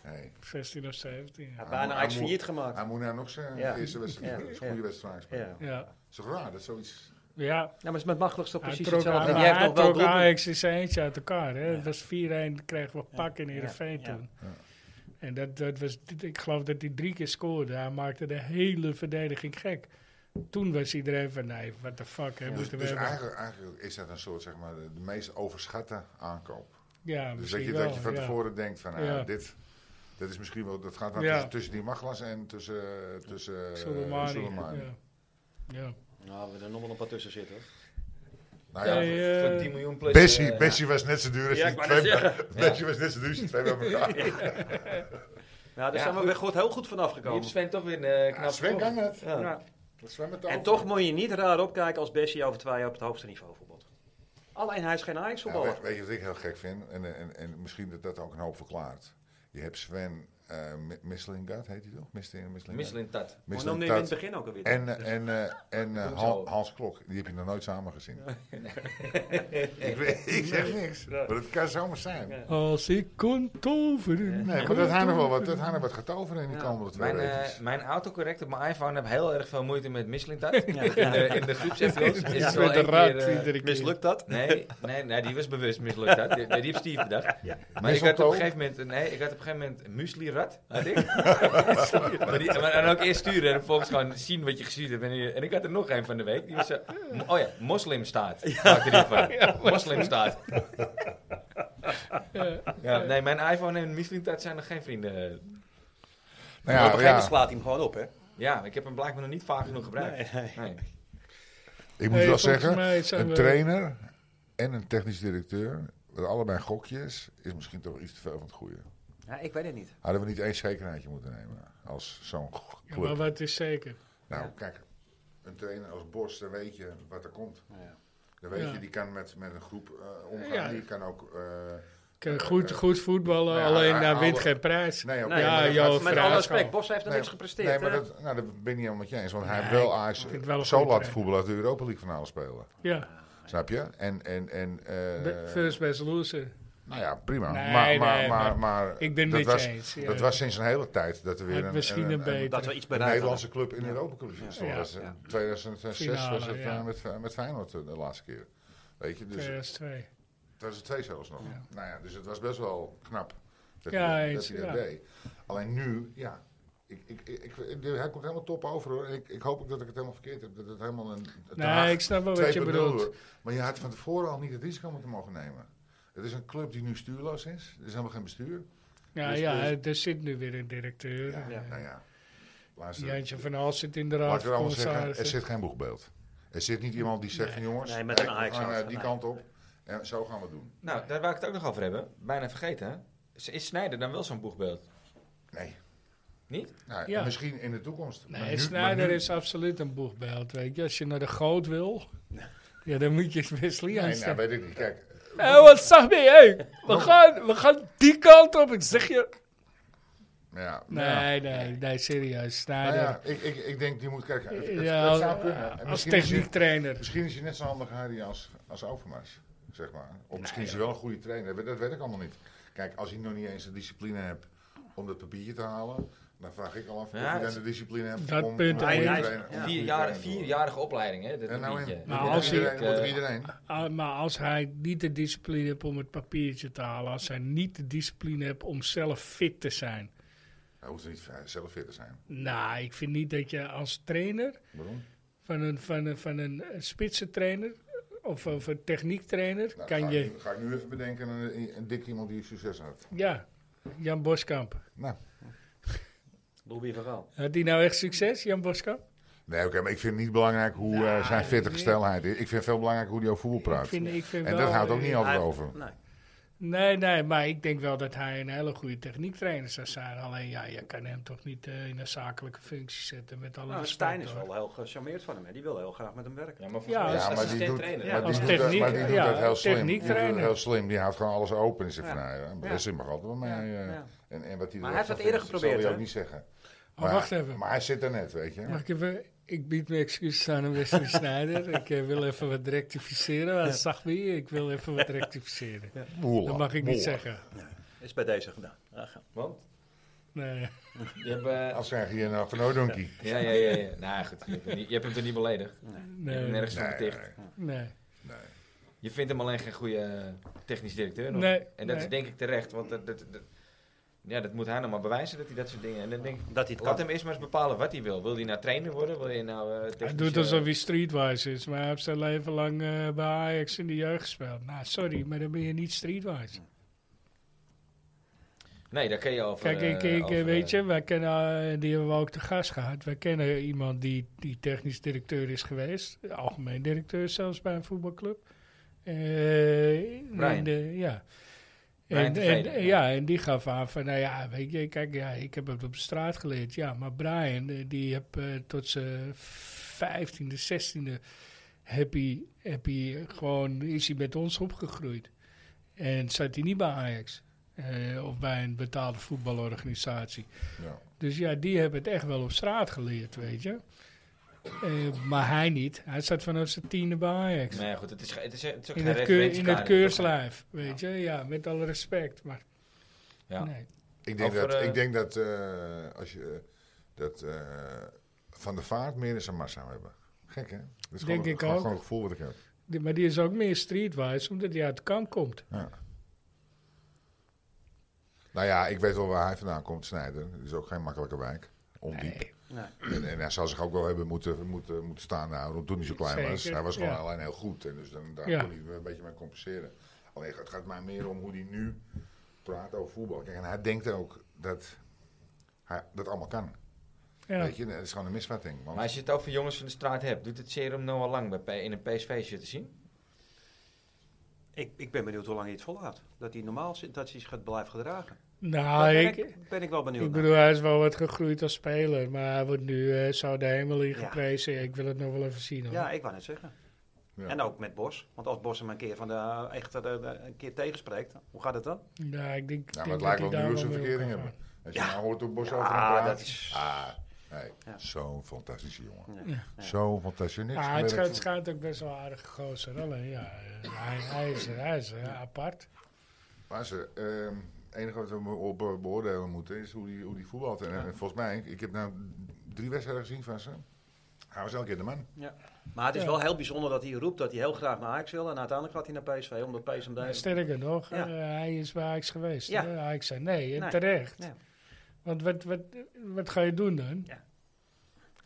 Hey, 16 of 17. Ja, Ja. Hij bijna moet- Ajax hij moet- failliet gemaakt. hij moet nou nog zijn Ja. eerste wedstrijd, Ja. zijn goede Ja. wedstrijd spelen. Ja. Ja. Is toch raar dat zoiets... ja, Ja, maar is met Machtels toch hij precies trok, hetzelfde? maar Jij hebt hij nog wel trok doelpunten. Ajax in zijn eentje uit elkaar. Hè. Dat was 4-1, kregen we pak in Heerenveen Ja. toen. Ja. En dat, dat was, ik geloof dat hij drie keer scoorde. Hij maakte de hele verdediging gek. Toen was iedereen van, nee, what the fuck hebben Dus, we dus het hebben. eigenlijk, eigenlijk is dat een soort, zeg maar, de de meest overschatte aankoop. Ja, Dus dat misschien je, wel. dat je van ja. tevoren denkt van, ah, Ja. dit, dat is misschien wel, dat gaat dan Ja. tussen, tussen die Maglas en tussen, eh, tussen eh, Soleimani, Soleimani. Ja. Ja. Nou, we hebben er nog wel een paar tussen zitten. Nou ja, Hey, eh, Voor 10 miljoen plus. Bessie, eh, Bessie was net zo duur als Ja, die ik wou twee. net zeggen. Bessie was net zo duur als die twee bij elkaar. Nou, daar Ja, zijn we goed. weer goed, heel goed vanaf die heeft gekomen. Sven toch weer een eh, knap Ja, Sven scoren. kan het. Ja. Ja. Sven met de En over. toch moet je niet raar opkijken als Bessie over twee jaar op het hoogste niveau voetbalt. Alleen hij is geen Ja, Ajax-voetballer. weet, weet je wat ik heel gek vind? En, eh, en, en misschien dat dat ook een hoop verklaart. Je hebt Sven eh Mi- Mislingat, heet hij toch? Misling- Mislingat? Misselin Tat. Maar dan neem je in het begin ook alweer. En, eh, en, eh, en eh, Doe zo. Han- Hans Klok, die heb je nog nooit samen gezien. ik, weet- ik zeg niks, maar dat kan zomaar zijn. Als ik kon toveren. Nee, maar dat hij nog wel wat, dat hij nog wat gaat toveren in die Ja. komende twee Mijn, eh, weken. mijn autocorrect op mijn iPhone heb heel erg veel moeite met Michelin Tat. In, de- in de groep zegt Jos, is het Het wel werd één een rat keer... eh, iedere keer. Mislukt dat? Nee, nee, nee, die was bewust mislukt. Dat. Die, nee, die heeft Steve bedacht. Maar ik had op Mistletoe? een gegeven moment, nee, ik had op een gegeven moment muesli-rat, had ik. maar, die, maar dan ook eerst sturen en vervolgens gewoon zien wat je gestuurd hebt. En, die- en ik had er nog een van de week, die was zo, mo- oh ja, moslimstaat. maakte die van. moslimstaat. ja, nee, mijn iPhone en muesli-rat zijn nog geen vrienden. Nou op een ja, gegeven ja, moment slaat hij hem gewoon op, hè? Ja, ik heb hem blijkbaar nog niet vaak genoeg gebruikt. Nee. ik moet Hey, wel volgens zeggen, mij zijn een we- trainer en een technisch directeur, met allebei gokjes, is misschien toch iets te veel van het goede. Ja, ik weet het niet. Hadden we niet één zekerheidje moeten nemen als zo'n g- Ja, maar club. wat is zeker? Nou, kijk, een trainer als Bos, dan weet je wat er komt. Ja. Dan weet Ja. je, die kan met, met een groep eh, omgaan, Ja. die kan ook... eh, Kan goed, goed voetballen, Nou ja, alleen hij- daar hij- wint geen prijs. nee, oké, Nee, ja, maar dat joh, gaat- Met Vraag alle gewoon. respect, Bos heeft nog Nee, niks gepresteerd. Nee, maar hè? dat, nou, dat ben ik niet helemaal met je eens. Want hij heeft wel Ajax vind het wel een zo goede laten trainer. voetballen dat de Europa League finale spelen. Ja, Snap je? En, en, en eh, Be- first best loser. nou ja, prima. Nee, maar, maar, nee, maar, maar maar ik ben het dat met je was, eens, ja. Dat was sinds een hele tijd dat er weer Had een, misschien een beter. Dat we iets een bereikt Nederlandse club in de Europa Cup is. Ja. Dat was, eh, Ja. 2006 Finale, was het eh, ja. met, met Feyenoord eh, de laatste keer. Weet je, dus 2002. 2002 zelfs nog. Nou ja, dus het was best wel knap dat, Ja, hij, dat, eens, hij dat ja. deed. Alleen nu, ja. Ik, ik, ik, ik- hij komt helemaal top over hoor. En ik, ik hoop ook dat ik het helemaal verkeerd heb. Dat het helemaal een. een Nee, ik snap wel wat je 2.0 bedoelt. wordt. Maar je had van tevoren al niet het risico moeten mogen nemen. Het is een club die nu stuurloos is. Er is helemaal geen bestuur. Ja, Dus- ja, dus- er zit nu weer een directeur. Ja, Eh, nou ja. Luister, Jantje van Hals zit in de raad laten we van allemaal zeggen, er commissarissen. zit geen boegbeeld. Er zit niet iemand die zegt van jongens, Nee, met een hey, we Ajax gaan hart. eh, die Nee. kant op. En zo gaan we het doen. Nou, daar wou ik het ook nog over hebben. Bijna vergeten. Is Snijder dan wel zo'n boegbeeld? Nee. Niet? Nou, Ja. Misschien in de toekomst. Maar Nee, nu- Snyder maar nu- is absoluut een boegbeeld, weet je. Als je naar de goot wil, ja, dan moet je Wesley Nee, nou, aanstellen. weet ik niet. Kijk, Hé, wat zag je? Hé, we, gaan, we gaan die kant op, ik zeg je. ja. Nou ja. Nee, nee, nee, serieus. Nou Snyder. ja, ik, ik, ik denk, die moet kijken. Het, het- Ja, het zou kunnen. En als misschien, is hij, techniektrainer. misschien is hij net zo handig Harry als, als Overmars, zeg maar. Nou Of misschien is hij wel een goede trainer, dat, dat weet ik allemaal niet. Kijk, als hij nog niet eens de discipline hebt om dat papiertje te halen, dan vraag ik al af Ja, of hij dan het- de discipline hebt dat om, om punt een heb goede ik. trainer- Ja. om een goede Vier trainer jaar, te worden. vierjarige opleiding, hè? Dat En nou in, papiertje. Maar dat als moet hij- iedereen, moet er eh, iedereen. Ah, Maar als hij niet de discipline heeft om het papiertje te halen, als hij niet de discipline heeft om zelf fit te zijn. Hij hoeft er niet eh, zelf fit te zijn. Nou, ik vind niet dat je als trainer Waarom? van een, van een, van een eh, spitsentrainer of, of een techniektrainer Nou, ga, kan Ik, je. nu- ga ik nu even bedenken, een, een, dik iemand die succes had. Ja, Jan Boskamp. Nou, Louis van Gaal. Had die nou echt succes, Jan Boskamp? Nee, oké, maar ik vind het niet belangrijk hoe eh, zijn fitte gesteldheid is. Ik vind veel belangrijk hoe hij over voetbal praat. Ik vind, ik vind en wel, dat houdt ook eh, niet altijd Hij- nou, over. Nee. Nee, nee, maar ik denk wel dat hij een hele goede techniektrainer zou zijn. Alleen ja, je kan hem toch niet eh, in een zakelijke functie zetten met alle Nou, respect, Stijn is hoor. wel heel gecharmeerd van hem. Hè. Die wil heel graag met hem werken. Ja, maar volgens Ja, mij als- is Ja, maar die assistent doet, trainer. maar als die doet, dat, maar die techniek- doet ja, dat heel slim. Die doet dat techniektrainer. heel slim. Die houdt gewoon alles open en zegt Ja. van, nou, ja, maar Ja. daar zit maar altijd wel mee. Ja, eh, ja. En, en wat hij Maar hij er heeft van dat eerder vindt, geprobeerd, zal hij hè? ook niet zeggen. Maar wacht even. Maar hij zit er net, weet je. Mag ik even... Ik bied mijn excuses aan aan Wesley Snijder. Ik eh, wil even wat rectificeren. Dat zag wie. Ik wil even wat rectificeren. Boela, Dat mag ik niet boela. zeggen. Is bij deze gedaan. Ja, ga. Want Nee. je hebt... eh, Als krijg je nou van Odonkie. ja, ja, ja, ja. Nou goed, je hebt hem niet, je hebt hem toch niet beledigd? Je hebt hem Nee. nergens van beticht. Nee. Je vindt hem alleen geen goede eh, technisch directeur nog. Nee, en dat nee. is denk ik terecht, want dat, dat, dat- ja, dat moet hij nou maar bewijzen dat hij dat soort dingen... En dan denk ik, Dat hij het laat kan. hem eerst maar eens bepalen wat hij wil. Wil hij nou trainer worden? Wil hij nou eh Hij technisch, doet eh, alsof hij streetwise is, maar hij heeft zijn leven lang eh, bij Ajax in de jeugd gespeeld. Nou, sorry, maar dan ben je niet streetwise. Nee, daar kun je over... Kijk, ik, eh, ik, over, weet je, eh, wij kennen, eh, die hebben we ook te gast gehad. Wij kennen iemand die, die technisch directeur is geweest, algemeen directeur zelfs bij een voetbalclub. Eh, Brian. en, eh, ja. Brian En, Tevreden, en- ja, en die gaf aan van, nou ja, weet je, kijk, ja, ik heb het op straat geleerd. Ja, maar Brian, eh, die heb eh, tot zijn vijftiende, zestiende, heb hij, heb hij gewoon, is hij met ons opgegroeid. En zat hij niet bij Ajax. eh, of bij een betaalde voetbalorganisatie. Ja. Dus ja, die hebben het echt wel op straat geleerd, weet je. Eh, maar hij niet. Hij zat vanaf zijn tiende bij Ajax. Maar ja, eh, goed, het is, ge- het is, het is ook In geen het, keur, in het referentiekader. keurslijf, weet je. Ja, met alle respect. Maar Ja. nee. Ik denk Over, dat, eh, ik denk dat, eh, als je, eh, dat eh, Van de Vaart meer in zijn mars zou hebben. Gek, hè? Dat is gewoon, Denk ik gewoon, ook. gewoon een gevoel wat ik heb. Die- maar die is ook meer streetwise, omdat hij uit de kamp komt. Nou ja, ik weet wel waar hij vandaan komt, Snijder. Het is ook geen makkelijke wijk. Ondiep. Nee. En, en hij zou zich ook wel hebben moeten, moeten, moeten staan houden want toen hij zo klein was. Zeker, Hij was gewoon ja. alleen heel goed. En dus dan, daar Ja. kon hij een beetje mee compenseren. Alleen het gaat mij meer om hoe hij nu praat over voetbal. Kijk, en hij denkt ook dat hij dat allemaal kan. Ja. Weet je, dat is gewoon een misvatting. Want Maar als je het over jongens van de straat hebt, doet het serum Noah Lang bij, P- in een PSV-shirt te zien? Ik, ik ben benieuwd hoe lang hij het volhoudt. Dat hij normaal zit, dat hij zich gaat blijven gedragen. Daar Nou, ben, ik, ik, ben ik wel benieuwd ik naar. bedoel, hij is wel wat gegroeid als speler. Maar hij wordt nu eh, zo de hemel in Ja. geprezen. Ik wil het nog wel even zien. Hoor. Ja, ik wou net zeggen. Ja. En ook met Bos. Want als Bos hem een keer, van de, echt, eh, de- een keer tegenspreekt, hoe gaat het dan? Ja, ik denk, denk Ja, maar het dat lijkt hij wel daar nu als wel een mee verkering omgaan. hebben. Als je nou hoort hoe Bos Ja, over hem praat. dat is- Ah, nee. Ja. Zo'n fantastische jongen. Ja. Zo'n fantastische niks. Ah, het, gewerkt. schijnt, het schijnt ook best wel aardig gozer. Alleen ja, eh, hij, hij is, hij is eh, apart. Maar ze, ehm, het enige wat we me op eh, beoordelen moeten is hoe die, hoe die voetbalt. En, en volgens mij, ik heb nou drie wedstrijden gezien van ze. Hij was elke keer de man. Maar het is Ja. wel heel bijzonder dat hij roept dat hij heel graag naar Ajax wil. En uiteindelijk gaat hij naar PSV, omdat PSV hem daar... Sterker nog, Ja. eh, hij is bij Ajax geweest. Ja. hè? Ajax zei nee, en Nee. terecht. Ja. Want wat, wat, wat ga je doen dan? Ja. Ja,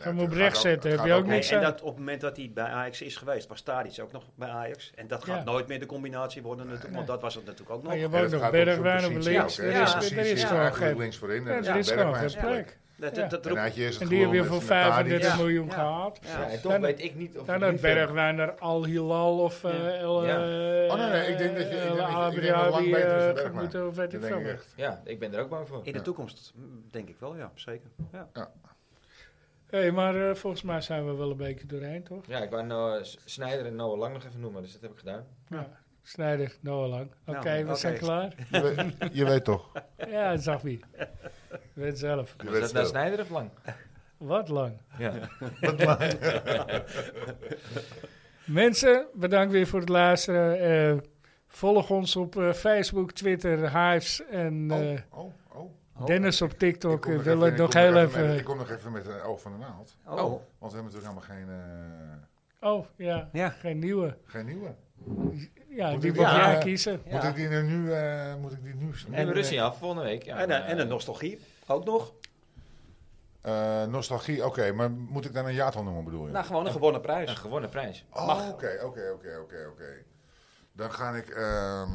hem het op gaat rechts ook- zetten, heb het gaat je ook om- niks Nee, aan. en dat op het moment dat hij bij Ajax is geweest, was Tadic ook nog bij Ajax. En dat gaat Ja. nooit meer de combinatie worden natuurlijk, want Nee. dat was het natuurlijk ook nog. Maar je Ja, hebt En ook het nog gaat om zo'n Bergwijn op positie links. ook, Er hè. is- Zo'n er is positie gewoon eigenlijk geen... links voorin. Ja, en er daar is gewoon Bergwijn geen speelt. plek. Dat, Ja. dat, dat En roept- had je eerst En het die heb je gelul voor met Tadic. 35 Ja. miljoen Ja. gehaald. Ja. Ja, en toch Dan- weet ik niet of... Dan het had niet verder- Bergwijn naar Al Hilal of eh, Ja. El... Ja. eh, Oh, nee, nee, ik denk dat je- ik El denk dat je- ik denk dat Abri Lang Abi, beter is dan eh, Bergwijn. moet, eh, weet ik Dat denk veel ik wat. echt. Ja, ik ben er ook bang voor. in de Ja. toekomst m, denk ik wel, ja, zeker. Ja. Hé, maar eh, volgens mij zijn we wel een beetje doorheen, toch? Ja, ik wou Noah S- Snijder en Noah Lang nog even noemen, dus dat heb ik gedaan. Ja. Snijder, Noah Lang. Oké, Nou, we oké. zijn klaar. Je weet- Je weet toch. Ja, dat zag wie. Weet zelf. Je Was weet dat nou zelf. Snijder of Lang? Wat lang. Ja. Mensen, bedankt weer voor het luisteren. Eh, volg ons op eh, Facebook, Twitter, Hives en Oh, eh, oh, oh. Dennis op Ik TikTok. Eh, kom We nog willen even- ik nog kom heel nog met- even... Ik kom nog even met het oog van de naald. Oh. Want we hebben natuurlijk helemaal geen, eh, Oh, ja. Ja. Geen nieuwe. geen nieuwe. Ja, Moet die ik mag die- jij Ja. kiezen. Ja. Moet ik die nu... eh, Moet ik die nu... En we rusten je af volgende week. Ja, En, eh, eh, en de nostalgie ook nog. Eh, nostalgie, oké, maar moet ik dan een jaartal noemen bedoel je? Nou, gewoon een gewonnen Een prijs. gewonnen prijs. oh, oké, oké, oké, oké, oké. Dan ga ik, ehm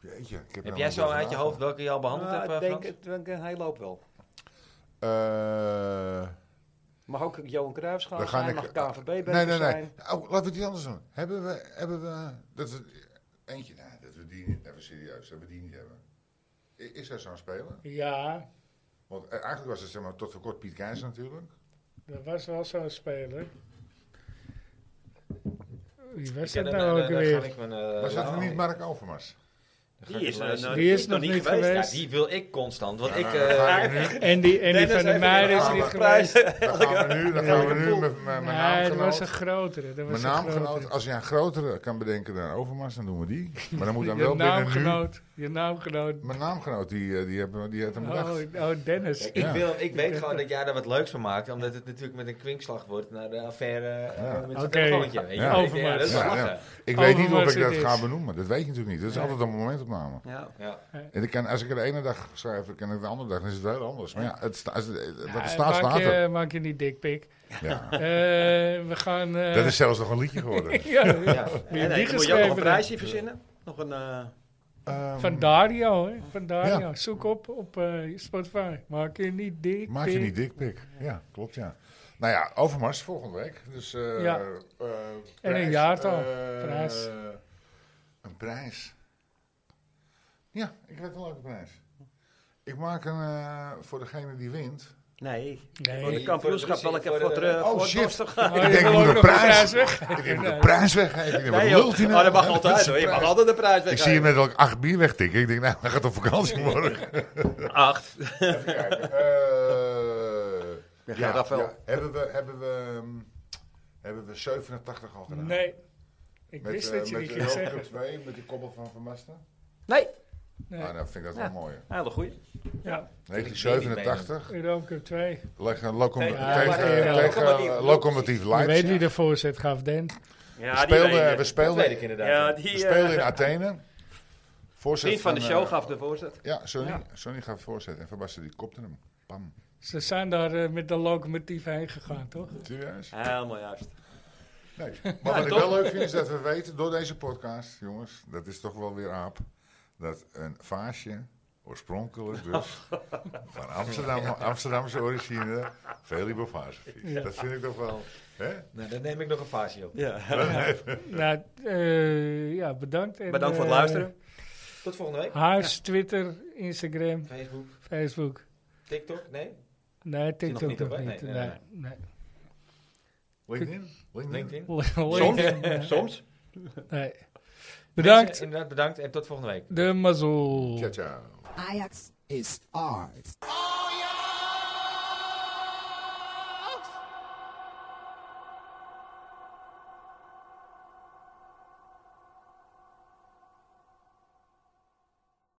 jeetje. Ik heb, nou Heb helemaal jij niet zo over uit je hoofd welke je al behandeld Nou, hebt, eh, ik denk, Frans? ik denk een hele hoop wel. nagedacht. Eh, Mag ook Johan Cruijffschaal Dan ga zijn, ik- mag KVB beter nee, nee, nee. zijn. Oh, laten we het iets anders doen. Hebben we, hebben we, dat we, eentje, nou, dat we we die niet, even serieus, dat we die niet hebben. I- Is er zo'n speler? Ja, Want eh, eigenlijk was het zeg maar, tot voor kort Piet Keijs natuurlijk. dat was wel zo'n speler. Wie was Ja, dat dan- nou dan- ook dan ga weer? ik mijn, eh, was dat nou, niet Mark Overmars? dan ga Die ik is, het lezen. Die is nog niet eh, nou, Ja, geweest. die wil ik constant. Want ik. Ja, eh, dan gaan we nu- En die, en die Dennis van de heeft Meijer is een niet aandacht. geweest. dan gaan we nu, dan gaan we Elke nu poel. met, met mijn Nee, dat was een naamgenoot. grotere. Dat was Mijn een naamgenoot, grotere. als je een grotere kan bedenken dan Overmars, dan doen we die. Maar Oh, dan moet dan Je wel binnen nu. naamgenoot. Je naamgenoot. Mijn naamgenoot, die, eh, die, heeft, die heeft hem Oh, bedacht. oh, Dennis. Ik, Ja. wil, ik weet gewoon dat jij daar wat leuks van maakt, omdat het natuurlijk met een kwinkslag wordt naar de affaire eh, Ja. met zo'n Oké. telefoontje. Weet je? Ja. Ja. Overmars. Ja, dat is wel Ja, lachen. ja. Ik weet niet of Overmars ik dat het is. ga benoemen, dat weet je natuurlijk niet. Dat is Nee. altijd een momentopname. Ja. Ja. En ik kan, als ik er de ene dag schrijf en ik de andere dag, dan is het heel anders. Maar ja, het sta, als, het- wat Ja, er staat, maak, staat je, er. maak je niet dikpik. Ja. Eh, we gaan... eh, Dat is zelfs nog een liedje geworden. ja, Ja. Wie En, heeft die nee, dan moet je ook nog geschreven? een prijsje verzinnen. Nog een, eh, Ehm, Van Dario, hè? Van Dario. Ja. Zoek op op eh, Spotify. Maak je niet dik. Maak je pik. niet dikpik. Ja, klopt ja. Nou ja, Overmars volgende week. Dus, eh, Ja. eh, En een prijs, jaartal. eh, Prijs. Een prijs. Ja, ik weet een leuke prijs. Ik maak een, eh, voor degene die wint. nee, voor Nee. de kampioenschap voor de- welke voor de Oh, voor het shit. dorst gaan. Oh, je ik denk, wil ik moet ook nog een een prijs prijs weggeven. Ik moet Nee. de prijs weggeven. Ik denk, Nee, wat joh. lult hij nou? Oh, dat mag Dat is altijd een hoor. Je mag prijs. altijd de prijs Ik zie hem weggeven. net al acht bier wegtikken. Ik denk, nou, hij gaat op vakantie morgen. Acht. Even kijken. Eh, Ja, dat wel. Hebben we, hebben we, ehm, hebben we 87 al gedaan? Nee. Ik Met, wist eh, dat je met die de ging Joker zeggen. 2, met die koppel van Van Basten. Nee, Nee. Ah, dan vind ik dat Ja. wel mooi. hele goeie. Ja, 1987, Europa Cup 2. leggen locom- Tegen- Ja, tegen, maar- tegen, eh, ja. Locomotief. Locomotief Je weet Leipzig. wie de voorzet gaf, Den. We Ja, speelden, weet we ik. Dat weet speelden, ik inderdaad. Ja, we die speelden in eh, Athene. Voorzet vriend van de eh, show gaf de voorzet. Ja, Sonny, Ja. Sonny gaf voorzet en Van Basten die kopte hem. Bam. Ze zijn daar eh, met de locomotief heen gegaan, toch? Serieus? Helemaal juist. Nee. Maar wat ik wel leuk vind is dat we weten door deze podcast, jongens, dat is toch wel weer aap, dat een vaasje, oorspronkelijk dus, van Amsterdam, Amsterdamse origine, Felipe Vaasjefiets. Dat vind ik toch wel, hè? Nou, dan neem ik nog een fase op. Ja. Nou, eh, ja, bedankt. En, Bedankt voor het eh, luisteren. Tot volgende week. Huis, Twitter, Instagram, Facebook, Facebook. TikTok, nee? Nee, nog TikTok niet nog op, hè? niet. Nee, Nee, nee, nee. LinkedIn? LinkedIn. LinkedIn, Soms. nee. Bedankt, Mensen, inderdaad, bedankt en tot volgende week. de mazzel. Ciao, ciao. Ajax is ours.